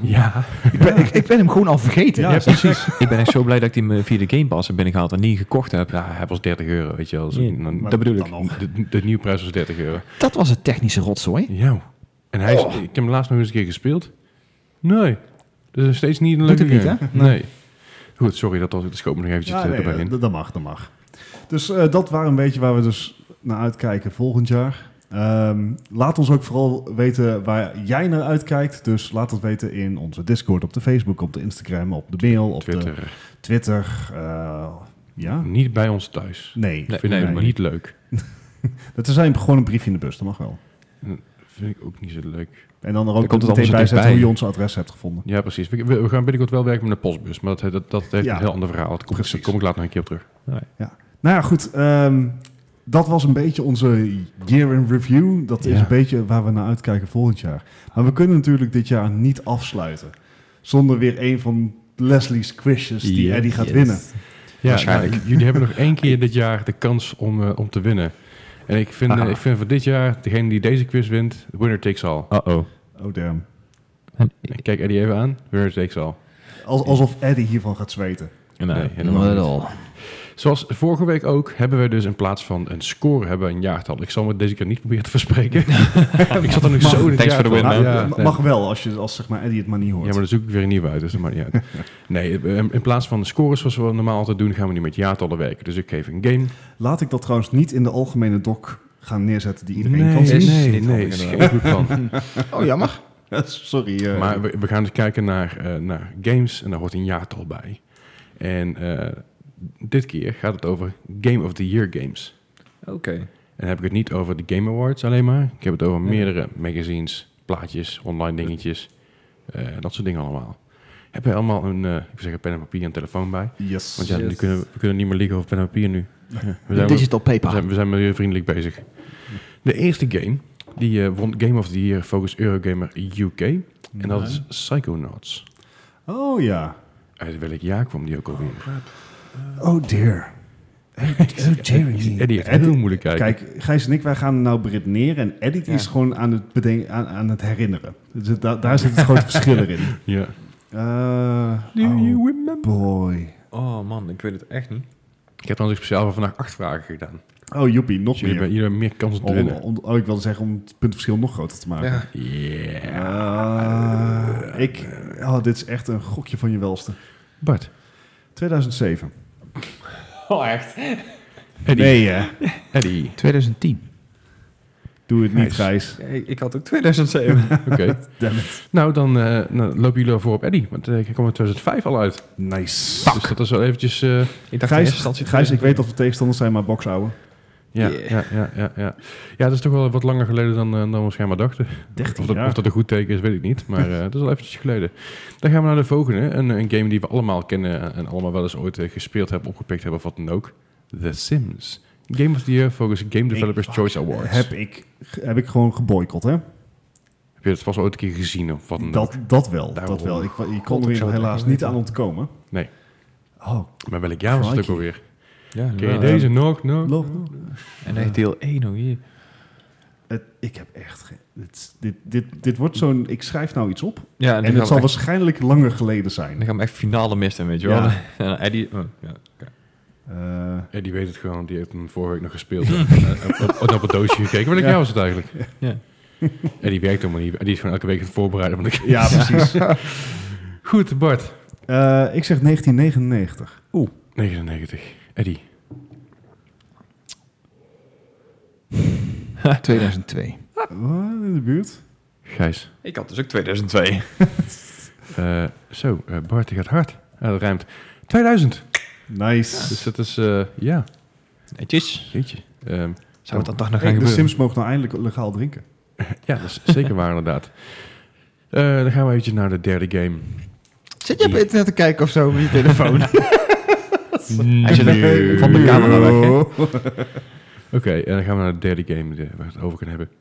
B: Ja.
D: Ik, ben, ik, ik ben hem gewoon al vergeten.
C: Ja,
B: Ja,
C: precies.
A: Ik ben echt zo blij dat ik die me via de Game Pass heb binnengehaald en niet gekocht heb.
B: Ja, hij was 30 euro, weet je wel. Dus
A: Nee,
B: dan-
C: maar
A: dat bedoel
C: dan
A: ik.
C: nog.
B: de, de nieuwe prijs was 30 euro.
D: Dat was een technische rotzooi.
B: Ja. En hij
C: Oh.
B: is, ik heb hem laatst nog eens een keer gespeeld. Nee. Dat is steeds niet een
D: Doet
B: leuke
D: het niet,
B: game.
D: hè?
B: Nee. Goed, sorry, dat, dat schoot me nog eventjes
C: Ja,
B: eh,
C: nee,
B: erbij in.
C: dat, dat mag, dat mag. Dus eh, dat waren een beetje waar we dus naar uitkijken volgend jaar. Ehm, laat ons ook vooral weten waar jij naar uitkijkt. Dus laat dat weten in onze Discord, op de Facebook, op de Instagram, op de mail, op
B: Twitter.
C: de Twitter. eh, ja?
B: Niet bij ons thuis.
C: Nee.
A: Nee,
B: vind ik
A: nee.
B: helemaal niet leuk.
C: Dat is eigenlijk gewoon een briefje in de bus, dat mag wel.
B: Vind ik ook niet zo leuk.
C: En dan er
A: Dan
C: ook
A: komt het
C: meteen
A: anders
C: bij zetten
A: dichtbij.
C: hoe je ons adres hebt gevonden.
B: Ja, precies. We, we- we gaan binnenkort wel werken met een postbus. Maar dat, dat, dat heeft
C: Ja.
B: een heel ander verhaal. Dat kom, ik-
C: Precies.
B: daar kom ik later nog een keer op terug.
C: Nou ja, goed. ehm, dat was een beetje onze year in review. Dat is
B: Ja.
C: een beetje waar we naar uitkijken volgend jaar. Maar we kunnen natuurlijk dit jaar niet afsluiten zonder weer een van Leslie's quizjes die
A: Yes,
C: Eddie gaat
A: yes.
C: winnen.
B: Ja,
A: Waarschijnlijk.
B: nou, j- jullie hebben nog één keer dit jaar de kans om, eh, om te winnen. En ik vind, eh,
A: Haha.
B: ik vind voor dit jaar, degene die deze quiz wint, winner takes all.
A: Uh-oh.
C: Oh damn.
A: En-
B: Ik Kijk Eddie even aan. Winner takes all.
C: Als, alsof Eddie hiervan gaat zweten.
A: Nee.
B: Nee, helemaal niet. Zoals vorige week ook, hebben we dus in plaats van een score hebben we een jaartal. Ik zal me deze keer niet proberen te verspreken. ik zat er nu
C: Mag-
B: zo in het
A: Thanks for the
B: jaartal.
A: win, man.
C: Nou,
B: Ja,
C: ma-
B: nee.
C: Mag wel, als, je, als zeg maar Eddie het maar niet hoort.
B: Ja, maar dan zoek ik weer een nieuwe uit, dus dat maakt niet uit. Nee, in in plaats van de scores zoals we normaal altijd doen, gaan we nu met jaartallen werken. Dus ik geef een game.
C: Laat ik dat trouwens niet in de algemene doc gaan neerzetten die iedereen
B: nee,
C: kan zien.
B: nee,
A: Niet
B: nee,
A: handig,
B: is geen goed plan.
D: Oh, jammer.
C: Sorry. eh.
B: maar we, we gaan dus kijken naar, eh, naar games en daar hoort een jaartal bij. En eh, dit keer gaat het over Game of the Year games.
A: Oké.
B: En dan heb ik het niet over de Game Awards alleen maar. Ik heb het over meerdere magazines, plaatjes, online dingetjes. eh, dat soort dingen allemaal. Heb je allemaal een, eh, ik wil zeggen, pen en papier en telefoon bij?
C: yes.
B: Want ja,
A: Yes.
B: nu kunnen, we- we kunnen niet meer liegen over pen en papier nu. Ja, we, zijn, we,
D: Digital paper.
B: zijn, we zijn milieuvriendelijk bezig. De eerste game, die eh, won Game of the Year volgens Eurogamer UK. En dat is Psychonauts.
C: Oh ja.
B: Uit welk jaar kwam die ook alweer?
C: Oh dear. Oh dear.
B: Eddie heeft
C: Eddie-
B: heel moeilijk kijken.
C: Kijk, Gijs en ik, wij gaan nou beredeneren. En Edit
D: Ja.
C: is gewoon aan het, beden- aan, aan het herinneren. Dus het- da- daar zit het grote verschil in.
B: Ja.
C: Eh,
B: Do
C: oh
B: you remember?
C: boy.
A: Oh man, ik weet het echt niet.
B: Ik heb trouwens speciaal voor vandaag acht vragen gedaan.
C: Oh, joepie, nog
B: Dus jullie
C: meer.
B: hebben, jullie hebben meer kans op te
C: Om-
B: winnen.
C: om- oh, ik wilde zeggen om het puntverschil nog groter te maken.
A: Ja.
B: Yeah.
C: Eh, ik, oh, dit is echt een gokje van je welste.
B: Bart.
C: 2007.
A: Oh, echt?
B: Eddie.
C: Nee, hè?
B: Eddie.
D: 2010.
C: Doe het niet,
B: Gijs.
C: Gijs.
A: Ik, ik had ook 2007.
B: Oké.
C: Damn it.
B: nou, dan eh, nou, lopen jullie al voor op Eddie. Want eh, ik kwam in 2005 al uit.
C: Nice.
B: Dus dat is wel eventjes...
A: ik
B: eh,
A: dacht in eerste
C: Gijs,
A: instantie
C: Gijs, ik weet dat we tegenstanders zijn, maar bokshouden.
B: ja,
A: Yeah.
B: ja, ja, ja, ja. Ja, dat is toch wel wat langer geleden dan, eh, dan we schijnbaar dachten.
C: 13
B: Of dat, of
C: jaar.
B: dat een goed teken is, weet ik niet. Maar eh dat is al eventjes geleden. Dan gaan we naar de volgende. Een, een game die we allemaal kennen en allemaal wel eens ooit eh, gespeeld hebben, opgepikt hebben of wat dan ook. The Sims. Game of the Year volgens Game Developers Choice Awards. Heb,
C: Heb ik, heb ik gewoon geboycott, hè?
B: je het vast ooit een keer gezien of wat dan ook?
C: Dat, dat wel,
B: Daarom.
C: dat wel. Ik, je
B: God,
C: kon
B: ik
C: er
B: zou het
C: helaas
B: echt
C: niet
B: weten.
C: aan ontkomen.
B: Nee.
C: Oh,
B: Maar welk jaar was het ook
C: Crikey.
B: alweer?
A: Ja,
B: Ken je
A: ja.
B: deze nog? nog?
C: lof.
A: En echt deel 1 oh hier.
C: Het, ik heb echt... ge- het- dit, dit, dit wordt zo'n... Ik schrijf nou iets op
A: Ja, en,
C: en het zal
A: echt,
C: waarschijnlijk langer geleden
A: dan
C: zijn.
A: gaan we echt finale misten, weet je wel.
C: Ja.
A: En Eddie... oh, ja.
C: Eh,
B: Ja, die weet het gewoon. Die heeft hem vorige week nog gespeeld. en, eh, op, op, op het doosje gekeken. Welk
C: Ja.
B: jaar was het eigenlijk?
A: Ja.
B: En die werkt helemaal niet. En die is gewoon elke week aan het voorbereiden. Van de...
C: ja, precies.
B: Goed, Bart.
C: Eh, ik zeg 1999.
B: 99. Eddie.
D: 2002.
C: Wat, in de buurt?
B: Gijs.
A: Ik had dus ook 2002.
B: Eh, zo, eh, Bart, die gaat hard. Ah, dat ruimt. 2000.
C: Nice.
B: Dus dat is, eh, ja,
A: Netjes.
B: jeetje. Ehm,
A: Zou het dan toch nog
C: Hey,
A: gaan
C: de
A: gebeuren?
C: Sims mogen nou eindelijk legaal drinken.
B: ja, dat is zeker waar inderdaad. Eh, dan gaan we eventjes naar de derde game.
D: Zit je op internet te kijken of zo op je telefoon?
A: Hij zit ook van de camera weg, hè?
B: Oké, en dan gaan we naar de derde game eh, waar we het over kunnen hebben.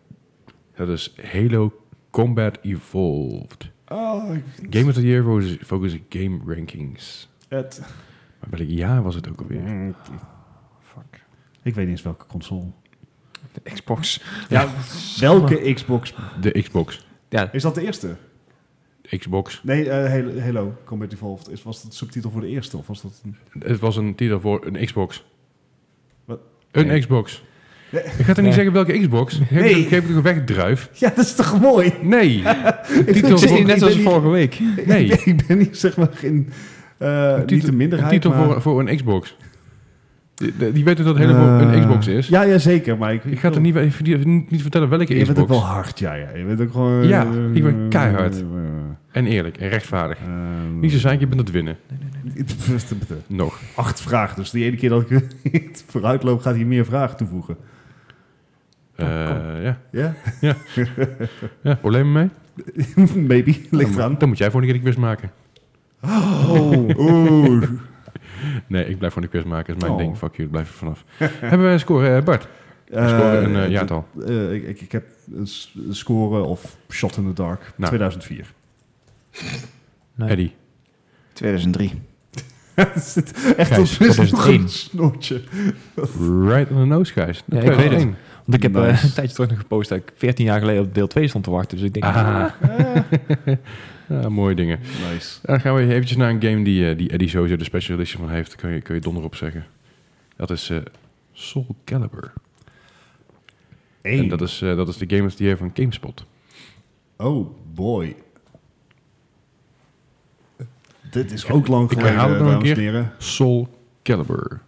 B: Dat is Halo Combat Evolved.
C: Oh, ik-
B: Game of the Year volgens, volgens Game Rankings.
C: het.
B: Maar welk jaar was het ook alweer?
C: Mm,
A: Fuck.
C: Ik weet niet eens welke console.
A: De Xbox.
C: Ja, welke Xbox?
B: De Xbox.
A: Ja,
C: Is dat de eerste?
B: De Xbox.
C: Nee, eh, Halo- Halo Combat Evolved. Is, was dat subtitel voor de eerste? Of was dat een...
B: Het was een titel voor een Xbox.
C: Wat?
B: Een
A: Nee.
B: Xbox.
C: Nee.
B: Ik ga toch niet
A: Nee.
B: zeggen welke Xbox? Geef
C: Nee.
B: nee. geef het toch weg, druif?
C: Ja, dat is toch mooi?
B: Nee.
A: ik
B: titel
A: zit
B: voor,
A: hier net
C: ik
A: zoals
C: ben
A: vorige week.
B: Nee.
C: Ik ben, ik ben hier zeg maar geen... eh,
B: een
C: niet
B: titel-
C: de
B: een
C: minderheid,
B: titel
C: maar...
B: voor, voor een Xbox. Die, die- die weten dat het helemaal
C: Eh,
B: een Xbox is.
C: Ja, ja, zeker. Maar ik,
B: Ik ga het er niet, ik verdien- niet, niet vertellen welke
C: Je bent
B: Xbox.
C: ook wel hard, ja, ja. Je bent ook gewoon...
B: Ja, ik ben keihard.
C: Eh,
B: En eerlijk en rechtvaardig.
C: eh,
B: Niet zo zijn, je bent het winnen. Nog.
C: Acht vragen. Dus de ene keer dat ik het vooruit loop, gaat hij meer vragen toevoegen.
A: Oh,
B: Eh, ja.
C: Ja?
B: ja, problemen mee?
C: Maybe. Ligt
B: dan,
C: eraan.
B: dan moet jij voor een keer een quiz maken.
C: Oh. Oeh.
B: Nee, ik blijf voor een quiz maken. is mijn
C: Oh.
B: ding. Fuck you, blijf er vanaf. Hebben wij een score, eh, Bart? Een score,
C: Eh,
B: een eh, jaartal.
C: eh, ik, ik- ik heb een s- een score of Shot in the Dark.
B: Nou.
C: 2004.
B: Eddie.
D: 2003.
C: Het zit echt
B: Gijs,
C: als een
A: 2001.
C: snootje.
B: Right on the nose, guys.
A: Ja, ik weet het. Want ik heb eh,
C: Nice.
A: een tijdje terug nog gepost dat ik 14 jaar geleden op deel 2 stond te wachten. Dus ik denk,
B: Ah. Ah, mooie dingen.
C: Nice.
B: Dan gaan we eventjes naar een game die, eh, die Eddie sowieso de special edition van heeft. Kun je, kun je donder op zeggen. Dat is eh, Soul Calibur. En
C: Eén.
B: dat is, eh, dat is de game of the year van GameSpot.
C: Oh boy. Dit is ook lang
B: ik
C: geleden,
B: herhaal het nog een
C: dames en
B: keer.
C: heren.
B: Soul Calibur.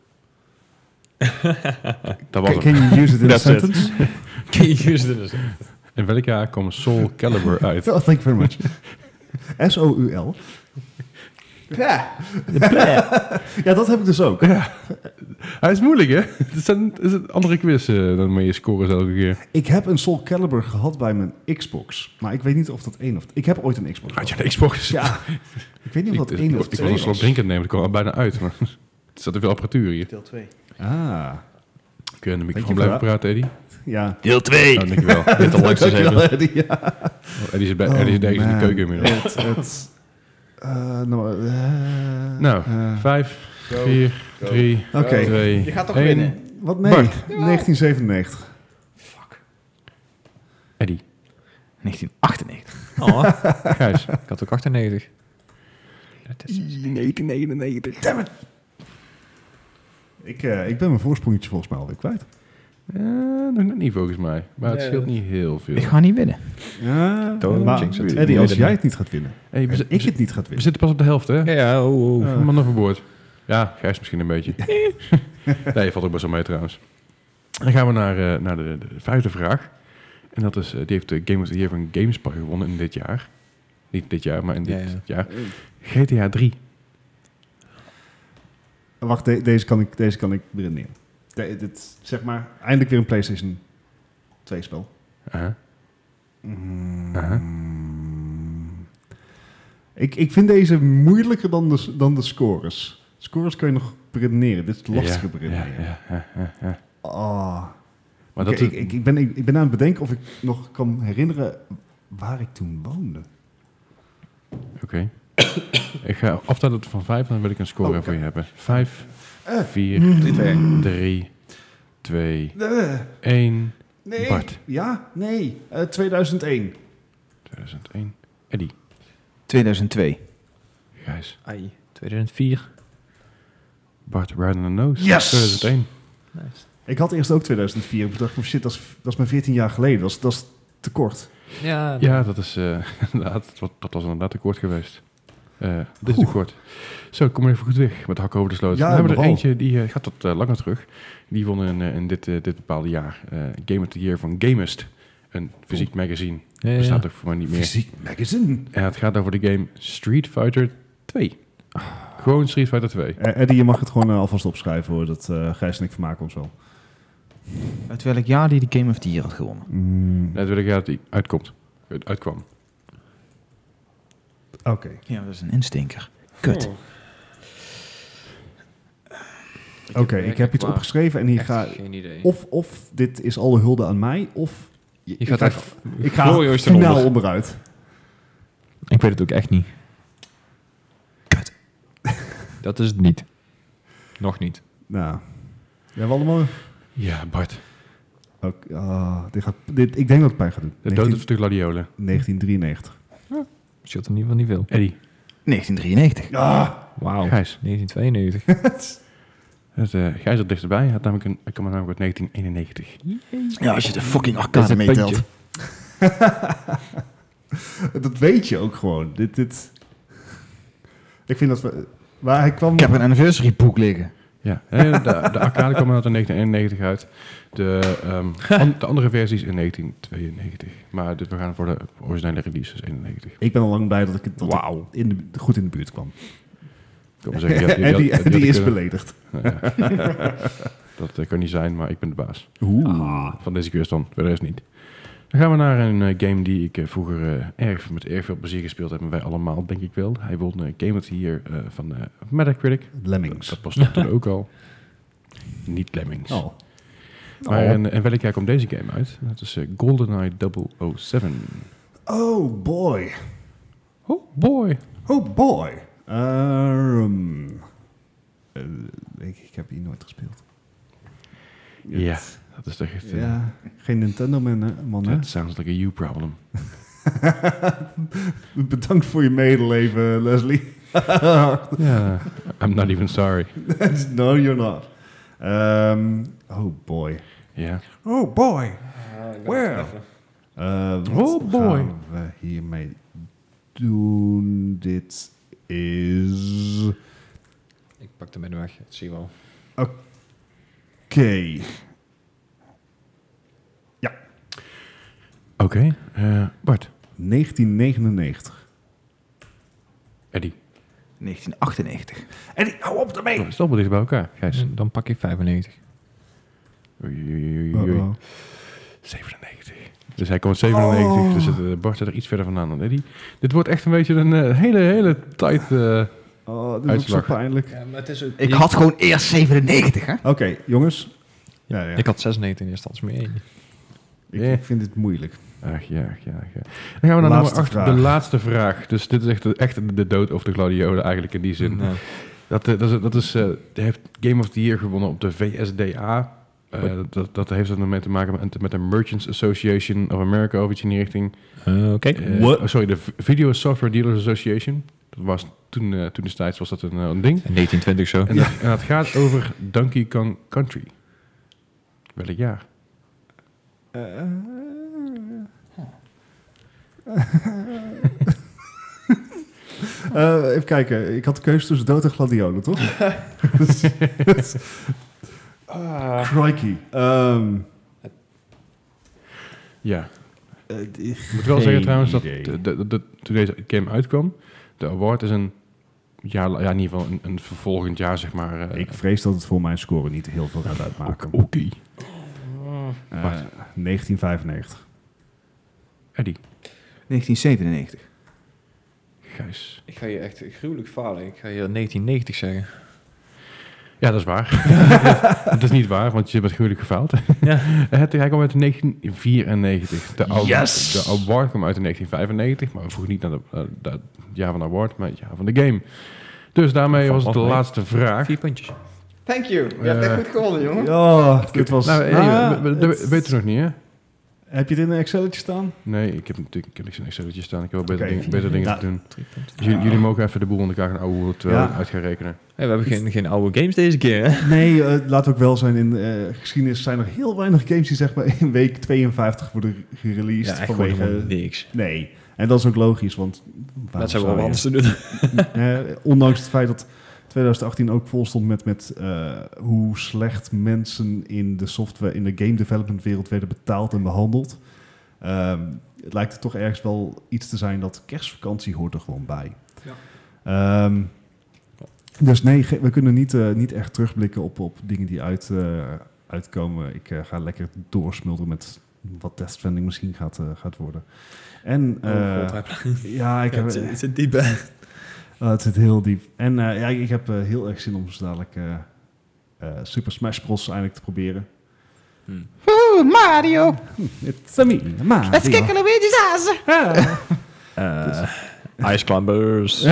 B: dat was
C: Can,
B: hem.
C: can you use it in a
A: That's it.
C: sentence?
A: Ken je Houston is het?
B: In welk jaar kwam Soul Calibur uit?
C: Oh, thank you very much. S-O-U-L. Ja, dat heb ik dus ook.
B: Hij is moeilijk, hè? Het is een, is een andere quiz eh, dan met je scores elke keer.
C: Ik heb een Soul Calibur gehad bij mijn Xbox. Maar ik weet niet of dat één of... Ik heb ooit een Xbox
B: Had
C: gehad.
B: je een Xbox?
C: Ja. Ik weet niet of
B: Ik,
C: dat
B: ik,
C: één
B: ik,
C: of
B: was
C: twee
B: een slok
C: was.
B: drinken nemen, dat kwam al bijna uit. Maar er zat te veel apparatuur hier.
D: Deel 2.
C: Ah,
B: Kun je aan de microfoon
C: Dank je
B: blijven praten, Eddie?
C: ja.
A: Deel 2!
B: Nou, dankjewel. Dit al langs eens even.
C: ja. Oh,
B: Eddie zit, bij, Eddie zit ergens in
C: man.
B: de keuken inmiddels.
C: Het, het, eh, nou, eh,
B: Nou,
C: eh,
B: Vijf, vier, drie,
C: Oké.
B: twee,
D: Je gaat toch
B: één.
D: winnen?
C: Wat nee?
B: Bart.
C: 1997.
B: Eddie,
D: 1998.
A: Oh,
B: Gijs,
A: ik had ook 98. Het is-
B: 1999. Damn it.
C: Ik, eh, ik ben mijn voorsprongetje volgens mij alweer kwijt.
B: Eh, nog net niet volgens mij. Maar het
A: Nee,
B: scheelt
A: dat-
B: niet heel veel.
D: Ik ga niet winnen.
C: Ja,
A: Don't
C: maar
A: jinx it.
C: Eddie,
A: Weet
C: als
A: het
C: jij
A: niet.
C: het niet gaat winnen,
B: Hey, we,
C: en
B: zi-
C: ik
B: we zi-
C: het niet gaat
B: we
C: winnen.
B: zitten pas op de helft, hè?
A: Ja, ja, oh, oh.
C: Ja.
B: Man overboord. Eh. Ja, Gijs misschien een beetje. nee, valt ook best wel mee trouwens. Dan gaan we naar, eh, naar de, de vijfde vraag. En dat is, eh, die heeft de Game of the Year van GameSpy gewonnen in dit jaar. Niet dit jaar, maar in dit
D: Ja,
B: jaar.
D: ja.
B: GTA 3.
C: Eh, Wacht, de- deze kan ik, deze kan ik redeneren. De- dit, zeg maar, eindelijk weer een PlayStation 2 spel.
B: Uh-huh.
C: Aha. Ik, ik vind deze moeilijker dan de, s- dan de scores. Scores kan je nog beredeneren. Dit is lastiger
B: ja, ja,
C: beredeneren.
B: ja, ja, ja, ja.
C: Ah.
B: Maar
C: Oké,
B: dat
C: ik, ik, ik, ben, ik, ik ben aan het bedenken of ik nog kan herinneren waar ik toen woonde.
B: Oké. ik ga aftellen tot van vijf, dan wil ik een score
C: Oh, oké.
B: voor je hebben. Vijf,
C: Eh.
B: vier,
C: Drie, twee.
B: drie, twee, één.
C: Eh, Nee.
B: Bart.
C: Ja, nee. Eh, 2001.
B: 2001. Eddie.
D: 2002.
B: Gijs.
A: Ai, 2004.
B: Bart, right in the nose.
C: Yes!
B: 2001.
A: Nice.
C: Ik had eerst ook 2004. Ik dacht, van, shit, dat is, dat is maar 14 jaar geleden. Dat is, dat is te kort.
A: Ja,
B: Ja, dat is eh, inderdaad, dat, was- dat was inderdaad te kort geweest. Eh, dit is te kort. Zo, kom even goed weg met de hakken over de sloot.
C: Ja,
B: we hebben er
C: nogal.
B: eentje, die eh, gaat wat eh, langer terug. Die won in, eh, in dit, eh, dit bepaalde jaar eh, Game of the Year van Gamist. Een fysiek magazine.
A: Ja, ja.
B: Bestaat ook voor mij niet meer.
C: Fysiek magazine.
B: En het gaat over de game Street Fighter 2. Gewoon Street Fighter 2.
C: Eh, Eddie, je mag het gewoon eh, alvast opschrijven hoor. Dat eh Gijs en ik vermaken ons wel.
D: Uit welk jaar die de Game of the Year had gewonnen?
C: Mm,
B: Net wil ik dat die uitkomt. Uit- Uitkwam.
C: Oké.
D: Ja, dat is een instinker.
A: Oh.
D: Kut.
C: Oké, ik heb iets opgeschreven en hier ga...
A: Geen idee.
C: Of, of dit is alle hulde aan mij, of... Je,
A: gaat
C: ga-
A: echt-
C: ik ga
A: glorieus ten
C: finaal
A: onder.
C: onderuit.
A: Ik weet het ook echt niet. Dat is het niet. Nog niet.
C: Nou, we hebben allemaal...
B: Ja, Bart.
C: Ook, ah, dit gaat, dit, ik denk dat het pijn gaat doen.
B: De
C: 19-
B: dood is de gladiolen.
C: 1993.
A: Scheelt in ieder geval niet veel.
B: Eddie.
D: 1993.
C: Ah,
A: Wauw.
B: Gijs.
A: 1992.
B: Het, eh Gijs zat dichterbij. Hij had namelijk een, ik kwam namelijk uit 1991.
D: Ja, als je de fucking
A: Dat is
D: arcade
A: een
D: meetelt.
A: puntje.
C: dat weet je ook gewoon. Dit, dit... Ik vind dat we... Waar hij kwam...
D: Ik heb een anniversary boek liggen.
B: Ja, hè, de, de arcade kwam uit in 1991 uit. De, ehm, an- de andere versies in 1992. Maar dit, we gaan voor de originele release, dus 91.
C: Ik ben al lang blij dat ik, dat ik
B: Wauw.
C: in de, goed in de buurt kwam.
B: Ik wil maar zeggen, je had- je had-
C: Eddie,
B: je had
C: Eddie is
B: kunnen-
C: beledigd.
B: Dat eh, kan niet zijn, maar ik ben de baas.
C: Oeh.
B: Van deze quiz dan, voor de rest niet. Dan gaan we naar een eh, game die ik eh, vroeger eh, erg, met erg veel plezier gespeeld heb. En wij allemaal, denk ik wel. Hij won eh, Game of the Year eh, van eh, Metacritic.
C: Lemmings.
B: Dat was toen ook al. Niet Lemmings.
C: Oh.
B: Maar en, en welk jaar komt deze game uit? Dat is eh, GoldenEye 007.
C: oh boy.
B: Oh boy.
C: Oh boy. Ehm, eh, ik, ik heb hier nooit gespeeld.
B: Ja, dat is toch echt... eh,
C: Ja, geen Nintendo man, hè? man hè?
B: That sounds like a you problem.
C: Bedankt voor je medeleven, Leslie.
B: Ja. I'm not even sorry.
C: no, you're not. Ehm, oh boy.
B: Ja.
C: Oh boy.
A: Ah,
C: Well. Eh, wat
B: Oh boy.
C: gaan we hiermee doen? Dit is... Oké.
A: Ik pak de menu weg. Dat zie je wel.
B: Oké. eh, Bart.
C: 1999.
B: Eddie.
D: 1998.
C: Eddie, hou op ermee!
B: Oh, Stel maar dicht bij elkaar, Gijs.
A: Dan pak ik 95.
B: Oei, oei, oei, oei, oei.
C: Uh-oh.
B: 97. Dus hij komt 97.
C: Oh.
B: Dus het, eh, Bart zit er iets verder vandaan dan Eddie. Dit wordt echt een beetje een eh, hele, hele tijd... eh,
C: Oh, dit is ook
B: Uitslag.
C: zo pijnlijk.
A: maar het is ook...
D: Ik had gewoon eerst 97, hè?
C: Oké, jongens. Ja, ja.
A: Ik
C: Ik,
A: had 96 in eerste instantie mee.
B: Yeah.
C: ik vind dit moeilijk.
B: Ach ja, ach ja, ach ja. Dan gaan we naar nummer
C: Laatste
B: 8,
C: vraag.
B: de laatste vraag. Dus dit is echt, de- echt de dood of de gladiolen eigenlijk in die zin.
A: Ja.
B: Dat, eh, dat is, dat is, eh, heeft Game of the Year gewonnen op de VSDA. Eh, dat, dat heeft ermee te maken met, met de Merchants Association of America of iets in die richting.
A: Eh, Oké.
B: Eh, oh, sorry, de V- Video Software Dealers Association. Dat was toen, eh, toen destijds was dat een, eh, een ding.
A: In 1920 zo.
B: En, dat, en dat gaat over Donkey Kong Country. Welk jaar?
C: Eh, even kijken, ik had de keuze tussen dood en gladiolen, toch? Crikey. Ehm,
B: Ja.
C: eh,
B: Ik moet wel zeggen trouwens dat
C: idee.
B: de- de- de- toen deze game uitkwam, de award is een jaar, la- ja, in ieder geval een, een vervolgend jaar, zeg maar. eh,
C: ik vrees dat het voor mijn score niet heel veel gaat uitmaken.
B: Oké. Okay.
C: Eh, 1995.
B: Eddie,
D: 1997.
B: Gijs.
A: Ik ga je echt gruwelijk falen. Ik ga je 1990 zeggen.
B: Ja, dat is waar. dat is niet waar, want je bent gruwelijk gefaald.
A: Ja.
B: Het, hij kwam uit 1994. De, award-
A: Yes!
B: de award kwam uit in 1995, maar we vroegen niet naar de, eh, dat jaar van de award, maar het jaar van de game. Dus daarmee
A: Valt
B: was het de
A: nog mee.
B: laatste vraag.
A: Vier puntjes.
D: Thank you. Je
B: hebt
D: hebt
B: echt
D: echt
B: goed
D: goed gewonnen, jongen.
C: Ja, dit was...
B: Nou, hey,
C: Ah,
B: we- we- dat
C: het-
B: weten we nog niet, hè?
C: Heb je dit in een Excelletje staan?
B: Nee, ik heb natuurlijk ik heb niks in Excelletje staan. Ik heb wel beter,
C: Oké.
B: dingen- beter dingen
C: Nou,
B: te doen. Dus Jullie- Jullie mogen even de boel in elkaar gaan ouwe terwijl
C: Ja.
B: ik uit gaan rekenen.
A: Hey, we hebben geen, geen oude games deze keer, hè?
C: Nee, eh, laat ook wel zijn. In eh, geschiedenis zijn er heel weinig games die zeg maar in week 52 worden gereleased. vanwege...
A: niks.
C: Nee. En dat is ook logisch, want... waarom
A: Dat zijn
C: zou
A: wel
C: je-
A: anders te doen.
C: Eh, ondanks het feit dat 2018 ook vol stond met, met eh, hoe slecht mensen in de software, in de game development wereld werden betaald en behandeld. Ehm, het lijkt er toch ergens wel iets te zijn dat kerstvakantie hoort er gewoon bij. Ehm, dus nee, ge- we kunnen niet, eh, niet echt terugblikken op, op dingen die uit, eh, uitkomen. Ik eh, ga lekker doorsmulderen met wat Death Stranding misschien gaat, eh, gaat worden. En
A: Oh,
C: eh, ja, ik heb,
A: zit diep, hè?
C: Oh, het zit heel diep. En eh, ja, ik heb eh, heel erg zin om zo dadelijk eh, eh, Super Smash Bros. eindelijk te proberen.
D: Oeh, Mario.
C: It's a me, maar.
D: Let's kick Luigi's ass.
A: Ice Climbers.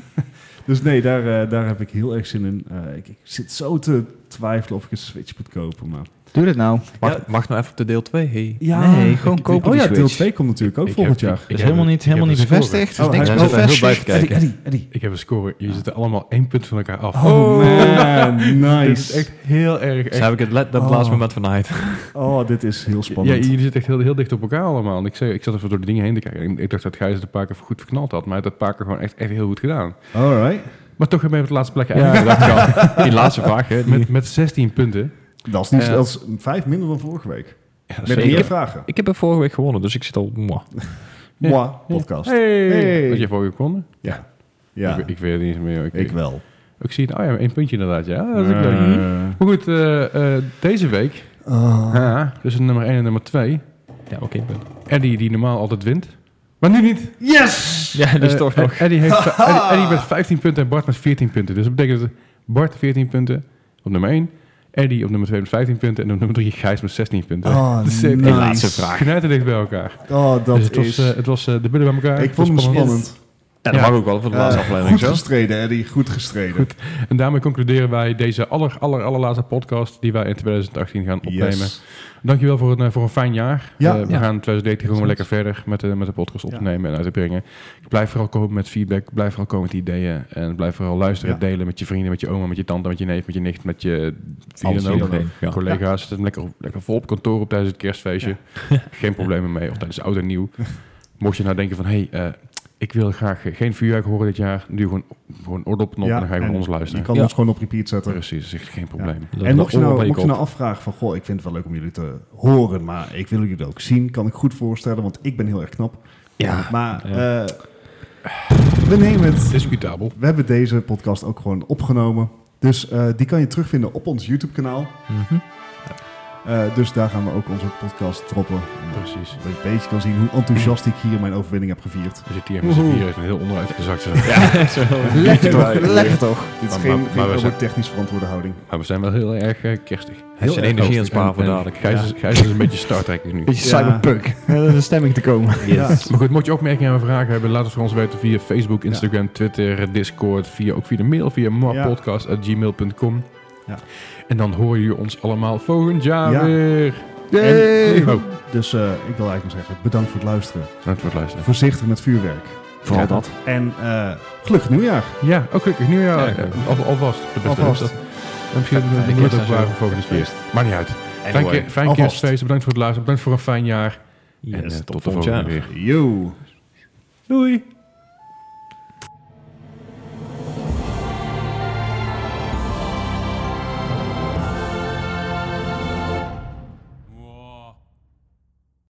C: dus nee, daar, eh, daar heb ik heel erg zin in. Eh, ik, ik zit zo te twijfelen of ik een Switch moet kopen. Maar...
D: Doe dat nou.
A: Mag, mag nou even op de deel 2? Hey.
D: Nee, gewoon kopen
C: Oh
D: die
C: ja, deel
D: Switch.
C: 2 komt natuurlijk ook
B: Ik
C: volgend
B: heb-
C: jaar.
B: ik-
D: Dat is
B: heb
D: helemaal
B: een-
D: niet, helemaal
B: ik
D: niet
B: heb een score.
D: bevestigd. Dus
C: Oh,
D: niks
C: hij
D: te
C: is wel-
A: hij is wel
D: bevestigen.
A: bij te
C: Eddie, Eddie, Eddie.
B: Ik heb een score. Jullie zitten allemaal één punt van elkaar af.
C: Oh, man,
B: Dit is
C: nice.
B: echt heel erg...
A: Dus
B: Echt.
A: heb ik het let- dat
C: Oh.
A: laatste moment van de night.
C: Oh, dit is heel
B: Ja,
C: spannend.
B: jullie zitten echt heel, heel dicht op elkaar allemaal. En Ik, zei, ik zat even door de dingen heen te kijken. En ik dacht dat Gijs het een paar keer goed verknald had. Maar hij had het een paar keer gewoon echt, echt heel goed gedaan.
C: All right.
B: Maar toch heb ik op het laatste plekje
A: Ja,
B: eindigd.
A: dat kan. Die laatste vraag, hè? die-
B: Met, met 16 punten.
C: Dat is, niet,
B: Eh.
C: dat is vijf minder dan vorige week.
B: Ja,
C: Met
A: zeker.
C: meer vragen.
A: Ik heb er vorige week gewonnen, dus ik zit al... mwah.
B: Ja.
C: Moi, podcast.
B: Hey.
C: Hey.
B: Had je vorige keer gewonnen?
C: Ja. Ja,
B: Ik,
C: ik,
B: ik weet het niet meer. Ik, ik,
C: wel.
B: zie het. Oh ja, één puntje inderdaad. Ja, dat is ook leuk. Maar goed, eh, eh, deze week,
A: Ah.
B: tussen nummer 1 en nummer 2,
A: Ja, oké.
B: Eddie die normaal altijd wint, maar nu niet.
C: Yes!
A: Ja, dus
B: Eh,
A: toch
B: Ed-
A: nog.
B: Eddie, heeft, Eddie, Eddie met 15 punten en Bart met 14 punten. Dus dat betekent dat Bart 14 punten op nummer 1, Eddie op nummer 2 met 15 punten en op nummer 3 Gijs met 16 punten.
C: Oh,
B: Dus, eh,
C: nice.
A: laatste vraag.
B: Knijten dicht bij elkaar.
C: Oh, dat
B: dus het was,
C: is...
B: eh, het was eh, de billen bij elkaar.
C: ik vond hem
B: was
C: spannend.
A: Ja,
B: Ja.
A: dat mag ook wel voor de laatste
C: Eh,
A: aflevering,
C: goed
A: zo.
C: gestreden, Eddie. Goed gestreden.
B: Goed En daarmee concluderen wij deze aller, aller, allerlaatste podcast die wij in 2018 gaan opnemen.
C: Yes.
B: Dankjewel voor een, eh, voor een fijn jaar.
C: Ja.
B: Eh, we
A: Ja.
B: gaan in 2019 gewoon weer lekker
A: Absoluut.
B: verder met de, met de podcast
C: Ja.
B: opnemen en uit te brengen. Ik blijf vooral komen met feedback, blijf vooral komen met ideeën en blijf vooral luisteren
C: Ja.
B: delen met je vrienden, met je oma, met je tante, met je neef, met je nicht, met je wie
A: Alles
B: dan
A: hier
B: ook.
A: dan ook, ja.
B: collega's. Zet hem lekker, op- lekker vol op kantoor op tijdens het kerstfeestje. Geen problemen mee, of tijdens oud en nieuw. Mocht je nou denken van, hé, hey, eh, ik wil graag eh, geen vuurwerk horen dit jaar. Doe gewoon, gewoon oordopknop en dan ga je
C: en
B: gewoon ons luisteren.
C: Je kan
A: Ja.
C: ons gewoon op repeat zetten.
B: Precies, dat is echt geen probleem.
A: Dat-
C: En
A: dat
C: mocht je, nou,
A: oren
C: mocht je
A: van
C: nou afvragen van... Goh, ik vind het wel leuk om jullie te horen, maar ik wil jullie dat ook zien. Kan ik goed voorstellen, want ik ben heel erg knap.
A: Ja.
C: Maar eh, we nemen het.
B: Discutabel.
C: We hebben deze podcast ook gewoon opgenomen. Dus eh, die kan je terugvinden op ons YouTube-kanaal.
A: Mhm.
C: Eh, dus daar gaan we ook onze podcast droppen.
B: Precies.
C: Dat je een beetje kan zien hoe enthousiast ik hier mijn overwinning heb gevierd.
B: We zitten hier met z'n
D: Woehoe.
B: vieren echt een heel onderuit gezakt.
A: Ja, zo.
D: Lekker toch,
C: Ja.
D: lekker toch.
C: Dit is
B: Maar-
C: geen,
B: maar-
C: geen
B: maar we zijn-
C: Robert technisch verantwoorde houding.
B: Maar we zijn wel heel erg eh, kerstig.
A: Hij
C: erg
A: zijn energie aan het
B: En-
A: sparen voor
B: en
A: dadelijk.
B: Gijs, is, Gijs is een beetje Star Trek nu.
D: Beetje
C: Ja.
D: cyberpunk. Om in de stemming te komen.
C: Yes.
B: Maar goed, mocht je opmerkingen en vragen hebben, laat het voor ons weten via Facebook, Instagram, Twitter, Discord, via, ook via de mail, via marpodcast.gmail.com.
C: Ja.
B: En dan horen jullie ons allemaal volgend jaar
C: Ja.
B: weer.
C: Yay!
B: En, oh,
C: Dus eh, ik wil eigenlijk maar zeggen, bedankt voor het luisteren.
B: bedankt voor het luisteren.
C: Voorzichtig met vuurwerk. Vooral
A: Ja.
C: dat. En eh gelukkig nieuwjaar.
B: Ja, ook gelukkig
A: Ja,
B: nieuwjaar.
A: ja.
B: Eh, al- Alvast. De beste
C: Alvast.
B: wensen. En misschien
A: Fijne
B: hebben we
A: kerst
B: het
A: en
B: ook
A: zo.
B: waar voor volgende keer. Maar niet uit. Fijn,
A: Anyway.
B: keer, fijn
C: Alvast.
B: kerstfeest. Bedankt voor het luisteren. Bedankt voor een fijn jaar.
A: Yes,
B: en eh,
A: tot,
B: tot, de
A: volgend jaar.
B: volgende keer.
C: Yo.
B: Doei.